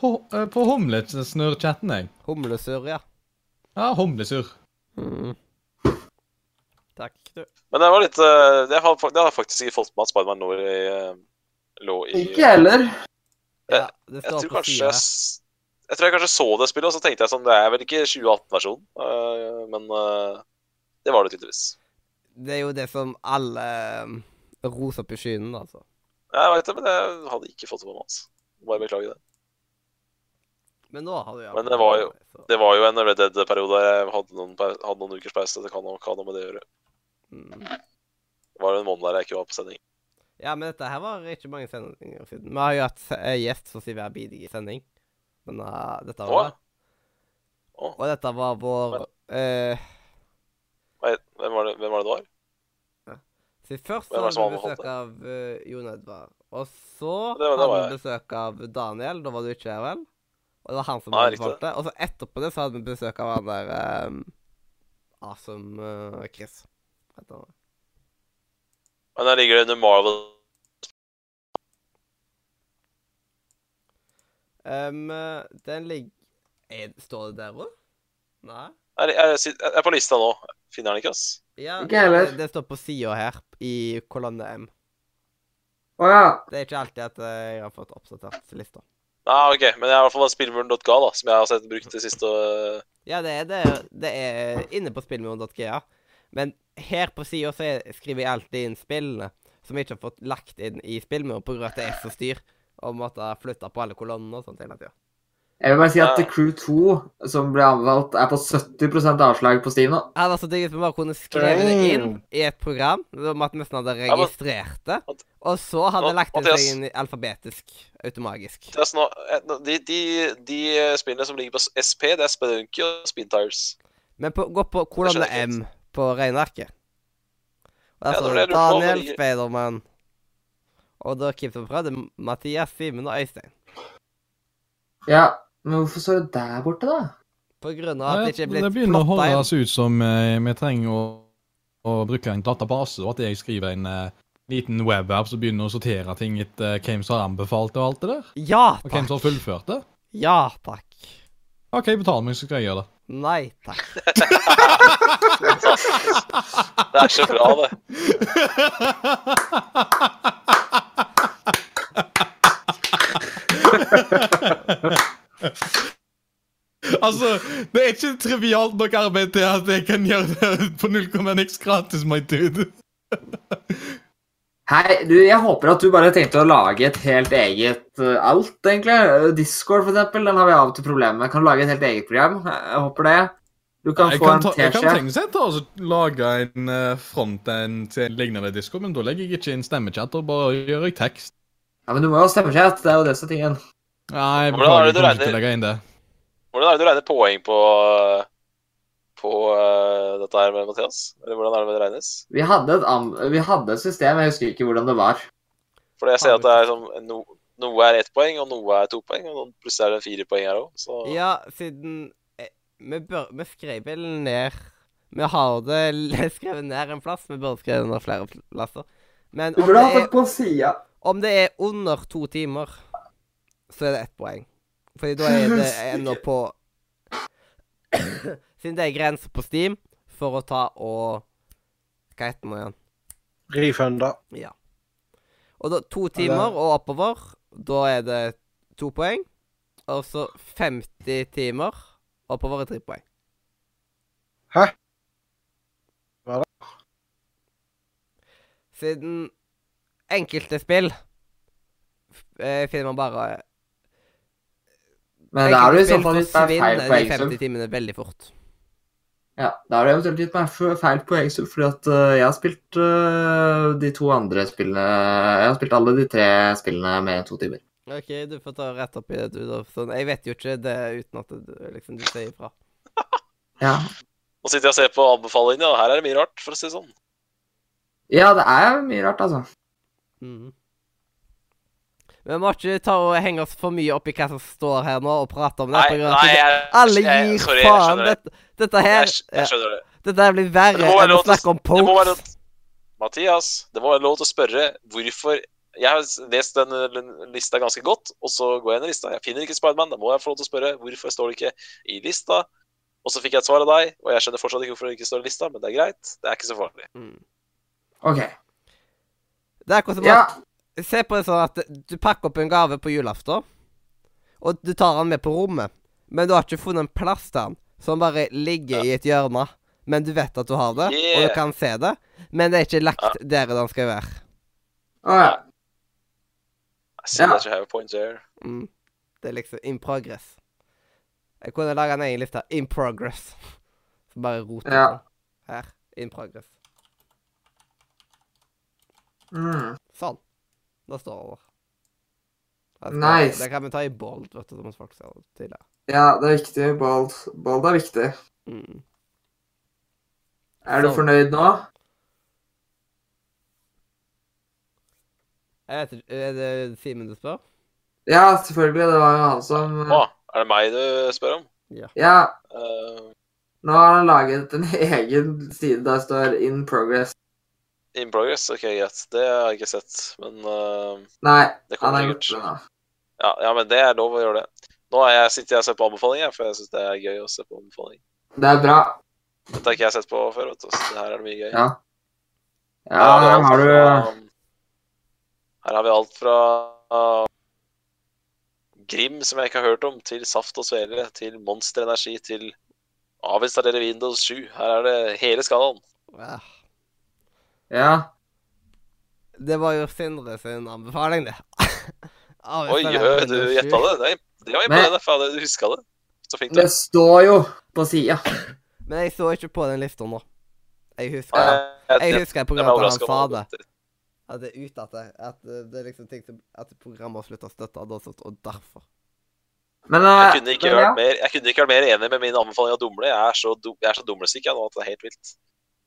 ho- eh, på Homlet-snørr-chatten, jeg.
Humlesur, ja.
Ja, Homlesur.
Mm. Takk, du.
Men det var litt eh, Det har fa- det har jeg faktisk ikke fått med at Spiderman lå i eh, lå i
Ikke jeg heller.
Ja, det
Jeg
står
tror
på
kanskje
sida.
jeg, s- jeg tror jeg kanskje så det spillet, og så tenkte jeg sånn Det er vel ikke 2018-versjonen, eh, men eh, det var det tydeligvis.
Det er jo det som alle um, roser opp i skyen, altså.
Jeg veit det, men jeg hadde ikke fått det på meg. Altså. Bare beklage det.
Men nå har du jo
Men det var jo-
så-
Det var jo en Red Dead-periode der jeg hadde noen, pau- hadde noen ukers pause. Det kan ha kan ha med det å gjøre.
Mm.
Det var jo en måned der jeg ikke var på sending.
Ja, men dette her var ikke mange sendinger siden. Vi har jo hatt eh, gjest som sier hver bidige sending. Men eh, dette
Å,
var
ja. Å.
Og dette var vår eh,
Nei, Hvem var det, hvem var det det var?
Så først
Hvem
så
var det som
hadde vi
anbefalte?
besøk av eh, Jon Edvard. Og så
Det var- det
hadde
var
vi besøk av Daniel. Da var du ikke her, vel? Og det var han som
Nei, riktig.
anbefalte. Og så etterpå det så hadde vi besøk av han der um, Awesome eh, Chris. Etter.
Men der ligger det under Marvel.
Um, eh, den ligger Er- Står det der òg? Nei?
Jeg, jeg, sit- jeg er på lista nå. Finner den ikke, ass.
Ja,
Ikke heller.
Det, det står på sida her, i kolonne M.
Å ja.
Det er ikke alltid at eh, jeg har fått oppdatert lista.
Nei, ok, men jeg har i hvert fall spillmuren.ga, da, som jeg har sett brukt det siste øh,
Ja, det er det. Det er eh, inne på spillmuren.ga. Men her på sida så er- skriver jeg alltid inn spillene som jeg ikke har fått lagt inn i spillmuren pga. at det er så styr. Og måtte flytte på alle kolonnene og sånt hele tida.
Jeg vil bare si at The Crew 2, som ble anbefalt, er på 70 avslag på Steam nå.
Hadde altså digg hvis vi bare kunne skrevet det inn i et program, som at vi nesten hadde
Mm. men-
registrert det. Og så hadde jeg lagt det
Mathias.
seg inn i alfabetisk, automagisk.
det er sånn, at- de, de, de eh, spillene som ligger på SP, det er Spelunky og Spintires.
Men på, gå på kolonne
skjønner jeg
M på regnearket. Og Der
Ja,
står det
det lurer jeg på, men
Daniel,
jeg-
Speidermann Og da Kim som prøvde, Mathias, Simen og Øystein.
Ja, men hvorfor står det der borte, da?
På grunn av at
Nei,
det ikke er
det
blitt
begynner å
plotta inn.
høres ut som eh, vi trenger å, å bruke en database, og at jeg skriver en eh, liten webapp som begynner å sortere ting etter eh, hvem som har anbefalt det og alt det der.
Ja
Og hvem som har
takk.
fullført det.
Ja takk.
OK, betal meg, så skal jeg gjøre det.
Nei takk.
Det er så bra, det.
Altså, det er ikke trivialt nok arbeid til at jeg kan gjøre det på 0,nx gratis, my dude.
Hei, du, jeg håper at du bare tenkte å lage et helt eget eh, alt, egentlig. Eh, Discord, for eksempel, den har vi av og til problemer med. Kan du lage et helt eget program? Jeg jeg håper det. Du kan
Jeg
få
kan,
en
ta, jeg kan
teskje.
tenke seg å lage en eh, frontend til en lignende disco, men da legger jeg ikke inn stemmechat, og bare gjør jeg tekst.
Ja, men du må jo ha stemmechat. Det er jo det som er tingen.
Nei,
Hvordan er
beklager,
det
jeg
du regner?
kommer ikke til å legge inn det.
Hvordan er det du regner poeng på, øh, på øh, dette her med Mathias? Eller hvordan er det med det regnes?
Vi hadde, et an vi hadde et system, jeg husker ikke hvordan det var.
For jeg ser at det er som no, noe er ett poeng, og noe er to poeng, og noen- plutselig er det fire poeng her òg, så
Ja, siden eh, Vi, bør, vi skrev vel ned Vi har det l- skrevet ned en plass. Vi burde skrevet ned flere plasser. Men
Du
om
burde
det
ha
er
fått på sida.
Om det er under to timer, så er det ett poeng. Fordi da er det ennå på Siden det er grenser på Steam for å ta og Hva heter det nå igjen?
Refunda.
Og da to timer og oppover, da er det to poeng. Og så 50 timer oppover er tre poeng.
Hæ? Hva er
det? Siden enkelte spill eh, finner man bare
Men da er du i så
enkelte
fall
spill
litt mer feil
forsvinner eh,
på
de
Egsum.
50 timene veldig fort.
Ja, da er du eventuelt litt mer fe- feil på Egsum, fordi at eh, jeg har spilt eh, de to andre spillene Jeg har spilt alle de tre spillene med to timer.
OK, du får ta rett opp i det, du, da. Sånn, jeg vet jo ikke det uten at du, liksom, du sier ifra.
Ja.
Nå sitter jeg og ser på anbefalingene, og her er det mye rart, for å si det sånn.
ja, det er mye rart, altså.
Mhm. Men Vi må ikke ta og henge oss for mye opp i hva som står her nå, og prate om det. på grunn av at
jeg,
alle
jeg-
gir
sorry, jeg
faen.
skjønner det.
Dette, dette her
Jeg, skj- jeg skjønner det.
ja, Dette her blir verre
Det må være
enn å
lov til å-
snakke om
Det må være
pokes.
lov Mathias, det må være lov til å spørre hvorfor Jeg har lest den eh, lista ganske godt, og så går jeg inn i lista. Jeg finner ikke Spiderman. Da må jeg få lov til å spørre hvorfor står det ikke i lista. Og så fikk jeg et svar av deg, og jeg skjønner fortsatt ikke hvorfor det ikke står i lista, men det er greit. Det er ikke så farlig.
Mm.
OK.
Det er akkurat som
Ja,
at Se på det sånn at du pakker opp en gave på julaften, og du tar den med på rommet, men du har ikke funnet en plass til den, som bare ligger i et hjørne. Men du vet at du har det, og
Yeah.
du kan se det, men det er ikke lagt der den skal være.
å, ja.
I see
Ja.
that you have a point there.
Mm. Det er liksom in progress. Jeg kunne laga en egen liste. In progress. Så bare roter
Ja.
den. Her. In progress.
Mm.
Sånn. Da står det over. Da
Nice.
Det kan vi ta i bold, vet du, som folk sa tidligere.
ja, det er viktig. Bold. Bold er viktig.
Mm.
Er du
Sånn.
fornøyd nå?
Jeg vet ikke, Er det Simen du spør?
Ja, selvfølgelig. Det var jo han som
Å, er det meg du spør om?
Ja,
Eh,
nå har han laget en egen side der det står 'In progress'.
in progress? Ok, greit. Det har jeg ikke sett, men eh,
Nei, han
det kommer
har gjort
sikkert.
det nå.
Ja, ja, men det er lov å gjøre det. Nå er jeg, sitter jeg og ser på anbefalinger, for jeg syns det er gøy å se på anbefalinger.
Det er bra.
Dette har ikke jeg sett på før, vet du, så det her er det mye gøy.
Ja. Ja,
Her
her
alt
har du
fra- Her har vi alt fra uh, Grim, som jeg ikke har hørt om, til Saft og Svele, til Monster Energi, til avinstallere Windows 7. Her er det hele skalaen.
Ja.
Ja.
Det var jo Sindre sin anbefaling, det. Ah, Av-
Oi,
Stemmer,
hø,
Windows
du
7.
gjetta det? Det, det var imponerende. Fader, du huska det. Så fint. du
Det står jo på sida.
Men jeg så ikke på den lista nå. Jeg husker
Nei, jeg-
Jeg
jeg-
husker på grunn
jeg ble
av at han
overrasket
sa
over
det.
det.
At det er ut at det, at det det er liksom ting som At programmet har slutta å støtte Adolf Hitler, og derfor.
Men
Jeg
eh,
kunne ikke
men ja.
vært mer, jeg kunne ikke vært mer enig med min anbefaling av dumle. Jeg er så, dum, jeg er så dumlesyk jeg nå at det er helt vilt.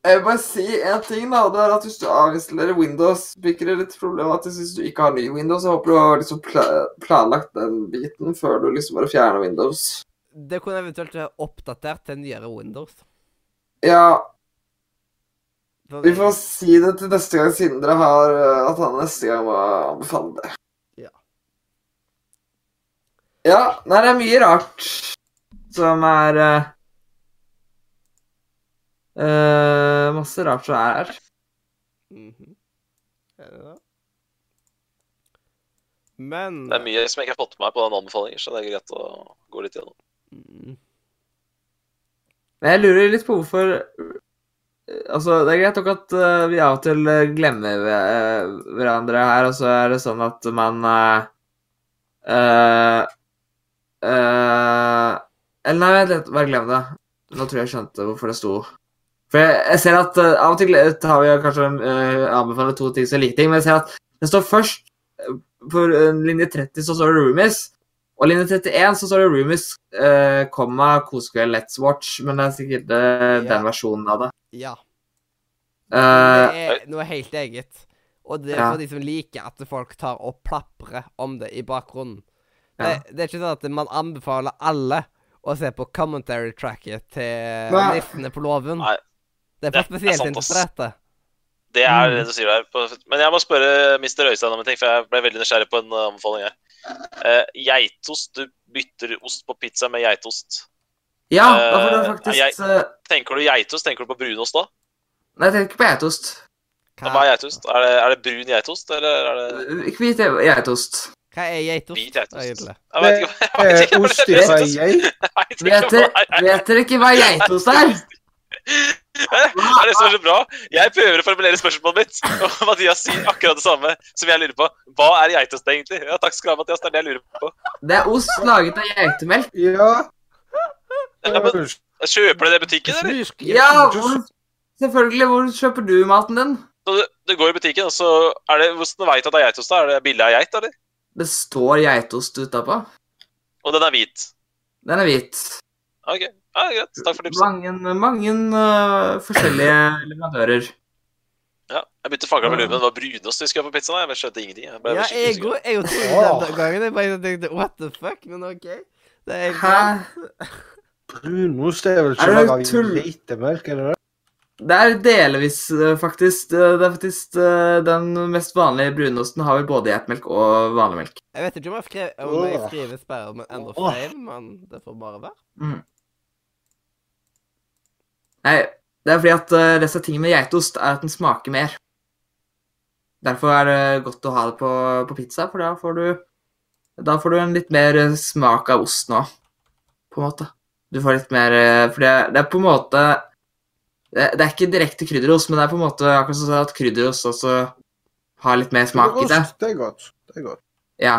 Jeg vil bare si en ting, da. og Det er at hvis du avinstallerer Windows, blir det litt problematisk hvis du ikke har ny Windows. Jeg håper du har liksom pla planlagt den biten før du liksom bare fjerner Windows.
Det kunne eventuelt være oppdatert til nyere Windows.
Ja,
Sånn-
vi får si det til neste gang Sindre har eh, At han neste gang må anbefale det.
Ja.
Ja, nei, det er mye rart som er eh, eh, Masse rart som er her.
Mhm. Er det det? Men
Det er mye som jeg ikke har fått med meg på den anbefalingen, så det er greit å gå litt gjennom.
Mm.
Men jeg lurer litt på hvorfor Altså, det er greit nok at eh, vi av og til eh, glemmer hver- hverandre her, og så er det sånn at man eh, eh, eh, Eller nei, vent litt. Bare glem det. Nå tror jeg jeg skjønte hvorfor det sto. For jeg, jeg ser at eh, av og til har vi jo kanskje uh, anbefaler to ting som er like ting, men jeg ser at det står først eh, På eh, linje 30 så står det Roomies. Og linje 31 så står det Roomies, eh, komma, kosekveld, Let's Watch. Men det er sikkert eh,
Ja.
den versjonen av det.
Ja.
Eh,
det er noe helt eget. Og det er
Ja.
for de som liker at folk tar og plaprer om det i bakgrunnen.
Ja.
Det, det er ikke sånn at man anbefaler alle å se på commentary-tracket til
Nei.
Nissene på låven.
Nei.
Det er
Det er
for spesielt
sant, ass.
interesserte.
Det er
Mm.
det du sier der. på- Men jeg må spørre Mr. Øystein om en ting, for jeg ble veldig nysgjerrig på en uh, anbefaling her. Eh, geitost. Du bytter ost på pizza med geitost.
ja, da får du
eh,
faktisk
jeg-
eh,
Tenker du geitost, tenker du på brunost da?
Nei, jeg tenker på geitost.
Hva
Hva,
er geitost? Er det, er det brun geitost, eller er det
Ikke hvit ge- geitost.
hva er
hvit
geitost?
geitost?
egentlig?
Jeg vet ikke, jeg vet
Eh,
ikke hva
Ost
det er.
fra geit.
Jeg vet ikke
Vet
hva det
dere,
er.
vet dere ikke hva geitost er?
Det er det som er så bra. Jeg prøver å formulere spørsmålet mitt, og Mathias sier akkurat det samme som jeg lurer på. Hva er geitost, egentlig? Ja, takk skal du ha, Mathias. Det er det jeg lurer på.
Det er ost laget av geitemelk.
Ja. Eh,
Ja, men Kjøper du det i butikken, eller?
Ja, hvor, selvfølgelig. Hvor kjøper du maten din?
Så du, du går i butikken, og så er det Hvordan veit du at det er geitost? da? Er det billig av geit, eller?
Det står geitost utapå.
Og den er hvit.
Den er hvit.
OK. Ja, greit. Takk for tipset.
Mange, mange øh, forskjellige leverandører.
Ja, jeg begynte å fange med luven. Det var brunost husker jeg på pizzaen. Jeg skjønte ingenting. Jeg ble
Ja,
skikkelig
jeg
usikker.
òg jeg òg trodde det den gangen. Jeg bare tenkte what the fuck, men OK. Det er
Hæ?
egentlig
Brunost er
Er
vel ikke
det
laga av
tull?
geitemelk, er det det?
Det er delvis, øh, faktisk. øh, Det er faktisk øh, Den mest vanlige brunosten har vel både geitmelk og vanlig melk.
Jeg vet ikke om jeg, skrev, om jeg
Åh.
skriver sperrer med endre
Åh.
feil, men det får bare være.
Mm. Nei, det er fordi at øh, det som er tingen med geitost, er at den smaker mer. Derfor er det godt å ha det på, på pizza, for da får du Da får du en litt mer øh, smak av ost nå, på en måte. Du får litt mer øh, For det, det er på en måte det, det er ikke direkte krydderost, men det er på en måte akkurat som at krydderost også har litt mer smak i seg.
Brunost, Det er godt. Det er godt.
Ja.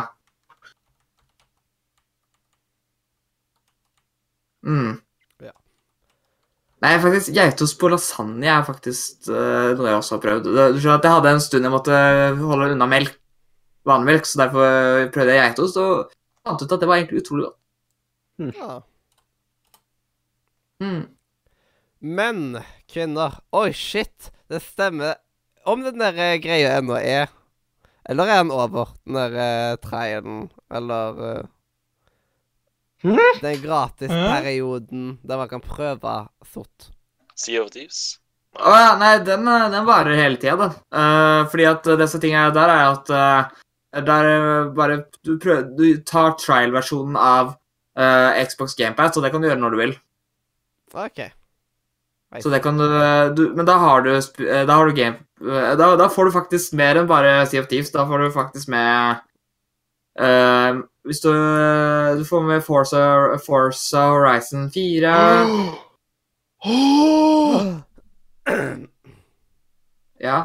Mm.
Ja.
Nei, faktisk, geitost på lasagne er faktisk eh, noe jeg også har prøvd. Det- Du skjønner at jeg hadde en stund jeg måtte holde unna melk, vanmelk, så derfor prøvde jeg geitost, og fant ut at det var egentlig utrolig godt.
Ja.
Mm.
Men kvinner Oi, shit! Det stemmer. Om den der eh, greia ennå er Eller er den over, den der eh, trialen? Eller eh, Den gratisperioden der man kan prøve sort.
Sea of Thieves.
Å ja, nei, den, eh, den varer hele tida, da. Eh, fordi at eh, disse tinga der er at eh, der eh, bare Du, prøver, du tar trial-versjonen av eh, Xbox GamePad, så det kan du gjøre når du vil.
OK.
Så det kan du, du Men da har du, sp- eh, da har du game eh, da, da får du faktisk mer enn bare Sea of Thieves. Da får du faktisk med eh, Hvis du Du får med Forza, Forza Horizon 4 Ja.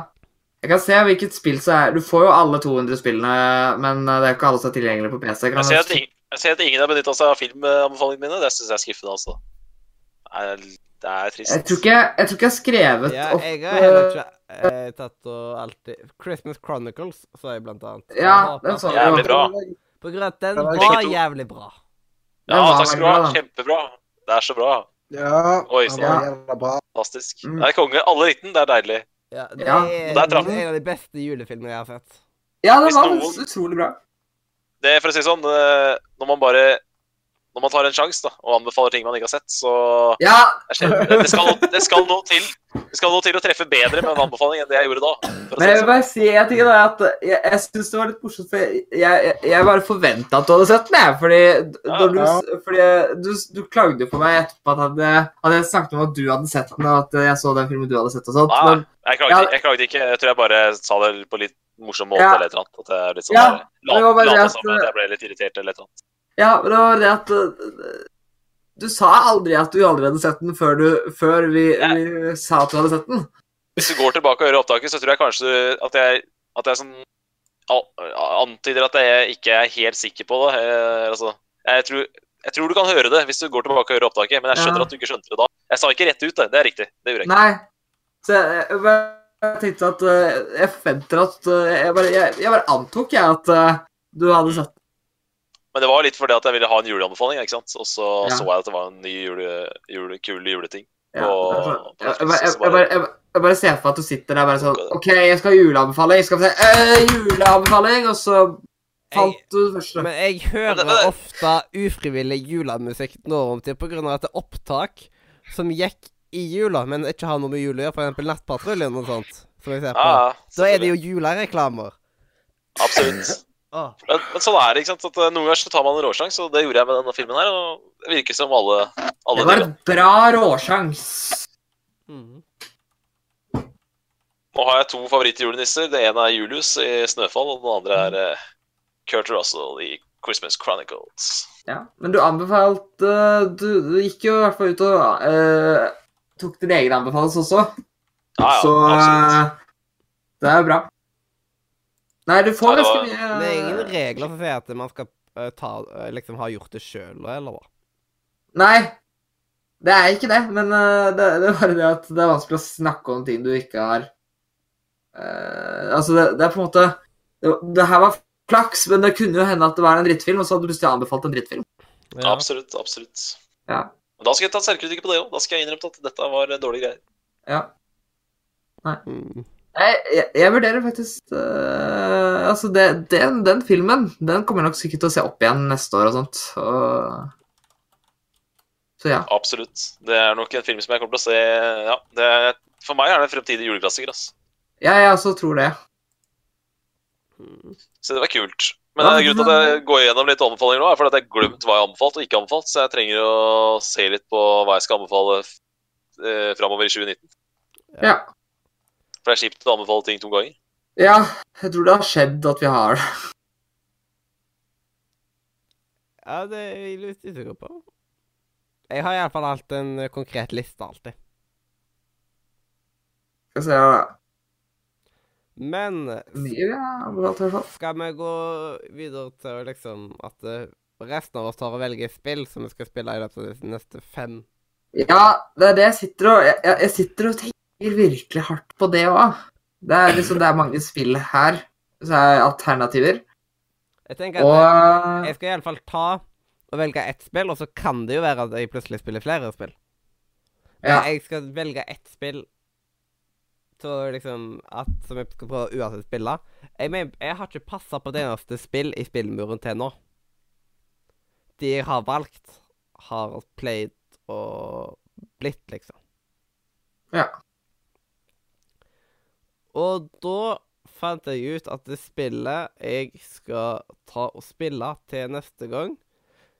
Jeg kan se hvilket spill som er Du får jo alle 200 spillene, men eh, det er ikke alle som er tilgjengelige på PC. Kan
Jeg ser
du-
at ingen, jeg ser at ingen har benytta seg av filmanbefalingene mine. Det syns jeg er skuffende, altså. Det er, det er trist.
jeg, tror ikke, jeg tror ikke jeg har skrevet
Ja,
opp
jeg har
eh,
heller ikke eh, tatt og alltid Christmas Chronicles, så jeg blant annet. Jeg
Ja,
håper
den
at-
så
Jævlig
jeg.
bra.
På grunn av at den
Den var
var
ikke to.
jævlig bra.
Ja,
var
takk skal du
veldig
ha.
bra, da.
Kjempebra. Det er så bra.
Ja.
Oi,
den
sånn.
var jævla bra.
Fantastisk.
Mm.
Det er konge. Alle 19. Det er deilig.
Ja, det
Ja,
er,
der
det
traff
er en av de beste julefilmene jeg har sett.
Ja, den
Hvis
var
noen-
faktisk utrolig bra.
Det er for å si det sånn, eh, når man bare Når man tar en sjanse da, og anbefaler ting man ikke har sett, så
Ja,
det, skjer- det, skal, det skal noe til. Det skal noe til å treffe bedre med en anbefaling enn det jeg gjorde da. For
Men jeg
å si det
vil
sånn.
bare si en ting, da, at jeg, jeg syns det var litt morsomt, for jeg, jeg, jeg bare forventa at du hadde sett den, jeg. Fordi, når du,
Ja.
fordi du, du klagde jo på meg etterpå at hadde, hadde jeg snakket om at du hadde sett den, og at jeg så den filmen du hadde sett og sånt.
Nei,
Men,
jeg klagde, jeg klagde ikke. Jeg tror jeg bare sa det på litt morsom måte
Ja.
eller et eller annet. At jeg er litt sånn
Ja,
bare, la,
det var bare
la
det
det
at-
sammen, at jeg ble litt irritert eller et eller annet.
ja, men det var det at øh, Du sa aldri at du aldri hadde sett den før, du, før vi,
Ja.
vi sa at du hadde sett den.
Hvis du går tilbake og hører opptaket, så tror jeg kanskje at jeg, at jeg sånn al- antyder at jeg ikke er helt sikker på det. Eh, altså, jeg, tror, jeg tror du kan høre det hvis du går tilbake og hører opptaket, men jeg skjønner
Ja.
at du ikke skjønte det da. Jeg sa ikke rett ut, det. Det er riktig. Det gjorde jeg ikke.
Nei. Så jeg, jeg bare tenkte at øh, Jeg forventer at øh, Jeg bare, jeg, jeg bare antok, jeg, at øh, du hadde sett den.
Men det var litt fordi at jeg ville ha en juleanbefaling, ikke sant? og så
Ja.
så jeg at det var en ny jule, jule, kul juleting.
Ja,
Og-
derfor-
og
jeg, jeg,
derfor
jeg,
så
jeg,
bare-
bare- jeg, jeg bare ser for meg at du sitter der bare sånn
Lukker det.
OK, jeg skal ha juleanbefaling. Skal vi se øh, Juleanbefaling! Og så fant du den første.
Men jeg hører
Men det- men det-
ofte ufrivillig julemusikk nå om til på grunn av at det er opptak som gikk i jula, men ikke har noe med jul å gjøre, f.eks. Nattpatruljen og sånt. Som jeg ser på.
Ah, Ja, ja,
da er det jo julereklamer.
Absolutt.
Ah,
Men, men sånn er det, ikke sant. At eh, noen ganger så tar man en råsjanse, og det gjorde jeg med denne filmen her. Og det virker som alle, alle
Det var
deler.
en bra råsjans.
Mhm.
Nå har jeg to favorittjulenisser. Det ene er Julius i Snøfall, og den andre er eh, Kurt Russell i Christmas Chronicles.
Ja, men du anbefalte du, du gikk jo i hvert fall ut og øh, tok din egen anbefalelse også.
Ja, ja,
så
absolutt.
eh, det er bra. Nei, du får
Ja, det
ganske
var-
Det er ingen
mye eh,
regler som sier at man skal eh, ta, eh, liksom ha gjort det sjøl, eller hva.
Nei, det er ikke det. Men eh, det, det er bare det at det er vanskelig å snakke om ting du ikke har eh, Altså, det, det er på en måte det, det her var flaks, men det kunne jo hende at det var en drittfilm, og så hadde du plutselig anbefalt en drittfilm.
Absolutt. absolutt.
Ja.
Men Da skal jeg ta selvkritikk på det òg. Da skal jeg innrømme at dette var eh, dårlige greier.
Ja.
Mm.
Nei, jeg, jeg vurderer faktisk eh, Altså, det, den, den filmen den kommer jeg nok sikkert til å se opp igjen neste år og sånt. Og... Så ja.
Absolutt. Det er nok en film som jeg kommer til å se ja, det er, For meg er det en fremtidig juleklassiker. ass.
ja jeg også tror det.
Så det var kult. Men
Ja,
eh, grunnen til at jeg går gjennom litt anbefalinger nå, er fordi at jeg har glemt hva jeg har anbefalt og ikke anbefalt, så jeg trenger å se litt på hva jeg skal anbefale eh, framover i 2019.
Ja.
For det er kjipt å anbefale ting to ganger.
Ja, jeg tror det har skjedd at vi har det.
Ja, det er jeg litt usikker på. Jeg har iallfall hatt en eh, konkret liste alltid.
Skal vi se her, da.
Men eh,
Mye vi har anbefalt, i hvert fall.
skal vi gå videre til å liksom at eh, resten av oss tar og velger spill som vi skal spille i løpet av de neste fem
Ja, det er det jeg sitter og Jeg, jeg- jeg sitter og tenker virkelig hardt på det òg. Det er liksom det er mange spill her. Så er alternativer.
Jeg tenker at
Og
jeg skal iallfall ta og velge ett spill, og så kan det jo være at jeg plutselig spiller flere spill. Men
Ja.
Eh, jeg skal velge ett spill så liksom at, som jeg skal prøve å uansett spille. Jeg, men, jeg har ikke passa på det eneste spill i spillmuren til nå. De jeg har valgt, har played og blitt, liksom.
Ja.
Og da fant jeg ut at det spillet jeg skal ta og spille til neste gang,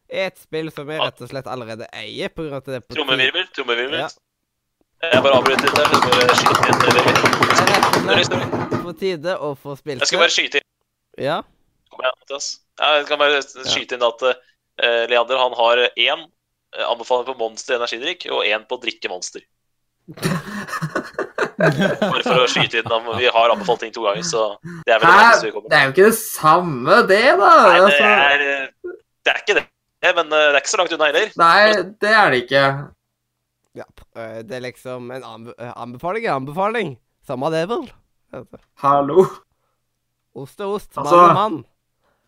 er et spill som jeg rett og slett allerede eier. På grunn av at det er på ti-
Trommevirvel, trommevirvel.
Ja.
Jeg bare avbryter litt der. for Jeg, skal bare skyte inn, en
Det er rett og
virvel. Det er
slett
liksom-
på tide å få spilt
jeg skal bare skyte inn.
Ja.
Kom igjen, Mathias. Ja, Jeg kan bare skyte inn at eh, Leander han har én eh, anbefaling på Monster energidrikk og én på å drikke Monster. Bare for å skyte inn. da, Vi har anbefalt ting to ganger, så det er vel det nærmeste
Hæ?
vi kommer.
Det er jo ikke det samme, det, da.
Nei, det
Altså,
er, eh, det er ikke det, men eh, det er ikke så langt unna heller.
Nei, det er det ikke.
ja. p- eh, Det er liksom en anbe eh, anbefaling er anbefaling. Samme det, vel. Altså,
Hallo.
Ost er ost, mann
Altså-
er mann.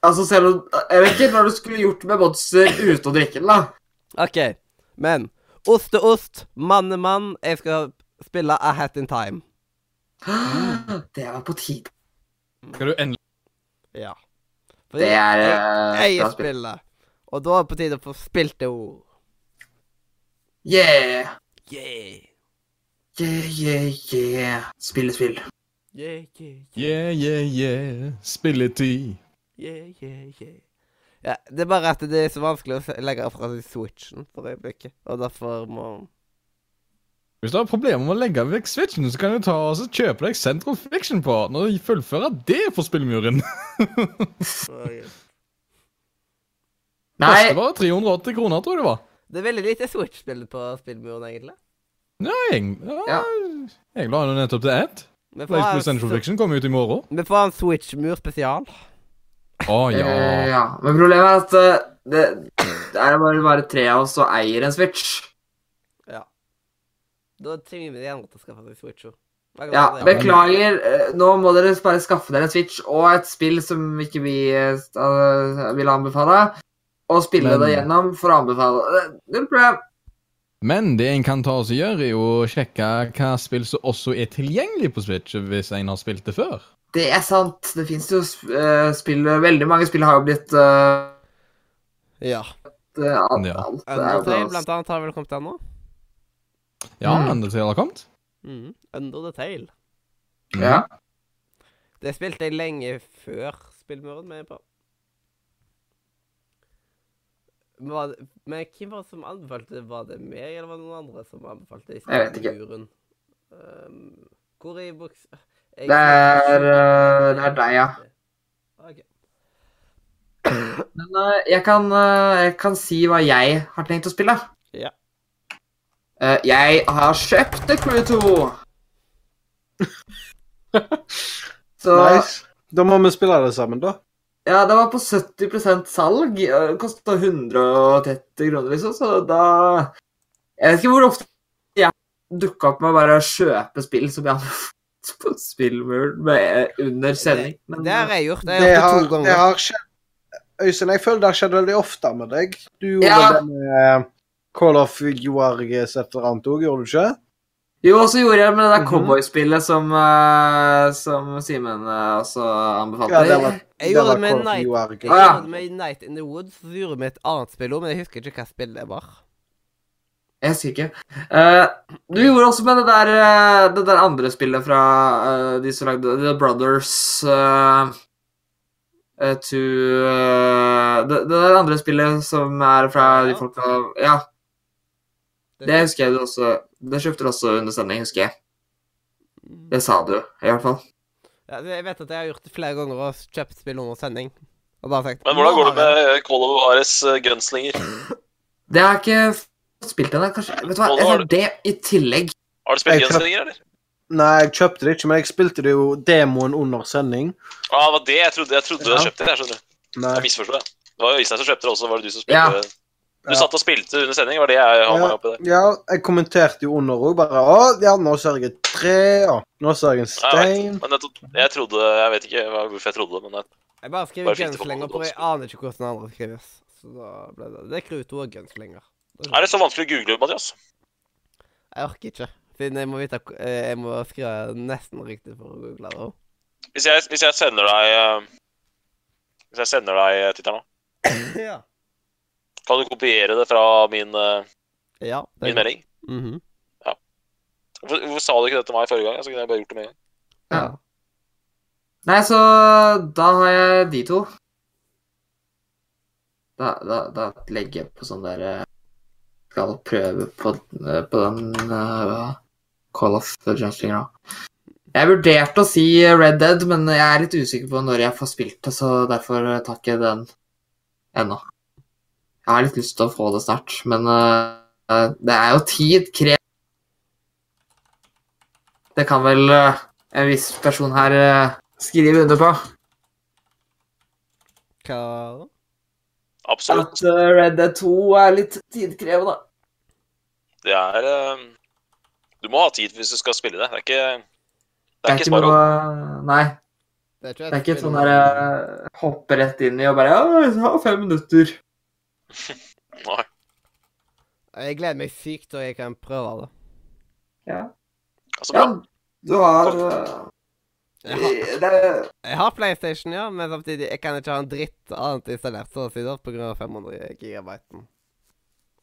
Altså, selv om Jeg vet ikke hva du skulle gjort med Monster uten å drikke den, da.
OK, men ost er ost, mann er mann. Jeg skal spille A Hat in Time.
Mm.
Det var på tide.
Skal du endelig
Ja. Fordi
Det er
jeg
eh, bra
eier
spill.
spillet, og da er det på tide å få spilt det ord.
Yeah.
Yeah.
Yeah, yeah, yeah. Spille spill.
Yeah, yeah,
Yeah, yeah, yeah. Spilletid.
yeah, yeah, yeah. Ja, det er bare at det er så vanskelig å se- legge fra seg switchen for øyeblikket, og derfor må
Hvis du har problemer med å legge vekk switchen, så kan du ta og så kjøpe deg Central Fiction på når du fullfører det for spillmuren.
Nei,
Det var 380 kroner, tror jeg det var.
Det er veldig lite Switch-spill på spillmuren, egentlig.
Nei,
Ja.
ja. jeg la jo nettopp til ett.
Vi får, ha
PlayStation
en,
Central Fiction kommer ut i morgen.
vi får ha en Switch-mur spesial.
Å
eh,
ja.
ja. Men problemet er at eh, det, det er bare, bare tre av oss som eier en Switch.
Da tvinger vi de andre til å skaffe seg Switch. også. Hva kan
Ja,
man si?
beklager. eh, Nå må dere bare skaffe dere en Switch og et spill som ikke vi eh, st- eh, vil anbefale, og spille
Men-
det gjennom for å anbefale. Eh, Null problem.
Men det en kan ta og så gjøre, er jo å sjekke hva spill som også er tilgjengelig på Switch, hvis en har spilt det før.
Det er sant. Det fins jo sp- eh, spill Veldig mange spill har jo blitt eh,
Ja.
eh, alt,
Ja.
alt, er jo
Undertale,
bra.
blant annet, har vel kommet ennå.
Ja,
Mm.
Undertale har kommet.
Mm. Under the Tail.
Ja.
Mm.
Det spilte jeg lenge før spillmuren med på. Men var det- Men hvem var det som anbefalte det? Var det meg, eller var det noen andre som anbefalte det i
Jeg vet ikke.
spillmuren? Um, hvor er buks... Jeg-
Det er, eh, det er deg, ja.
Ok.
Men eh, jeg, kan, eh, jeg kan si hva jeg har tenkt å spille. Eh, jeg har kjøpt The Crew 2. Så
Nice. Da må vi spille det sammen, da.
Ja, det var på 70 salg. Eh, Det kosta 130 kroner, liksom, så da Jeg vet ikke hvor ofte jeg dukka opp med å bare kjøpe spill som jeg hadde fått på spillmuren med, eh, under sending. Men
Det har jeg gjort. Jeg har
Det
gjort
har,
det to
det
ganger.
har skjedd Øystein, jeg føler det har skjedd veldig ofte med deg. Du gjorde
Ja.
det med eh, Call of Juarez et eller annet òg, gjorde du ikke?
jo, og så gjorde jeg det med det der
Mhm.
cowboyspillet som, eh, som Simen eh, også anbefalte.
Ja, det var,
Jeg
det
gjorde
var
det med
Call of
Night- Jeg
Juarez.
Ah, ja.
gjorde det med Night in the Woods, så gjorde vi et annet spill òg, men jeg husker ikke hva spillet var.
Jeg husker ikke. Eh, du gjorde også med det der, eh, det der andre spillet fra eh, de som lagde The Brothers eh, eh, to eh, det, det der andre spillet som er fra de folka Ja, det husker jeg du også Det kjøpte du også under sending, husker jeg. Det sa du, i hvert fall.
Ja, jeg vet at jeg har gjort det flere ganger og kjøpt spill under sending. Og bare tenkt
Men hvordan går det
«Nå har jeg
med Call of Ares eh, Gunslinger?
Det har jeg ikke fått spilt ennå, kanskje. Vet du hva, jeg tar det i tillegg.
Har du spilt
Jeg tror-
Gunslinger, eller?
Nei, jeg kjøpte det ikke, men jeg spilte det jo demoen under sending.
Ja, ah, det var det jeg trodde. Jeg trodde du hadde
Ja.
kjøpt det. Jeg skjønner.
Nei.
Jeg misforsto det. Det var jo Øystein som kjøpte det også, var det du som
Ja.
spilte? Du
Ja.
satt og spilte under sending, var det jeg hang meg
Ja.
opp i der.
Ja, jeg kommenterte jo under òg, bare Å, ja, nå ser jeg et tre, og nå ser jeg en stein.
Men jeg, tro- jeg trodde Jeg vet ikke hva- hvorfor jeg trodde det, men jeg,
Jeg bare skriver
Bare fint å få
gunslinger
på
på, jeg
blåspill.
aner ikke hvordan andre skrives. Så da ble det Det er Kruto og gunslinger. Det
er det så vanskelig å google, Mathias?
Jeg orker ikke. Siden jeg må vite eh, Jeg må skrive nesten riktig for å google det.
Hvis jeg, hvis jeg sender deg eh, Hvis jeg sender deg eh, tittelen, da,
Ja.
kan du kopiere det fra min, eh,
ja det
min
er
melding?
Mhm.
Hvorfor, hvorfor sa du ikke det til meg forrige gang? Så kunne jeg bare gjort det med en gang.
Ja. Nei, så da har jeg de to. Da, da, da legger jeg på sånn der eh, Skal prøve på, eh, på den eh, Call of the Jumpslinger nå. Jeg vurderte å si Red Dead, men jeg er litt usikker på når jeg får spilt det, så derfor tar ikke jeg den ennå. Jeg har litt lyst til å få det snart, men eh, det er jo tid krev... Det kan vel eh, en viss person her eh, skriver under på.
Hva
Absolutt.
At eh, Red Dead 2 er litt tidkrevende.
Det er eh, Du må ha tid hvis du skal spille det. Det er ikke Det
Det
er ikke bare å
noe Nei.
Det er ikke,
Det er ikke
spill om-
sånn der eh, hoppe rett inn i og bare Ja, jeg har fem minutter.
Nei.
eh,
Jeg gleder meg sykt til jeg kan prøve det.
Altså,
Ja,
bra.
du har eh,
Jeg har,
det,
jeg har PlayStation, ja, men samtidig jeg kan ikke ha en dritt annet installert så å si da, på grunn av 500 gigabyte.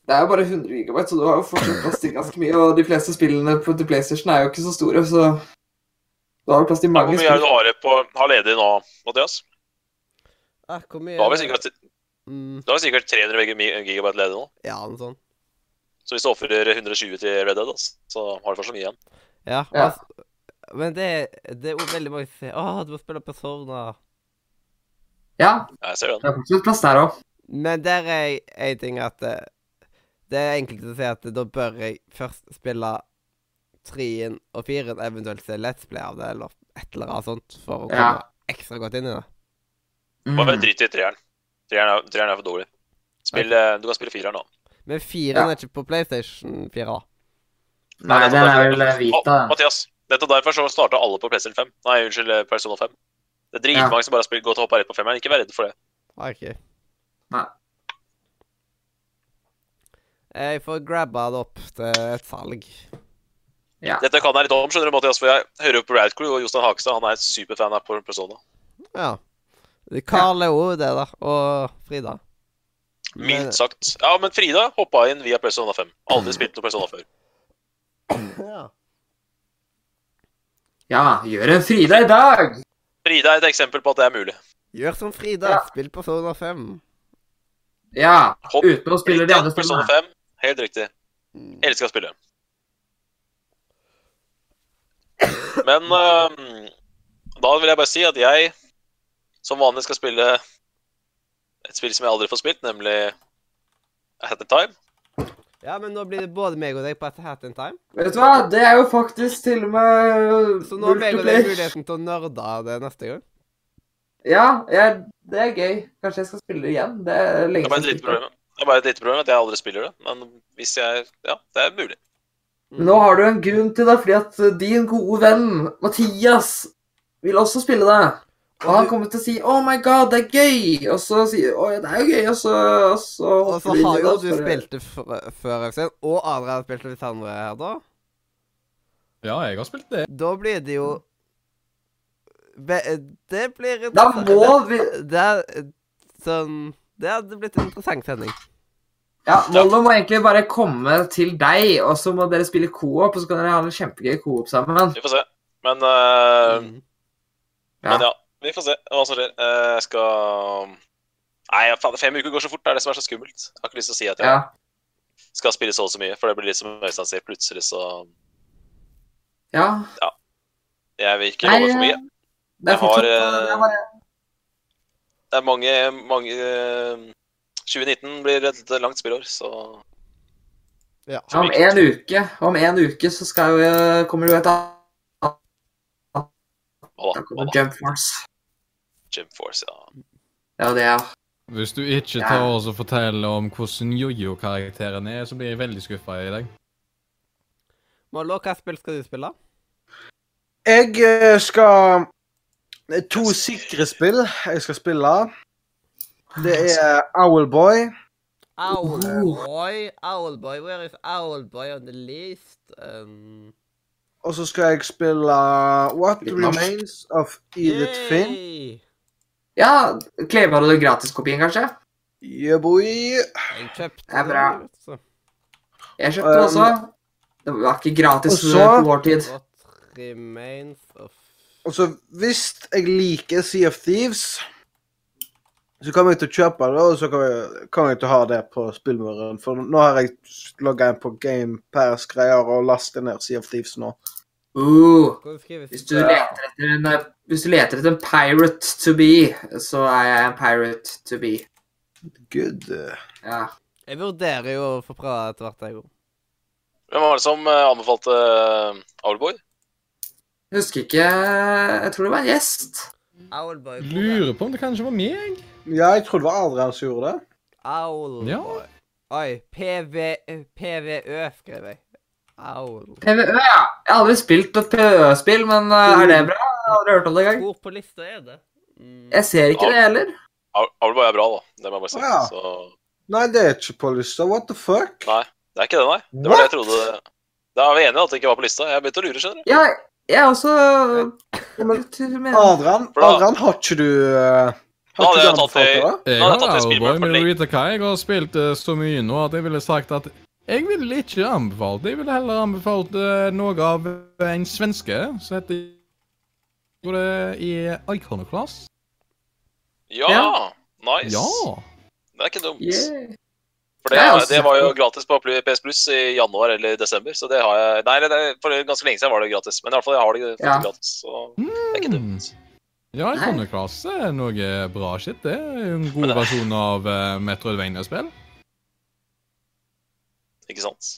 det er jo bare 100 gigabyte, så du har jo fortsatt plass til ganske mye. Og de fleste spillene på til PlayStation er jo ikke så store, så du har jo plass til
Hvor
mange
mye er det
spill.
du har, på, har ledig nå, Mathias?
Ah, hvor mye
Du har vel
er det?
sikkert,
Mm,
du har vel sikkert 300 vegi- gigabyte ledig nå.
ja, noe sånt.
Så hvis du ofrer 120 til Red Dead, altså, så har du fortsatt mye igjen.
Ja.
Ja.
Altså, men det, det er jo veldig mange som sier 'Å, du må spille Persona'.
Ja,
Jeg ser den.
det er fortsatt plass der òg.
Men der er en ting at eh, Det er enkelte som sier at da bør jeg først spille treen og firen, eventuelt se Let's Play av det, eller et eller annet sånt, for å komme
Ja.
ekstra godt inn i det.
Bare
Mm.
drit i treeren. Treeren er, treeren er for dårlig. Spill, eh, Du kan spille fireren nå.
Men firen
Ja.
er ikke på PlayStation 4, da.
Nei,
nettopp
den er
derfor-
vel eh, Vita.
altså, Å, Mathias, nettopp derfor så starta alle på PlayStation 5. Nei, unnskyld, eh, Persona 5. Det er dritmange som bare har spilt godt og hoppa rett på femmeren. Ikke vær redd for det.
Ah, ok.
Nei.
Jeg får grabba det opp til et salg.
Dette kan jeg litt om, skjønner du, Mathias, for jeg hører jo på Radcrew, og Jostein Hakestad han er superfan av Persona.
Ja. Carl er òg det, da. Og Frida. Men-
Mildt sagt. Ja, men Frida hoppa inn via Persona 5. Aldri spilt noe Persona før.
Ja.
Ja, gjør en Frida i dag!
Frida er et eksempel på at det er mulig.
Gjør som Frida.
Ja.
Spill Persona 5.
Ja,
Hopp,
uten å spille de
Frida,
andre
Persona
spillene.
5, helt riktig. Elsker å spille. Men eh, da vil jeg bare si at jeg som vanlig skal spille et spill som jeg aldri får spilt, nemlig At the Time.
Ja, men nå blir det både meg og deg på et hat in time.
Vet du hva, det er jo faktisk til og med
Så nå har meg og deg
multiplayer.
muligheten til å nerde det neste gang.
Ja, jeg, det er gøy. Kanskje jeg skal spille det igjen. Det er
Det
lenge
er bare et
siden jeg spilte
lite
det.
problem. Det er bare et lite problem at jeg aldri spiller det. Men hvis jeg Ja, det er mulig.
Mm.
Men nå har du en grunn til det, fordi at eh, din gode venn Mathias vil også spille det. Og han kommer til å si 'Oh my god, det er gøy', og så sier 'Å ja, det er jo gøy', og så Og så,
Og så
hopper vi inn
har
i
jo
det,
du
for det-
spilt det før, før Øystein, og Adrian har spilt det hvis andre er her, da.
Ja, jeg har spilt det.
Da blir det jo Be Det blir
Da må vi
Det, det er eh, sånn Det hadde blitt en interessant sending.
Ja, Mollo må egentlig bare komme til deg, og så må dere spille co-op, og så kan dere ha en kjempegøy co-op sammen.
Vi får se. Men eh, Men
Mm. Ja.
ja, vi får se hva som skjer. Eh, Jeg skal Nei, faen, fem uker går så fort. Det er det som er så skummelt. Jeg har ikke lyst til å si at jeg
Ja.
skal spille så og så mye, for det blir litt som Øystein sier. Plutselig så
ja.
Jeg vil ikke
Nei,
love for mye.
Det
Jeg
er
har,
fortsatt
eh,
det er bare,
Det er mange, mange eh, 2019 blir et langt spillår, så
Ja.
Om en uke Om en uke så skal jo Kommer du et annet
hva da? Hva da?
Jump Force.
Jump Force, ja.
Ja, det er
Hvis du ikke
Ja.
tar oss og forteller om hvordan jojo-karakteren er, så blir jeg veldig skuffa i dag.
Mollo, hva spill skal du spille?
Jeg eh, skal det er To sikre spill jeg skal spille. Det er Owlboy.
Owlboy, Owlboy, where is Owlboy on the list? Um,
Og så skal jeg spille What
Litt norsk.
Remains of Edith Finn.
yay!
Ja, Kleva du gratiskopien, kanskje?
Yeah, boy.
Jeg kjøpte altså.
Det er bra.
den, vet du.
Jeg kjøpte
Um,
også. Det var ikke gratis
og så-
på vår tid.
What remains of
Og så hvis jeg liker Sea of Thieves, så kommer jeg til å kjøpe det, og så kommer jeg, kommer jeg til å ha det på spillmuren. For nå har jeg logga inn på GamePass-greier og lastet ned Sea of Thieves nå.
Uh,
Hvordan skrives
hvis, du leter etter en, eh, hvis du leter etter en pirate to be, så er jeg en pirate to be.
Good.
Ja.
Jeg vurderer jo å få prøve etter hvert, jeg òg.
Hvem var det som eh, anbefalte eh, Owlboy?
Jeg husker ikke Jeg tror det var en gjest.
Owlboy. hvor er-
Lurer på om det kanskje var meg?
Ja, jeg trodde det var Adrian som gjorde det.
Owlboy.
Ja.
Oi. PV, PVØ skrev jeg. Owl.
PVØ, ja. Jeg har aldri spilt et PVØ-spill, men eh, er det bra? Jeg har aldri hørt om det engang.
Hvor på lista er det? Mm.
Jeg ser ikke det heller.
Owl- Owlboy er bra, da. Det må jeg bare si.
Ja.
Så
Nei, det er ikke på lista. What the fuck?
Nei. det er ikke det, nei. Det var det jeg trodde. Da er vi enige at det ikke var på lista. Jeg begynte å lure, skjønner du.
Ja, jeg er også
men-
Men
Adrian,
Bra.
Adrian har ikke du eh,
Da hadde
Har ikke
jeg
du
tatt det i-
anbefalt det?
Jeg
Nå har
har
jeg tatt en
Owlboy,
speedrun for
men
lenge.
du vet hva, jeg har spilt eh, så mye nå at jeg ville sagt at jeg ville ikke anbefalt Jeg ville heller anbefalt eh, noe av en svenske som heter Hvor det er Iconoclast.
Ja!
Ja.
Nice.
Ja!
Det er ikke dumt.
yeah.
For det,
Nei, altså-
det var jo gratis på PS Plus i januar eller desember, så det har jeg Nei, det, for ganske lenge siden var det gratis, men i hvert fall jeg har det
Ja.
faktisk gratis, så det er ikke
Mm.
dumt.
Ja, Iconoclast er noe bra shit. Det er en god
Men det-
versjon av eh, Metroidvania-spill.
Ikke sant?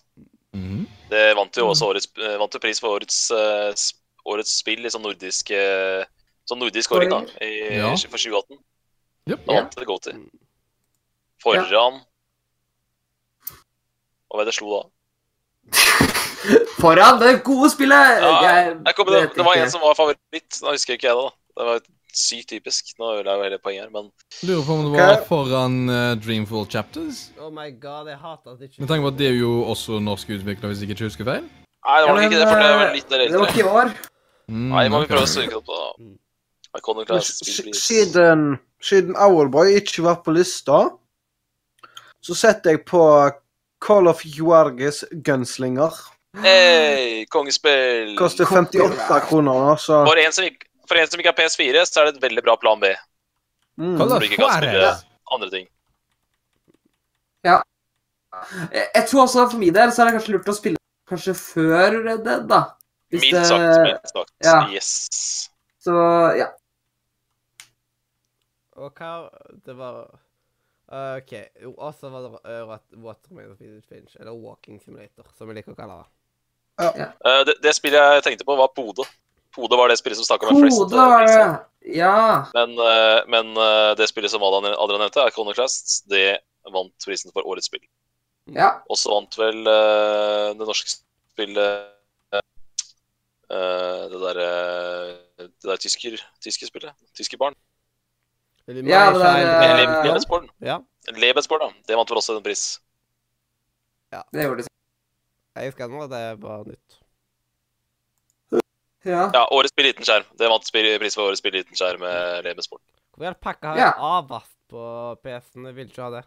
Mhm.
Det vant jo også årets, eh, vant jo pris for årets, eh, sp- årets spill i sånn nordisk eh, Sånn nordisk kåring, da, i,
Ja.
for 2018.
Jep.
Da vant det Goaty. Foran Hva var det jeg slo da?
Foran det gode spillet!
Ja,
jeg
Jeg kom, det,
vet
det var
ikke.
en som var favoritt. Nå husker ikke jeg det, da. Det var sykt typisk. Nå ødela jeg jo hele poenget her, men
Lurer på om det
Ok.
var foran eh, Dreamfall Chapters.
Oh my god, jeg hater at det ikke
Med tanke på at det er jo også norsk utvikler, hvis jeg ikke husker
Nei,
feil.
det
Ja,
var nok
men,
ikke det, for det var
eh,
litt der
Det var ikke i år.
Mm,
Nei, må vi
ok.
prøve å søke det opp, da. Iconic Class
S-
Spillpris.
Siden, siden eh, Owlboy ikke var på lista, så setter jeg på Call of Juarges Gunslinger.
Hey, kongespill!
Koster 58 kroner nå, så
For en, som ikke, for en som ikke har PS4, så er det et veldig bra plan B.
mm.
Call of
Som ikke kan spille
Juarez.
andre ting.
Jeg, jeg tror også for min del så er det kanskje lurt å spille kanskje før Red Dead, da. Hvis
Mildt
det-
sagt. Mildt sagt.
ja.
Yes.
Så ja.
Og hva Det var OK. jo, Og så var det eh, Wat- Watermelon Speed Finch, eller Walking Simulator, som vi liker å kalle det.
Eh, det, det spillet jeg tenkte på, var Pode. Pode var det spillet som snakka med flest. eh,
Kode var det!
liksom.
Ja.
Men, eh, men eh, det spillet som Adrian Adrian nevnte, Iconoclasts, det vant prisen for årets spill.
ja.
Og så vant vel eh, det norske spillet eh, det derre Det der tysker, tyske spillet. Tyske barn.
Vil du-
Ja, det der,
Child-
eh,
Uh,
ja.
Lebensborn.
Ja.
Lebensborn, da. Det vant vel også en pris.
Det gjorde det.
Jeg husker nå at det var nytt.
Ja.
Ja, Årets spill i liten skjerm. Det vant spill, pris for Årets spill i liten skjerm med Lebensborn.
Hvor i all pakka har
Ja.
jeg avast på PC-en? Jeg vil ikke ha det.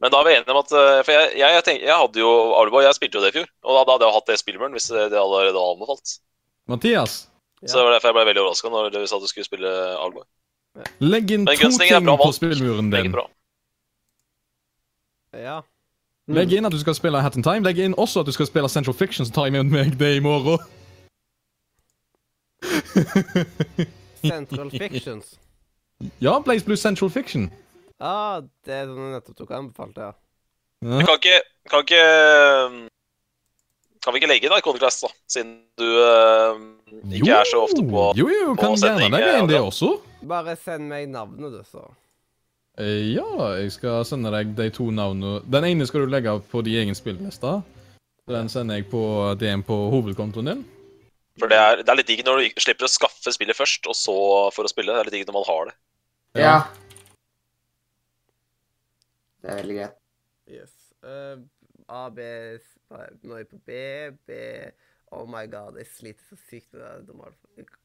Men da er vi enige om at eh, For jeg, jeg, jeg, tenk- jeg hadde jo Arlborg, jeg spilte jo det i fjor. Og da, da hadde jeg jo hatt det spillmuren hvis det allerede var anbefalt.
Mathias,
Så det var derfor jeg ble veldig overraska når du sa at du skulle spille Arlborg.
legg inn
Men
to
Gunslinger er
ting
bra
på
valgt.
spillmuren
Meget
din.
bra.
Ja.
Legg inn at du skal spille Hat in Time. Legg inn også at du skal spille Central Fiction, så tar jeg med meg det i morgen.
Central Fictions.
ja, Blaze Blue Central Fiction.
Ja, det er sånn jeg nettopp tok anbefalt, ja.
Ja.
Men kan ikke Kan ikke um, Kan vi ikke legge inn Iconoclast, da? Siden du um, ikke er så ofte på
Jo, jo,
på
kan gjerne
sending,
legge inn det
Adrian.
også.
Bare send meg navnet, du, så.
Eh, Ja, jeg skal sende deg de to navnene. Den ene skal du legge på din egen spilleliste. Den sender jeg på DM på hovedkontoen din.
For det er, det er litt digg når du ikke- slipper å skaffe spillet først, og så for å spille. Det er litt digg når man har det.
ja. Det er veldig greit.
Yes. Eh, A, B s- nei, Nå er jeg på B, B Oh my god, jeg sliter så sykt med det normalt.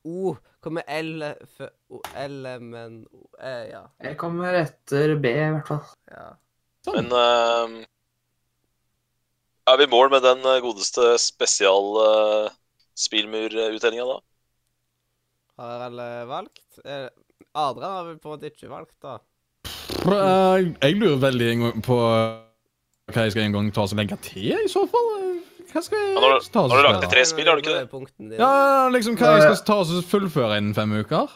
O kommer L før O, L, men o, eh, Ja.
Jeg kommer etter B, i hvert fall.
ja.
Men eh, er vi i mål med den eh, godeste spesialspillmurutdelinga da?
Har alle valgt? Eh, Adrian har vel på en måte ikke valgt, da.
Pr- eh, Jeg lurer veldig en gang på eh, hva jeg skal en gang ta og legge til, i så fall. Eh, Hva skal
Ja, nå har
jeg
du-
ta og
nå har du lagt
spille?
til tre spill, har du ikke det?
Punktene dine.
Ja, liksom hva jeg skal ta og fullføre innen fem uker.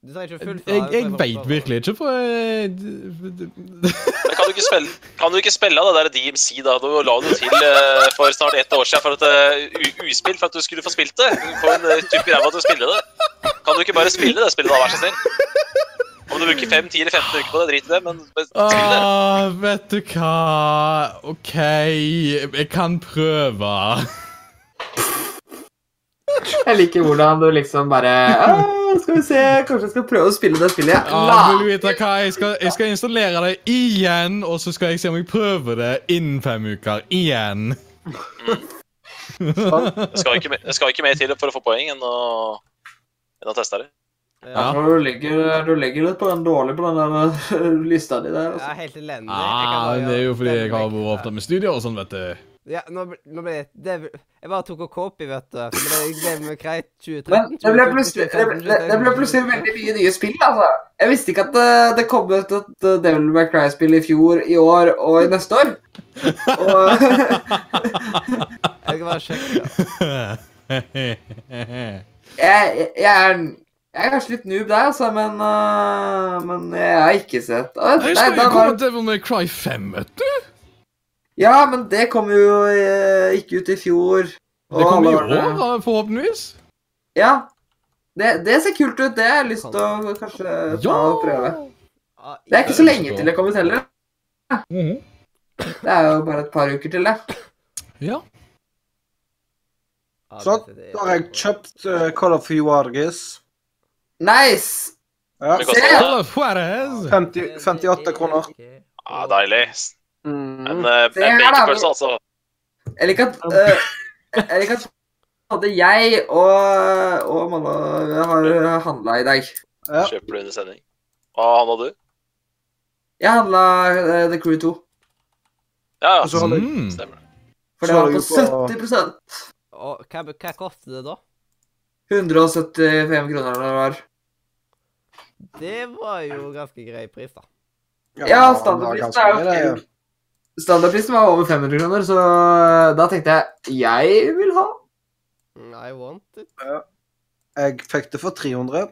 Du sa ikke
Jeg,
fullt
jeg veit virkelig ikke, for jeg
Men kan du ikke spille, kan du ikke spille av det der DMC, da? Du la det jo til eh, for snart ett år siden for at eh, u- uspill for at du skulle få spilt det. Du får en eh, tupp i ræva til å spille det. Kan du ikke bare spille det spillet, da? Vær så snill. Om du bruker 5, 10 eller 15 uker på det, drit i det, men bare spill det.
ah, Vet du hva OK, jeg kan prøve.
Jeg liker hvordan du liksom bare «Åh, Skal vi se, kanskje jeg skal prøve å spille det spillet. jeg
Ja, vil du
la-
vite hva? Jeg skal, jeg skal installere det igjen, og så skal jeg se om jeg prøver det innen fem uker. Igjen.
Det skal ikke, me- det skal ikke mer til for å få poeng enn å, enn å teste det.
Ja.
Du legger, du legger litt på den dårlig på den der øh, lista di der.
Jeg er
Altså.
helt elendig. Jeg kan
Ah,
bare
det er jo
gjøre-
fordi jeg har
stemme meg.
vært opptatt med studier og sånn, vet du.
Ja, nå, ble- nå ble det, det ble- Jeg bare tok og copy, vet du. For det jeg glemmer greit 2013
Men det ble
2014,
plutselig, det
2015,
ble, det ble plutselig veldig mye nye spill, altså. Jeg visste ikke at det, det kom ut et øh, Devil May Cry-spill i fjor, i år og i neste år. Og
Jeg skal bare sjekke. ja.
jeg, jeg, er, jeg er kanskje litt noob der, altså, men, øh, men jeg har ikke sett Å,
Jeg
nei,
skal
da
jo
var-
komme Devil May Cry 5, vet du.
Ja, men det kom jo eh, ikke ut i fjor.
Det kommer i
alle årene.
år, da, forhåpentligvis.
Ja. Det, det ser kult ut. Det har jeg lyst til å kanskje ta og prøve.
Ah,
Det er ikke så lenge til det kommer ut heller.
Mhm.
Det er jo bare et par uker til, det.
Ja.
ja,
Sånn,
det- det-
Da har jeg kjøpt eh, Call of Juargis.
Nice!
Ja.
Det koster-
Se!
Call of Juarez.
50, 58 kroner.
Ja, Ah, deilig. En,
Mm.
eh,
Se her,
en
da.
bakerpølse, altså.
Jeg liker at eh, Jeg liker at både jeg og, og Manna har handla i dag.
Ja.
Kjøper du under sending. Hva handla du?
Jeg handla The Crew 2.
Ja,
Og så
ja.
har jeg
Mm.
Stemmer. det.
For det
Så
var
du
på
på-
70
Og hva, hva koster det da?
175 kroner eller hva det var.
Det var jo ganske grei pris, da.
Ja,
det
standardprisen
var
er
ganske mye,
jo
det.
Standardprisen var over 500 kroner, så da tenkte jeg jeg vil ha.
Mm, I want it.
Jeg fikk det for 300.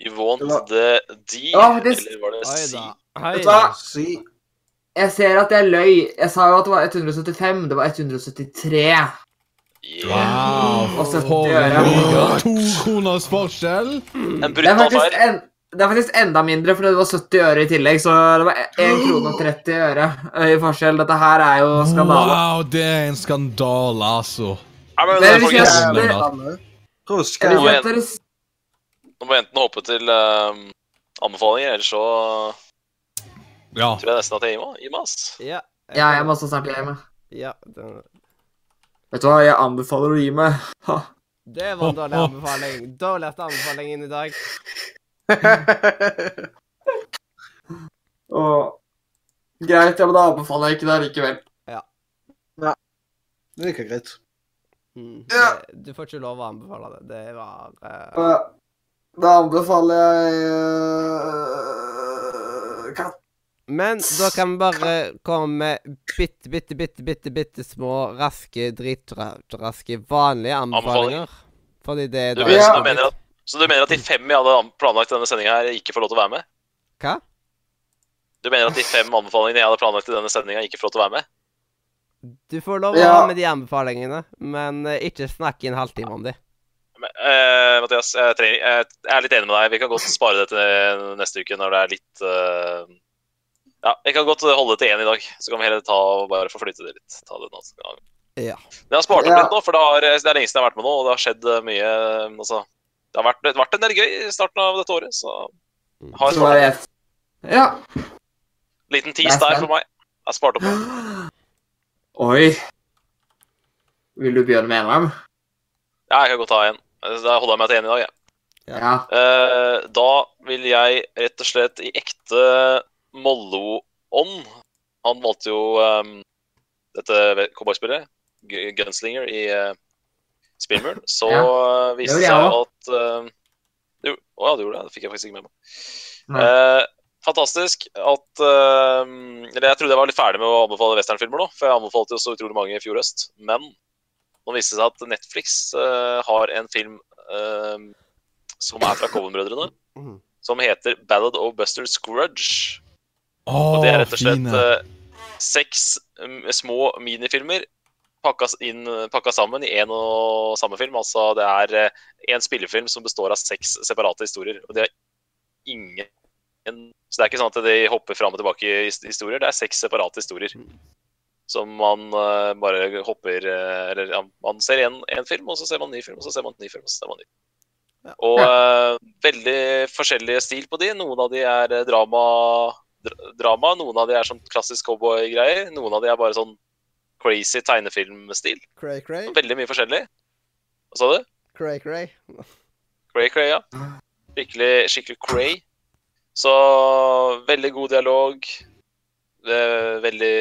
You want
Det var-
the D,
Ja, det-
eller var det
Oi
C?
da. Hei.
Vet du hva?
Si
Jeg ser at jeg løy. Jeg sa jo at det var 175. Det var 173.
Yeah.
Wow!
Og så
For
dør
en
jeg.
liga. To kroners forskjell.
En
Mm. Det er
bruttoffeir.
faktisk, en, det er faktisk enda mindre, for det var 70 øre i tillegg. Så det var 1 krone og 30 øre ø, i forskjell. Dette her er jo skandale.
Wow, det er en skandale, altså.
Nei, men,
Dere
folkens,
kjøper-
kjøper,
Rusk
dere
Wow. kjøper-
her.
kjøper
Nå må jentene hoppe til ehm, anbefalinger, ellers så
Ja.
tror jeg nesten at jeg gir meg- gir meg. ass.
Ja. eh,
Ja, jeg må også snart hjem. jeg.
Ja, den...
Vet du hva, jeg anbefaler å gi meg. Ha.
Det var en dårlig anbefaling. Dårligste anbefalingen i dag.
Og... Greit, ja, men da anbefaler jeg ikke det likevel.
Det gikk greit.
Mm.
Ja.
Det, du får ikke lov å anbefale det. Det var eh,
Da- Da anbefaler jeg øh, katt.
Men da kan vi bare komme med bitte, bitte, bitte, bitte, bitte små, raske, dritraske, vanlige anbefalinger. Fordi det er
Du,
da-
mener-
Ja.
så, du mener at, så du mener at de fem jeg hadde an- planlagt i denne sendinga, ikke får lov til å være med?
Hva?
Du mener at de fem anbefalingene jeg hadde planlagt i denne sendinga, ikke får lov til å være med?
Du får lov å
Ja.
ha med de anbefalingene, men eh, ikke snakke i en halvtime om dem.
Men, eh, Mathias, jeg, trenger, jeg jeg er litt enig med deg. Vi kan godt spare det til eh, neste uke når det er litt eh, Ja, vi kan godt holde det til én i dag. Så kan vi heller ta og bare få flytte det litt. Ta det en annen gang.
Ja.
Men jeg har spart opp
Ja.
litt nå, for det, har, det er lenge siden jeg har vært med nå, og det har skjedd eh, mye eh, altså, Det har vært, det har vært en del gøy i starten av dette året, så jeg har
Så var
en
det et. Ja.
liten
Det
tis
er
der
spennende.
for meg. Jeg har spart opp.
Oi. Vil du begynne med en av dem?
Ja, jeg kan godt ta en. Da holder jeg meg til én i dag, jeg.
Ja.
Ja.
Eh, da vil jeg rett og slett i ekte Mollo-ånd Han valgte jo ehm, dette cowboyspillet, Gu- Gunslinger, i uh, Spillmuren. Så eh, viste
gjorde
det
jeg
seg
også.
at ehm, du, Å ja, du gjorde det? Det fikk jeg faktisk ikke med meg.
Nei.
Eh, fantastisk at ehm, Eller jeg trodde jeg var litt ferdig med å anbefale westernfilmer nå, for jeg anbefalte jo så utrolig mange i fjor høst. Men nå viste det seg at Netflix eh, har en film ehm, som er fra Coven-brødrene.
Mhm.
Som heter 'Ballad of Buster Scrudge'.
Å,
Og det er rett og slett
fine.
eh, seks mm, små minifilmer pakka, s- inn, pakka sammen i én og samme film. Altså det er én spillefilm som består av seks separate historier. Og det er ingen Så det er ikke sånn at de hopper fram og tilbake i his- historier. Det er seks separate historier. Som man eh, bare hopper eh, Eller ja, man ser én film, og så ser man en ny film, og så ser man en ny film, og så ser man en ny. Og eh, veldig forskjellig stil på de. Noen av de er eh, drama dra- drama. Noen av de er sånn klassisk cowboygreier. Noen av de er bare sånn crazy tegnefilmstil.
Cray-cray,
Veldig mye forskjellig. Hva sa du?
cray-cray.
Cray Cray, ja. Skikkelig, skikkelig cray. Så veldig god dialog. eh, Veldig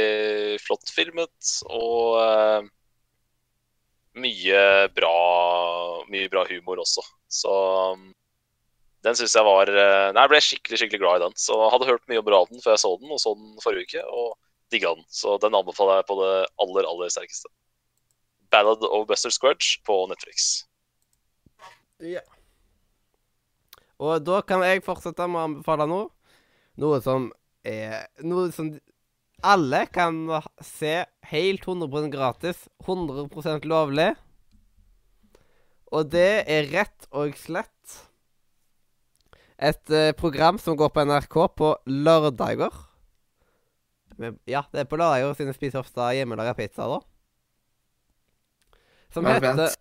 flott filmet og eh, mye bra Mye bra humor også. Så um, den syns jeg var eh, Nei, jeg ble skikkelig skikkelig glad i den. Så jeg hadde hørt mye bra om den før jeg så den, og så den forrige uke, og digga den. Så den anbefaler jeg på det aller, aller sterkeste. Ballad of Buster Squudge på Netflix.
Og da kan jeg fortsette med å anbefale noe. Noe som er Noe som alle kan se helt 100 gratis. 100 lovlig. Og det er rett og slett et eh, program som går på NRK på lørdager. Men, ja, det er på lørdager siden jeg spiser ofte hjemmelaga pizza, da. Som
Vent, vent.
heter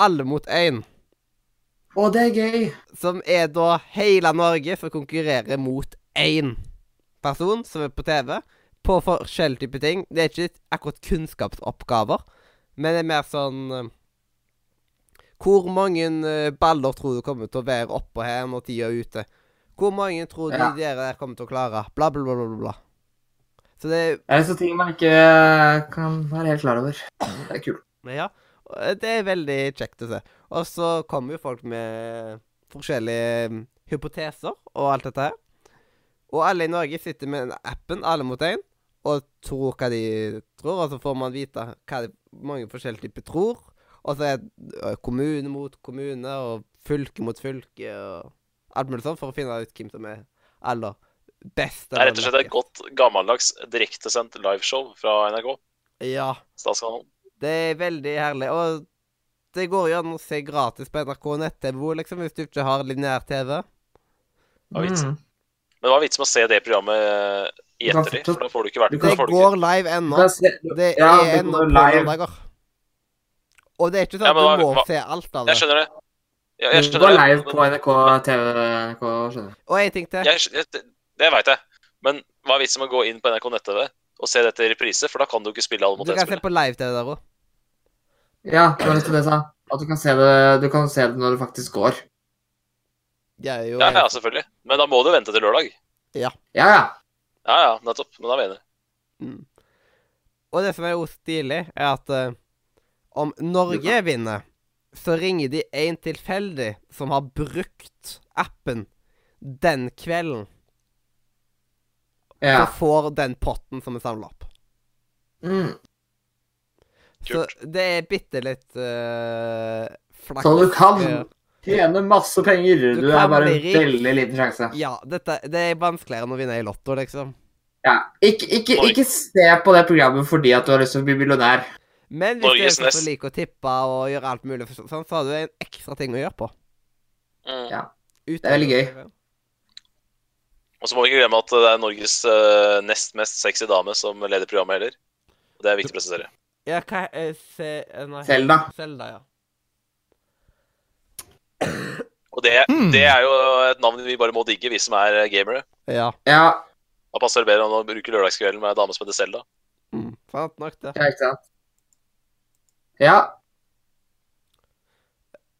Alle mot én
Å, det er gøy.
som er da hele Norge som konkurrerer mot én person som er på TV, på forskjellige typer ting. Det er ikke akkurat kunnskapsoppgaver, men det er mer sånn eh, Hvor mange eh, baller tror du kommer til å være oppå her når tida er ute? Hvor mange tror du
Ja.
dere der kommer til å klare? Bla, bla, bla, bla, bla. bla. Så det er
Det er sånne ting man ikke kan være helt klar over. Det er kult.
Men ja, og det er veldig kjekt å se. Og så kommer jo folk med forskjellige mm, hypoteser og alt dette her. Og alle i Norge sitter med den appen, alle mot én, og tror hva de tror. Og så får man vite hva de, mange forskjellige typer tror. øh, Og så er det ø, kommune mot kommune og fylke mot fylke og alt mulig sånn for å finne ut hvem som er aller best.
Det er rett og slett et godt gammeldags direktesendt liveshow fra NRK.
Ja.
Statskanalen.
Det er veldig herlig. Og det går jo an å se gratis på NRK nett-TV, liksom, hvis du ikke har lineær-TV.
Hva er
Mm.
vitsen? Men hva er vitsen med å se det programmet eh, i
Kan
ettertid?
fortsatt-
For da får du ikke vært
du
da
Det
får du ikke-
går live ennå. Det
Ja,
er
det
ennå på
går live.
lørdager. Og det er ikke
Ja,
sånn
men
at du
hva-
må
hva-
se alt av
Jeg
det.
skjønner det. Ja, jeg
Det
skjønner
går
det.
live
men-
på NRK TV, NRK, skjønner du.
Og en ting til.
Jeg, jeg, det- det veit jeg. Men hva er vitsen med å gå inn på NRK nett-TV og se dette i reprise? For da kan du ikke spille alle mot
Du kan se
én-spillet.
på live-TV der òg.
Ja, det var nettopp det jeg sa. At du kan se det, du kan se det når det faktisk går.
Ja, jo,
Ja, ja, selvfølgelig. Men da må du vente til lørdag.
Ja, ja.
Ja, ja, nettopp. Men da mener jeg.
Og det som er jo stilig, er at eh, om Norge vinner, så ringer de en tilfeldig som har brukt appen den kvelden.
ja.
Så får den potten som er samla opp.
Mm.
Så det er bitte litt eh, flaks.
Så du kan
Ja.
tjene masse penger.
Du
Du
kan
er bare
bli
en
rik.
veldig liten sjanse.
Ja, dette, det er vanskeligere enn å vinne i Lotto, liksom.
Ja. Ikke, ikke,
Oi.
ikke se på det programmet fordi at du har lyst til å bli millionær.
Men hvis
Norges
du er sånn
nest-
som liker å tippe og gjøre alt mulig, for sånn, så har du en ekstra ting å gjøre på.
Mm.
Ja.
Ut-
Det er veldig gøy.
Og så må vi ikke glemme at det er Norges eh, nest mest sexy dame som leder programmet heller. Og det er viktig å presisere.
Ja, hva eh, se, eh, nei.
Selda.
Selda, ja.
Og det,
Hmm.
Mm.
det er jo et navn vi bare må digge, vi som er gamere.
Ja,
Ja,
Da passer det bedre enn å bruke lørdagskvelden med ei dame som heter Selda.
mm, sant nok det.
ja, ikke sant. Ja.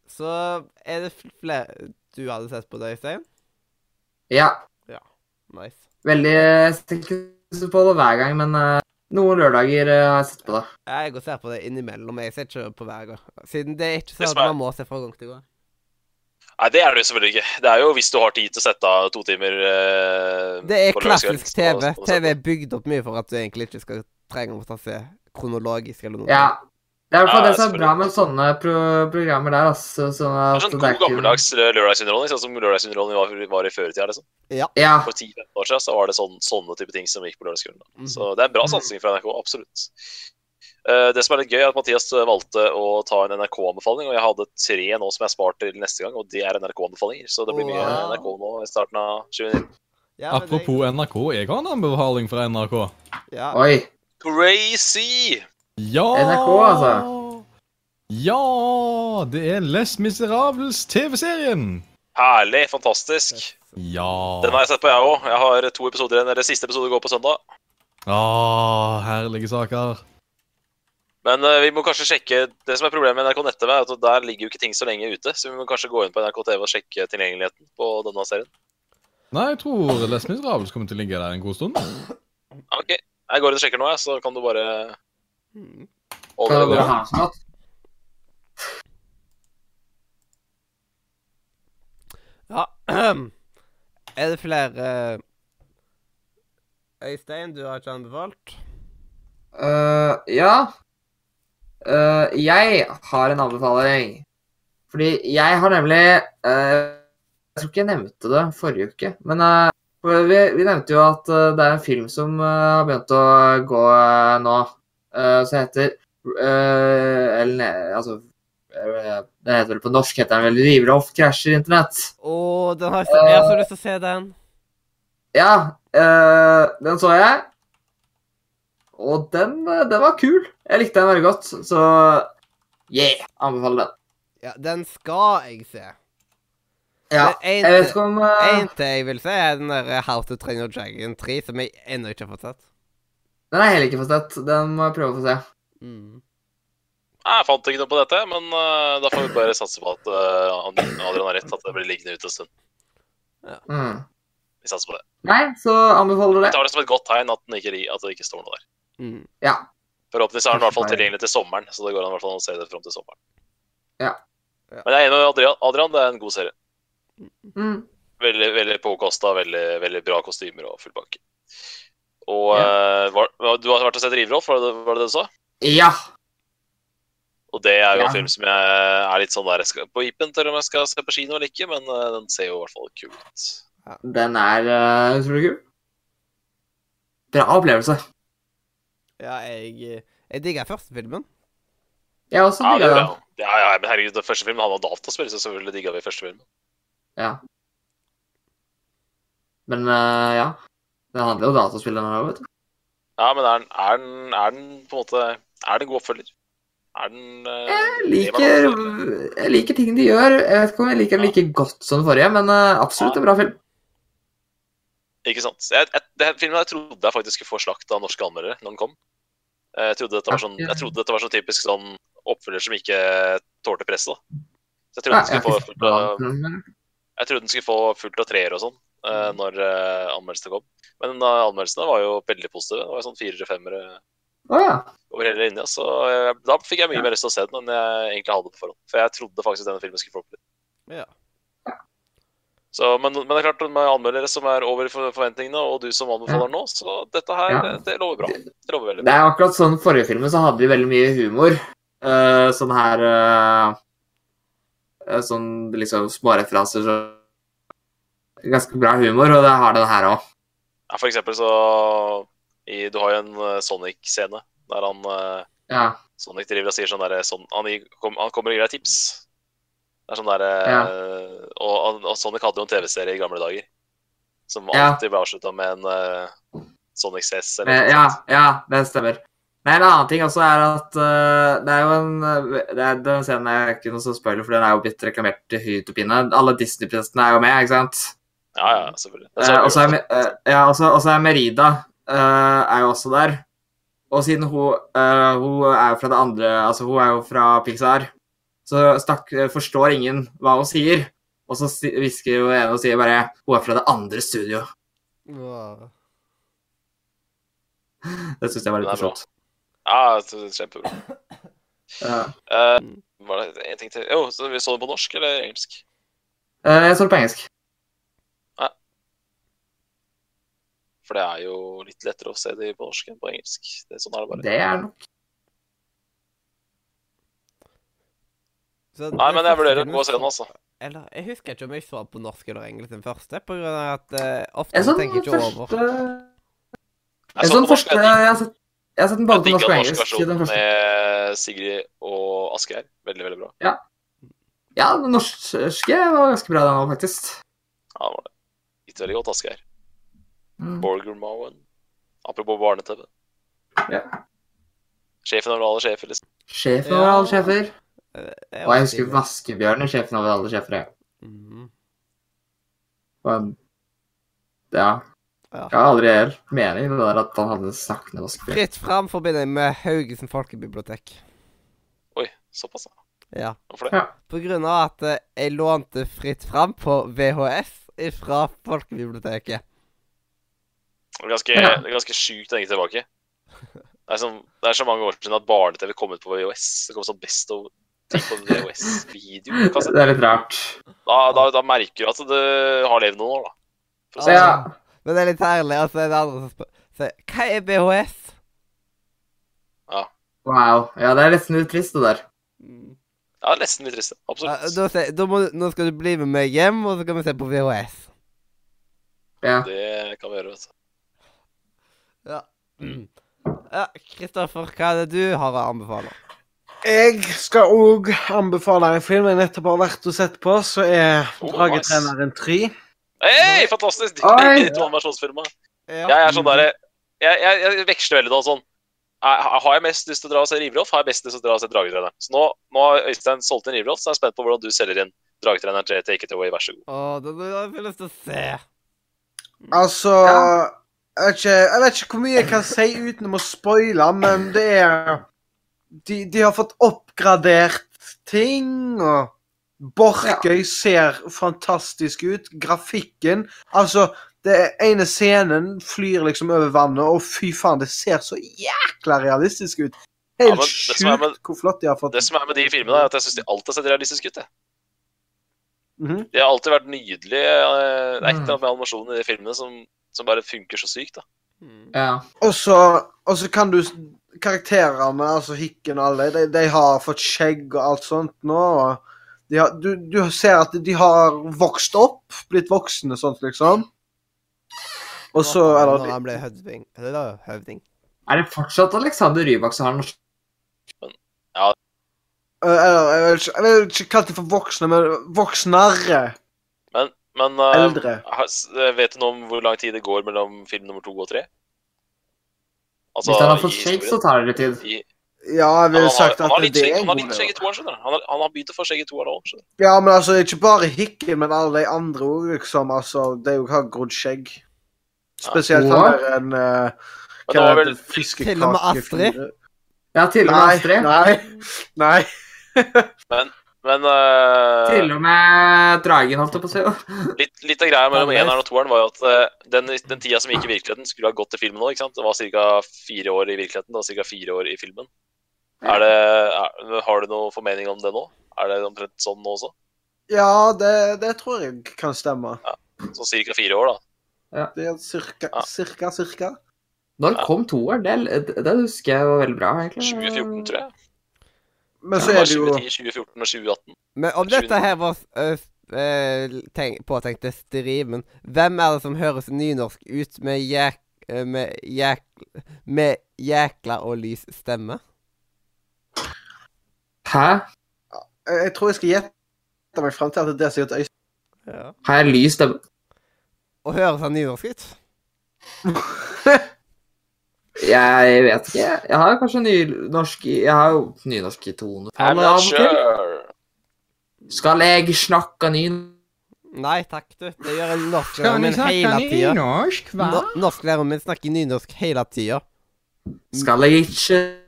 Så er det fl- flere du hadde sett på det, Øystein?
Ja.
Nice.
Veldig eh, stikkelse på det hver gang, men eh, noen lørdager eh, har jeg sett på det.
Jeg går og ser på det innimellom. Jeg ser ikke på hver gang. Siden det er ikke
Det
sånn
som er-
at man må se fra gang til gang.
Nei, det er det jo selvfølgelig ikke. Det er jo hvis du har tid til å sette av to timer eh,
Det er
på lørdagskvelden, sånn
klassisk
så
TV.
kan du- kan du sette
TV er bygd opp mye for at du egentlig ikke skal trenge å måtte se kronologisk eller noe.
Ja. Det er i hvert fall
Ja,
det som er bra
selvfølgelig.
med sånne pro programmer der. Altså, sånn
Det
at
er sånn
det er
god
ikke-
gammeldags lø- lørdagsunderholdning, sånn som lørdagsunderholdning var, var i føretida. liksom.
Ja.
For 10-15 år siden så var det sånn, sånne type ting som gikk på lørdagsskolen. da.
Mhm.
Så det er en bra satsing fra NRK, absolutt. Eh, det som er litt gøy, er at Mathias valgte å ta en NRK-anbefaling, og jeg hadde tre nå som jeg har spart til neste gang, og det er NRK-anbefalinger. Så det blir mye
Wow.
NRK nå i starten av 2019.
Ja, men det-
Apropos NRK, jeg har en anbefaling fra NRK.
ja.
Oi.
Crazy!
Ja!
NRK, altså.
Ja! Det er Les Miserables TV-serien.
Herlig, fantastisk.
Ja.
Den har jeg sett på, jeg òg. Jeg har to episoder igjen. Eller siste episode går på søndag.
Ah, herlige saker.
Men eh, vi må kanskje sjekke Det som er problemet med NRK Nett-TV, er at der ligger jo ikke ting så lenge ute. Så vi må kanskje gå inn på NRK TV og sjekke tilgjengeligheten på denne serien.
Nei, jeg tror Les Miserables kommer til å ligge der en god stund.
OK. Jeg går inn og sjekker nå, jeg, så kan du bare
Mm.
Skal du
overgå.
bare ha sånn at-
ja. Er det flere eh, Øystein, du har ikke anbefalt?
Øh, ja. Øh, jeg har en anbefaling. Fordi jeg har nemlig øh, Jeg tror ikke jeg nevnte det forrige uke, men øh, for vi, vi nevnte jo at øh, det er en film som øh, har begynt å gå øh, nå, øh, som heter øh, Eller ne- altså øh, Det heter vel på norsk heter den vel 'River off krasjer internett'.
Å, den har jeg, så, jeg har så lyst til å se den.
Ja, øh, den så jeg. Og den, øh, den var kul. Jeg likte den veldig godt, så yeah, anbefaler den.
Ja, den skal jeg se.
Ja,
Men
jeg
en,
vet ikke om øh,
en til jeg vil se, er den der eh, How to Train Your Dragon 3, som jeg ennå ikke har fått sett.
Den har jeg heller ikke fått sett. Den må jeg prøve å få se.
Mm.
Jeg fant ikke noe på dette, men eh, da får vi bare satse på at eh, Adrian har rett, at det blir liggende ute en stund.
Mm.
Vi satser på det.
Nei, så anbefaler
Vi
det.
tar det som et godt tegn at, den ikke, ri- at det ikke står noe der.
Mm.
Ja.
Forhåpentligvis er den i hvert fall tilgjengelig til sommeren, så det går an i hvert fall å se det fram til sommeren.
Ja.
Ja.
Men jeg er enig med Adrian. Adrian, det er en god serie.
Mm.
Veldig, veldig påkosta, veldig, veldig bra kostymer og full pakke. Og eh, var, var- du har vært og sett Riverolf, var det var det det du sa?
Ja.
Og det er jo
Ja.
en film som jeg er litt sånn der jeg skal på vippen til om jeg skal se på kino eller ikke, men eh, den ser jo i hvert fall kul ut.
Sånn Den er eh, utrolig kul. Bra opplevelse.
Ja, jeg, eh, jeg digga første filmen.
Jeg også
Ja, det
digga
gjør
den.
jeg. Ja, ja, men herregud, den første filmen hadde dataspill, så selvfølgelig digga vi første filmen.
Men eh, ja. Den handler jo om dataspill, den her òg, vet du.
Ja, men er den, er den, er den på en måte Er det god oppfølger? Er den eh,
Jeg
lever
liker,
den opp?
jeg liker ting de gjør. Jeg vet ikke om jeg liker den like godt som den forrige, men eh, absolutt en bra film.
Ikke sant. Jeg, jeg, det her filmen jeg trodde jeg faktisk skulle få slakt av norske anmeldere når den kom. Eh, Jeg trodde dette var sånn, jeg trodde dette var sånn typisk sånn oppfølger som ikke tålte presset. da. Så jeg trodde,
Ja,
den
jeg
skulle
har ikke sett
få fullt av,
den, men-
jeg trodde den skulle få fullt av treer og sånn eh, når eh, anmeldelsene kom. Men eh, anmeldelsene var jo veldig positive. Det var jo sånn firere, femmere
Å ja.
over hele linja. Så eh, da fikk jeg mye mer lyst til å se den enn jeg egentlig hadde på forhånd. For jeg trodde faktisk denne filmen skulle få opp litt.
Ja.
Så, men, men det er klart, med anmeldere som er over for- forventningene, og du som anbefaler nå, så dette her,
Ja.
det, det lover bra. Det lover veldig bra.
Det er akkurat sånn forrige filmen så hadde de veldig mye humor. Eh, sånn her eh, eh, Sånn liksom småreferanser så Ganske bra humor, og det har den her òg.
Ja, for eksempel så i, Du har jo en eh, Sonic-scene der han eh,
Ja.
Sonic driver og sier sånn derre sånn, han, gir- kom, han kommer og gir deg tips. Det er sånn derre og, og, og Sonic hadde jo en TV-serie i gamle dager som
Ja.
alltid ble avslutta med en eh, Sonic CS eller
Eh,
noe
ja,
sånt.
ja, det stemmer. Nei, en annen ting også er at eh, det er jo en eh, det er, Den scenen er ikke noe sånn spoiler, for den er jo blitt reklamert til høyt og pinne. Alle Disney-prestene er jo med, ikke sant?
Ja, ja, selvfølgelig. Det
Eh,
så-
og så er, Me- eh, ja, og så- og så er Merida eh, er jo også der. Og siden hun, eh, hun er jo fra det andre Altså, hun er jo fra Pixar, så stakk, eh, forstår ingen hva hun sier. Og så si- hvisker hun ene og sier bare 'Hun er fra det andre studio'.
Åh.
Det syns jeg var litt
Det er bra.
morsomt.
ja, det er kjempebra.
Ja.
Eh, var det en ting til? Jo, så vi så den på norsk eller engelsk?
Eh, jeg så det på engelsk.
For det er jo litt lettere å se det på norsk enn på engelsk. Det er sånn er det bare.
Det er nok
Så
Nei, men jeg
første
vurderer å
filmen
gå og se den,
så-
altså.
Eller, jeg husker ikke om jeg så den på norsk eller engelsk den første, på grunn av at eh, ofte
Jeg så den
tenker jeg ikke over.
første
Jeg
Jeg
så
så den
på norsk,
første
jeg
Jeg har sett, jeg har sett den både
Jeg
på
digga
norsk og
den norske
engelsk. Den
versjonen
første.
med Sigrid og Asgeir. Veldig, veldig bra.
Ja, den norske var ganske bra, den òg, faktisk.
Ja, det var det. Gikk det veldig godt, Asgeir.
Mm.
Borgermoen. Apropos barne-TV.
Ja.
Sjefen over alle sjefer, liksom.
Sjefen
Ja.
over alle sjefer.
Eh,
Og jeg
husker
husker Vaskebjørn i Sjefen over alle sjefer. jeg.
Mhm.
Og, ja.
Ja.
Jeg har aldri helt mening i det der at han hadde snakkende vaskebjørn.
Fritt fram forbinder jeg med Haugesund folkebibliotek.
Oi, såpass, ja.
Ja.
Hvorfor
Ja.
det?
På grunn av at eh, jeg lånte Fritt fram på VHS fra folkebiblioteket.
Det er ganske,
Ja.
det er ganske sjukt å tenke tilbake. Det er, sånn, det er så mange år siden at barne-TV kom ut på VHS. Det kom sånn Best of ting på VHS-video.
Det er litt rart.
Da, da, da merker du at det har levd noen år, da. For å si det sånn.
Ja.
Ah, Men det er litt herlig. Og så er det andre som spør så, Hva er BHS?
Wow. Ja, det er nesten litt trist, det der.
Mm.
sånn. Ja, nesten litt trist.
Ja,
Absolutt.
da, se- da må, du- nå skal du bli med meg hjem, og så kan vi se på VHS.
Ja.
Det kan vi gjøre, altså. vet du.
Ja. Ja, Kristoffer, hva er det du har å anbefale?
Jeg skal òg anbefale en film jeg nettopp har vært og sett på, som er
Oh, nice.
'Dragetreneren 3'.
Hei, fantastisk!
Oi!
Ditt animasjonsfilmer. Jeg er sånn
Mm-hmm.
der, jeg, jeg, jeg veksler veldig da, sånn. Jeg- Har jeg mest lyst til å dra og se Riverhoff, har jeg best lyst til å dra og se Dragetreneren. Så nå, nå har Øystein solgt inn Riverhoff, så jeg er spent på hvordan du selger inn Dragetreneren til Take It Away, vær så god.
Å, det det har jeg lyst til å se.
Altså jeg, vet ikke, jeg vet ikke hvor mye jeg kan si uten å spoile, men det er De, de har fått oppgradert ting, og Borkøy ser fantastisk ut. Grafikken Altså, det ene scenen flyr liksom over vannet, og fy faen, det ser så jækla realistisk ut.
Ja, men
Helt
det som er med-
sjukt hvor flott de har fått
Det som er med de filmene, er at jeg syns de alltid har sett realistiske ut. jeg.
Mhm.
De har alltid vært nydelige. eh, Det er et eller annet med animasjonen i de filmene som, som bare funker så sykt. da.
Ja.
Og så, og så kan, du, karakterene, altså Hikken og alle, de, de har fått skjegg og alt sånt nå. og de har, du, du ser at de har vokst opp, blitt voksne sånt, liksom. Og så
Når
eller,
han ble høvding. Eller høvding.
Er det fortsatt Alexander Rybak som har norsk
eller Jeg vil ikke, jeg vil ikke kalle dem for voksne, men voksnere.
Men, men eh,
Eldre.
har- s- eh, vet du noe om hvor lang tid det går mellom film nummer to og tre? Altså,
Hvis han har
i
fått skjegg, så
historien.
tar det litt tid.
I,
Ja, jeg
han,
ville
har,
sagt
han har
at
litt
det
skjegg
er
han
en
har
god
litt
del.
skjegg i toeren, skjønner du. Han har, han har begynt å få skjegg i toeren òg, skjønner du.
Ja, men altså, ikke bare Hikken, men alle de andre òg, liksom. Altså, de òg har grodd skjegg. Spesielt han
What?
der en eh,
Men
hva
det var
heter
vel-
det, fiskekake...
Til og med Astrid?
fyre.
Ja, til og med
Nei,
Astrid.
nei, nei.
Men eh,
Til og med dragen, holdt jeg på å si.
litt, litt av greia mellom
Anders.
eneren og toeren var jo at eh, den, den tida som gikk i virkeligheten, skulle ha gått til filmen òg, ikke sant? Det var ca. fire år i virkeligheten og ca. fire år i filmen. Er det, er, har du noen formening om det nå? Er det omtrent sånn nå også?
Ja, det, det tror jeg kan stemme.
Så ca. fire år, da.
Det er cirka,
Ja.
cirka, cirka.
Når kom toeren? Det, det- det husker jeg var veldig bra, egentlig.
2014, tror jeg.
Men så
Det
er
var
det jo
2010, 2014 og 2018.
Men om dette her var eh, s- eh, tenk, påtenkte streamen, hvem er det som høres nynorsk ut med jæk... eh, Med jæk... Med jækla og lys stemme?
Hæ?
Jeg jeg tror jeg skal gjette meg frem til at det er sikkert Øystein.
Ja.
Har jeg lys stemme?
Og høres han nynorsk ut?
Jeg vet ikke. Jeg har kanskje nynorsk i- Jeg har jo nynorsk i tone.
I'm not sure.
Skal jeg snakke ny...
Nei takk, du. Det gjør en norsklæreren min hele tida.
nynorsk,
No norsklæreren min snakker nynorsk hele tida.
Skal jeg ikke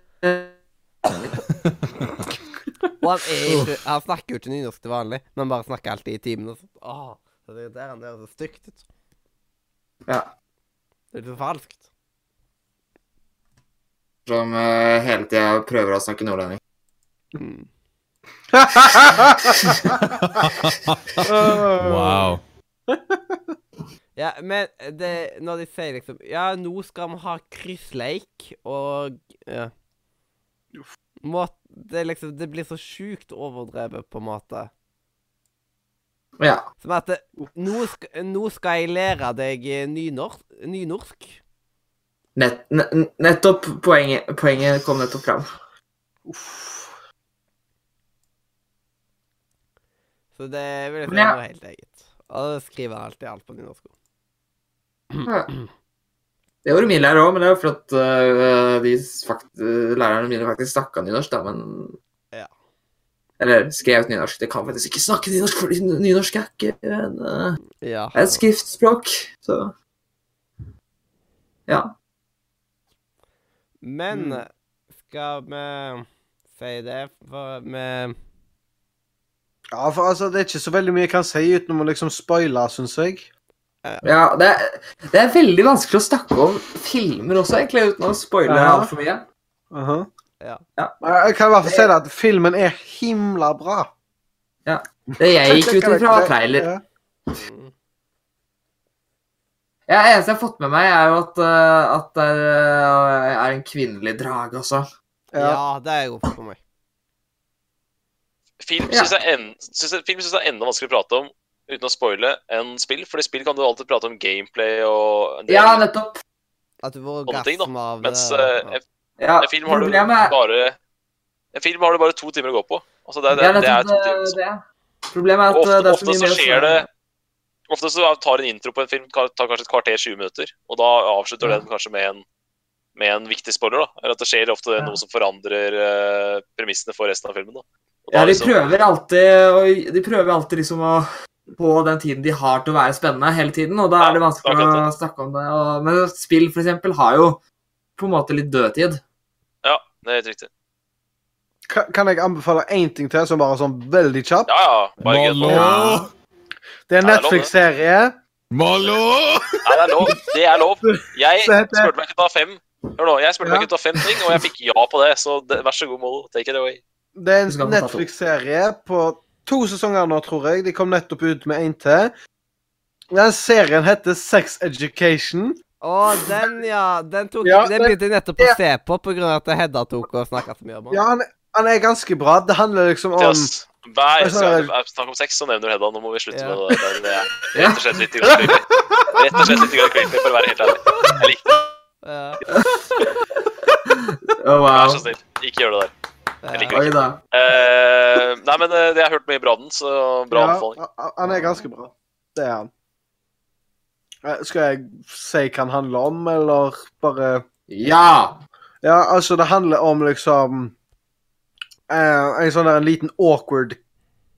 Og han, er ikke, han snakker jo ikke nynorsk til vanlig, men han bare snakker alltid i timen og sånt. Åh, så det der han høres så stygt ut.
Ja.
Det er litt så falskt.
Som eh, hele tida prøver å snakke nordlending.
Øh.
Wow.
Ja, men det, når de sier liksom Ja, nå skal vi ha kryssleik og ja. Må, det, er liksom, det blir så sjukt overdrevet, på en måte.
Ja.
Som at det, nå, skal, 'Nå skal jeg lære deg eh, nynorsk'. nynorsk.
Nett, ne- nettopp poenget, poenget kom nettopp fram.
Så det vil jeg si
Men jeg-
er noe helt eget. Og da skriver han alltid alt på nynorsk.
Ja. Det gjorde min lærer òg, men det er jo fordi uh, de fakt, øh, lærerne mine faktisk snakka nynorsk, da, men
Ja.
Eller skrev nynorsk. De kan faktisk ikke snakke nynorsk, fordi n- nynorsk er ikke en, øh,
Ja.
er et skriftspråk. Så Ja.
Men
Mm.
skal vi si det for vi
Ja, for altså, det er ikke så veldig mye jeg kan si uten å liksom spoile, syns jeg.
ja det, er, det er veldig vanskelig å snakke om filmer også, egentlig, uten å spoile
Ja.
altfor mye.
Aha.
Ja.
Ja.
Men Jeg kan i hvert fall si det at filmen er himla bra.
Det jeg gikk ut ifra, var trailer.
Ja.
mm,
Ja, eneste jeg har fått med meg, er jo at, øh, at det er, øh, er en kvinnelig drage også.
Ja.
ja, det er godt for meg.
Film
Ja.
syns jeg, en- synes jeg, film synes jeg er enda vanskeligere å prate om uten å spoile enn spill. For i spill kan du alltid prate om gameplay og en del,
Ja, nettopp.
At du får
Sånne ting, da.
orgasme av det.
Mens
ja.
eh,
Ja,
en, en film har du
problemet er-
bare En film har du bare to timer å gå på. Altså, det, er- det,
Ja,
det, er to
nettopp,
timer.
det- det. Problemet er at
Og ofte,
uh, det er så
ofte
mye
så
mer å
skjer det
snakke om.
Ofte så tar en intro på en film ka- tar kanskje et kvarter, 20 minutter. Og da avslutter
Ja.
den kanskje med en, med en viktig spoiler. da. Eller at det skjer ofte
Ja.
noe som forandrer eh, premissene for resten av filmen. da. Og
Ja,
da
de
liksom-
prøver alltid å- De prøver alltid liksom å På den tiden de har til å være spennende hele tiden, og da
Ja,
er det vanskelig
akkurat
å snakke om det. Og, men spill, for eksempel, har jo på en måte litt dødtid.
Ja, det er helt riktig.
Kan kan jeg anbefale én ting til, som bare er sånn veldig kjapp?
Ja, ja. Bare gønn på.
Malo!
Det er
Ja, det er
en
lov, det.
Netflix-serie.
Malo!
Nei, det er lov. Det er lov. Jeg
Så heter-
spurte meg ikke å ta fem. Hør nå, jeg spurte
Ja.
meg ikke å ta fem ting, og jeg fikk ja på det. Så det, vær så god, Molo. Take it away.
Det er
Du skal
en
få ta to.
Netflix-serie på to sesonger nå, tror jeg. De kom nettopp ut med en til. Den serien heter Sex Education.
Å, den, ja. Den, tok,
Ja,
den
den-
begynte jeg nettopp å se på pga. at Hedda tok og snakka så mye om den.
Ja, han, han er ganske bra. Det handler liksom om
Mathias, hver eneste gang
Altså-
det er snakk om sex, så nevner du Hedda. Nå må vi
Ja.
slutte med det. der. Det er rett og slett litt grann creepy. Rett og slett litt grann creepy, for å være helt ærlig. Jeg likte det.
Ja.
Å,
Vær
wow.
så snill, ikke gjør det der. Jeg liker det.
Oi da.
Eh, nei, men eh, jeg har hørt mye bra om den, så bra anbefaling.
Ja, han- han er ganske bra. Det er han. Eh, Skal jeg si hva han handler om, eller bare
Ja!
Ja, altså, det handler om liksom eh, En sånn der en liten awkward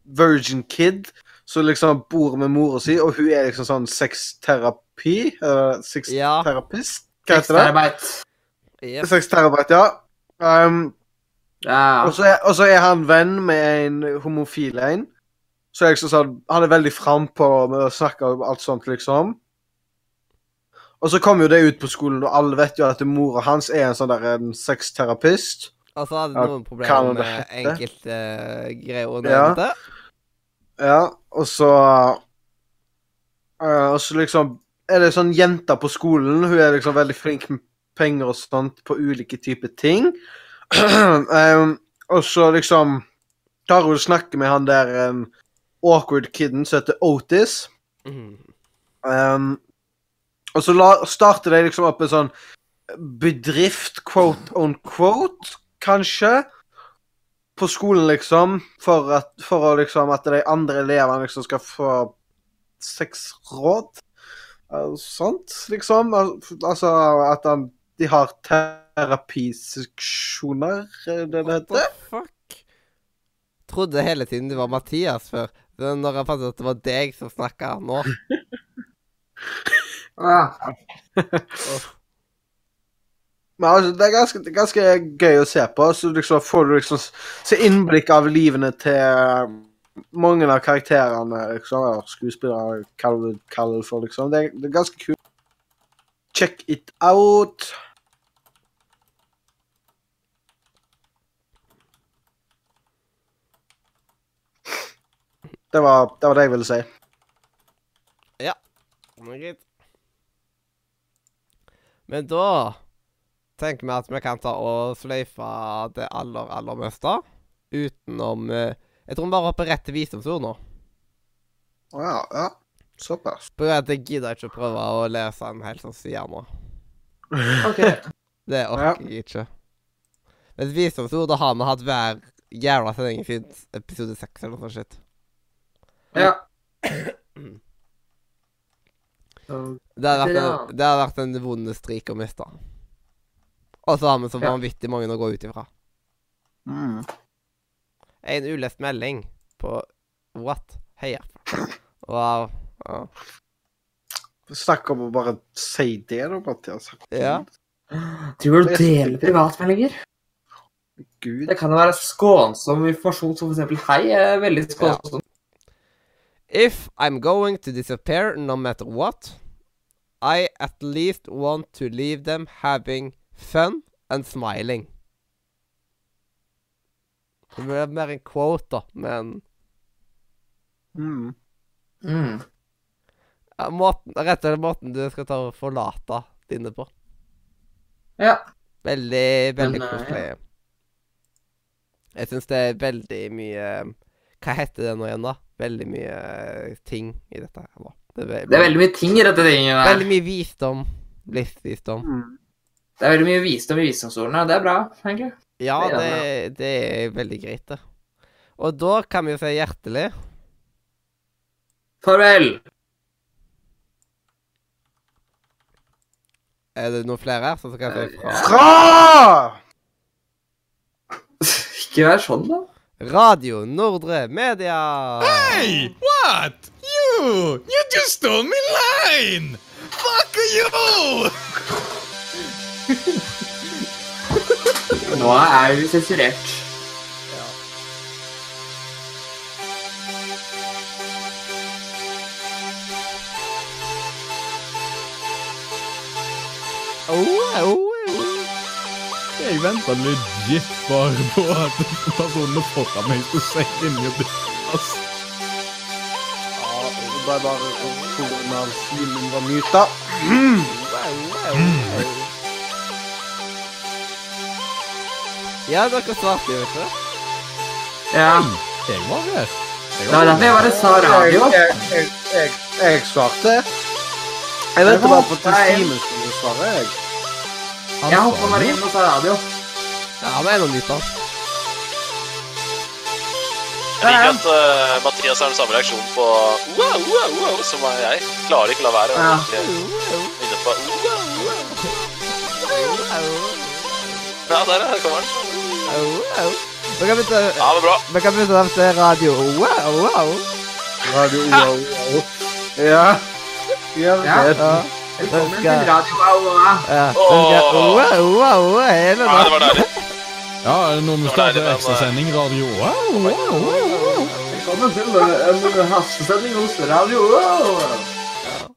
virgin kid som liksom bor med mora si, og hun er liksom sånn sexterapi? Eller
Ja.
sexterapist? Hva heter det?
Sexarbeid.
Jep.
Sexterapeut, ja. Um,
Ja.
og, så er, og så er han venn med en homofil en. Så er liksom sånn, han er veldig frampå med å snakke om alt sånt, liksom. Og så kommer jo det ut på skolen, og alle vet jo at mora hans er en sånn der en sexterapist.
Og så hadde
Ja,
noen
hva
problemer
det
med
heter?
enkelte eh, greier hun
Ja.
nevnte.
Ja, og så eh, Og så liksom er det sånn jenter på skolen. Hun er liksom veldig flink med penger og sånt på ulike typer ting. Em, og så liksom tar hun og snakker med han der em, awkward kiden som heter Otis.
Mhm.
Em, Ehm, og så la, starter de liksom opp en sånn bedrift, quote on quote, kanskje, på skolen, liksom, for, at, for å liksom at de andre elevene liksom skal få sexråd. Eh, Sånt, liksom. Al- Altså at han, de har terapiseksjoner, er det det
What
heter?
the fuck? Trodde hele tiden det var Mathias før. Men når jeg fant ut at det var deg som snakka nå
Ja.
Ah. Men altså, det er ganske, det er ganske gøy å se på. Så liksom får du liksom s- se innblikk av livene til um, mange av karakterene. liksom, eller Skuespillere, hva du kaller det for. liksom. Det er, det er ganske kult. Check it out. Det var, det var det jeg ville si.
Men greit. Men da tenker vi at vi kan ta og sløyfe det aller, aller meste. Utenom eh, Jeg tror vi bare hopper rett til visdomsord nå.
Å Ja, ja. Såpass.
På grunn av at jeg gidder ikke å prøve å lese en hel sånn side nå.
Ok.
Det orker jeg ikke. Men et visdomsord da har vi hatt hver jævla sending siden episode seks eller noe sånt. shit.
Ja.
Det hadde vært,
Bra.
en, det hadde vært en vond strik å miste. Og så har vi så
Ja.
vanvittig mange å gå ut ifra.
Mm.
En ulest melding på What? Heia. Wow. Ja.
Snakk om å bare si det, da, Mathias.
Ja.
Tror du deler privatmeldinger?
Gud.
Det kan jo være skånsom informasjon, som for eksempel hei. er Veldig skånsom.
If I'm going to disappear no matter what, I at least want to leave them having fun and smiling. Det ble mer en quote, da, men
Mm.
Mm.
ja, måten, rett og slett måten du skal ta og forlate dine på.
Ja.
Veldig, veldig
Men, eh,
koselig. Jeg syns det er veldig mye Hva heter det nå igjen, da? Veldig mye eh, ting i dette her. nå. Det er,
Det er veldig mye ting i dette tinget. der.
Veldig mye visdom. Livsvisdom.
mm.
Det er veldig mye visdom i visdomsordene. Det er bra, egentlig.
Ja,
Det er
det, det er veldig greit, det. Og da kan vi jo si hjertelig
Farvel!
Er det noen flere her som skal si fra?
Fra!
Ikke vær sånn, da.
Radio Nordre Media!
Hey! What? You! You just stole my line! Fuck you!
Nå er vi sensurert.
Oh, oh, oh.
Jeg venta legit bare på at personene foran meg skulle si inni det. Altså, ass.
Ja, det ble bare pga. Simen var muta.
Wow. Ja, dere svarte jo, vet du.
Ja.
Jeg var her. Jeg
Det var derfor jeg bare sa radio.
Jeg, jeg, jeg, jeg svarte. Jeg venter bare på til Simen skulle svare. jeg.
Han
Jeg
sa
hoppa bare
det.
inn og sa radio.
Ja, han er en av gutta.
Jeg liker at eh, Mathias har den samme reaksjonen på wow, wow, wow, som jeg. Klarer ikke å la være. å
Ja.
egentlig begynne på wow, wow. Ja, der ja, der kommer den.
Vi kan bytte
Ja, men bra.
Vi kan bytte navn til radio. Wow, wow.
Radio wow, wow. Ja. Gjør
Ja.
det.
Ja,
Velkommen til radio. Wow, wow.
ja. Den skal wow, wow, hele
Ja, det var deilig.
Ja, er det noe med
Det var deilig,
starter
men,
ekstrasending? Radio? Wow, wow, wow, wow.
Velkommen til eh, en hastesending hos radio. Wow.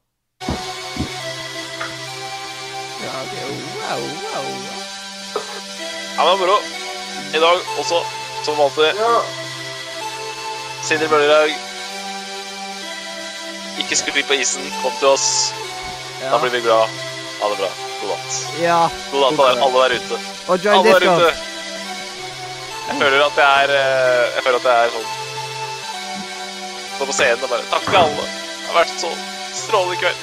Ja, men moro. I dag også, som alltid,
Ja.
Sindre Bøllerhaug. Ikke skli på isen. Kom til oss. Da blir vi glad. Ha det bra. God natt.
Ja.
God natt til alle der ute.
Og join
Alle der ute.
Discord.
Jeg føler at jeg er eh, Jeg føler at jeg er sånn Står på scenen og bare Takk til alle. Det har vært så strålende kveld.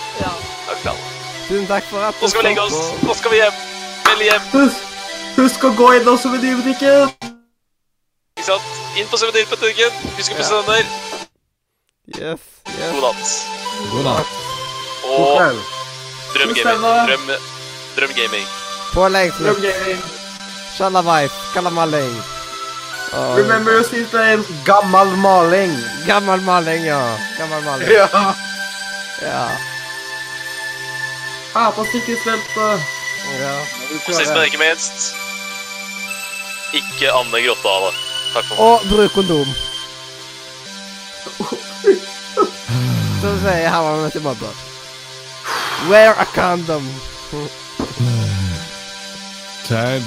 Takk til alle.
Tusen takk for at
Nå skal vi legge oss. Nå skal vi hjem. Veldig hjem.
Husk, husk å gå inn også ved dybetikken.
Ikke sant? Inn på sementilbutikken. Husk å pusse tenner.
Yes. yes.
God natt.
God natt.
God
Og
kveld.
drøm gaming. Drøm, drøm gaming.
Pålegg slutt.
Okay.
Shalabais. Kalamalling. Og
Remember your seat name.
Gammal maling.
Gammel maling, ja. Gammel maling.
Ja.
Ja.
Ha på sikkerhetsbeltet.
ja.
Og sist, men ikke minst Ikke Anne Grottehale. Takk for meg.
Og bruk kondom. Som sier Herman til Mabba. Wear a condom.
Ted,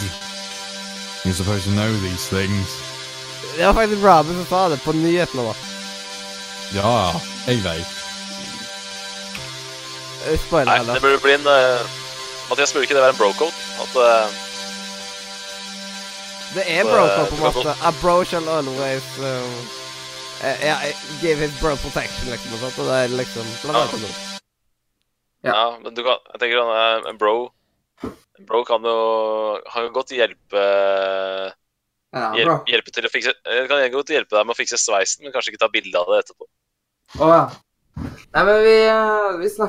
you're supposed to know these things.
Det var faktisk bra men som sa det på nyhetene. da.
Ja, jeg vet.
Eh, Spoiler
Nei, det
heller.
burde bli en eh, Mathias, burde ikke det være en bro-code? At eh,
Det er
Så,
bro
eh,
på en
det var
måte. A bro shall always um, eh, ja, give it bro protection, liksom. Og sånt, og det er liksom La
Ja.
være kondom.
Ja.
Ja, men du kan, jeg tenker han er en bro. En bro kan jo Han kan godt hjelpe
Ja, bra.
hjelpe, hjelpe til å fikse eh, Kan godt hjelpe deg med å fikse sveisen, men kanskje ikke ta bilde av det etterpå.
Å, ja. Nei, men vi, eh, vi snakker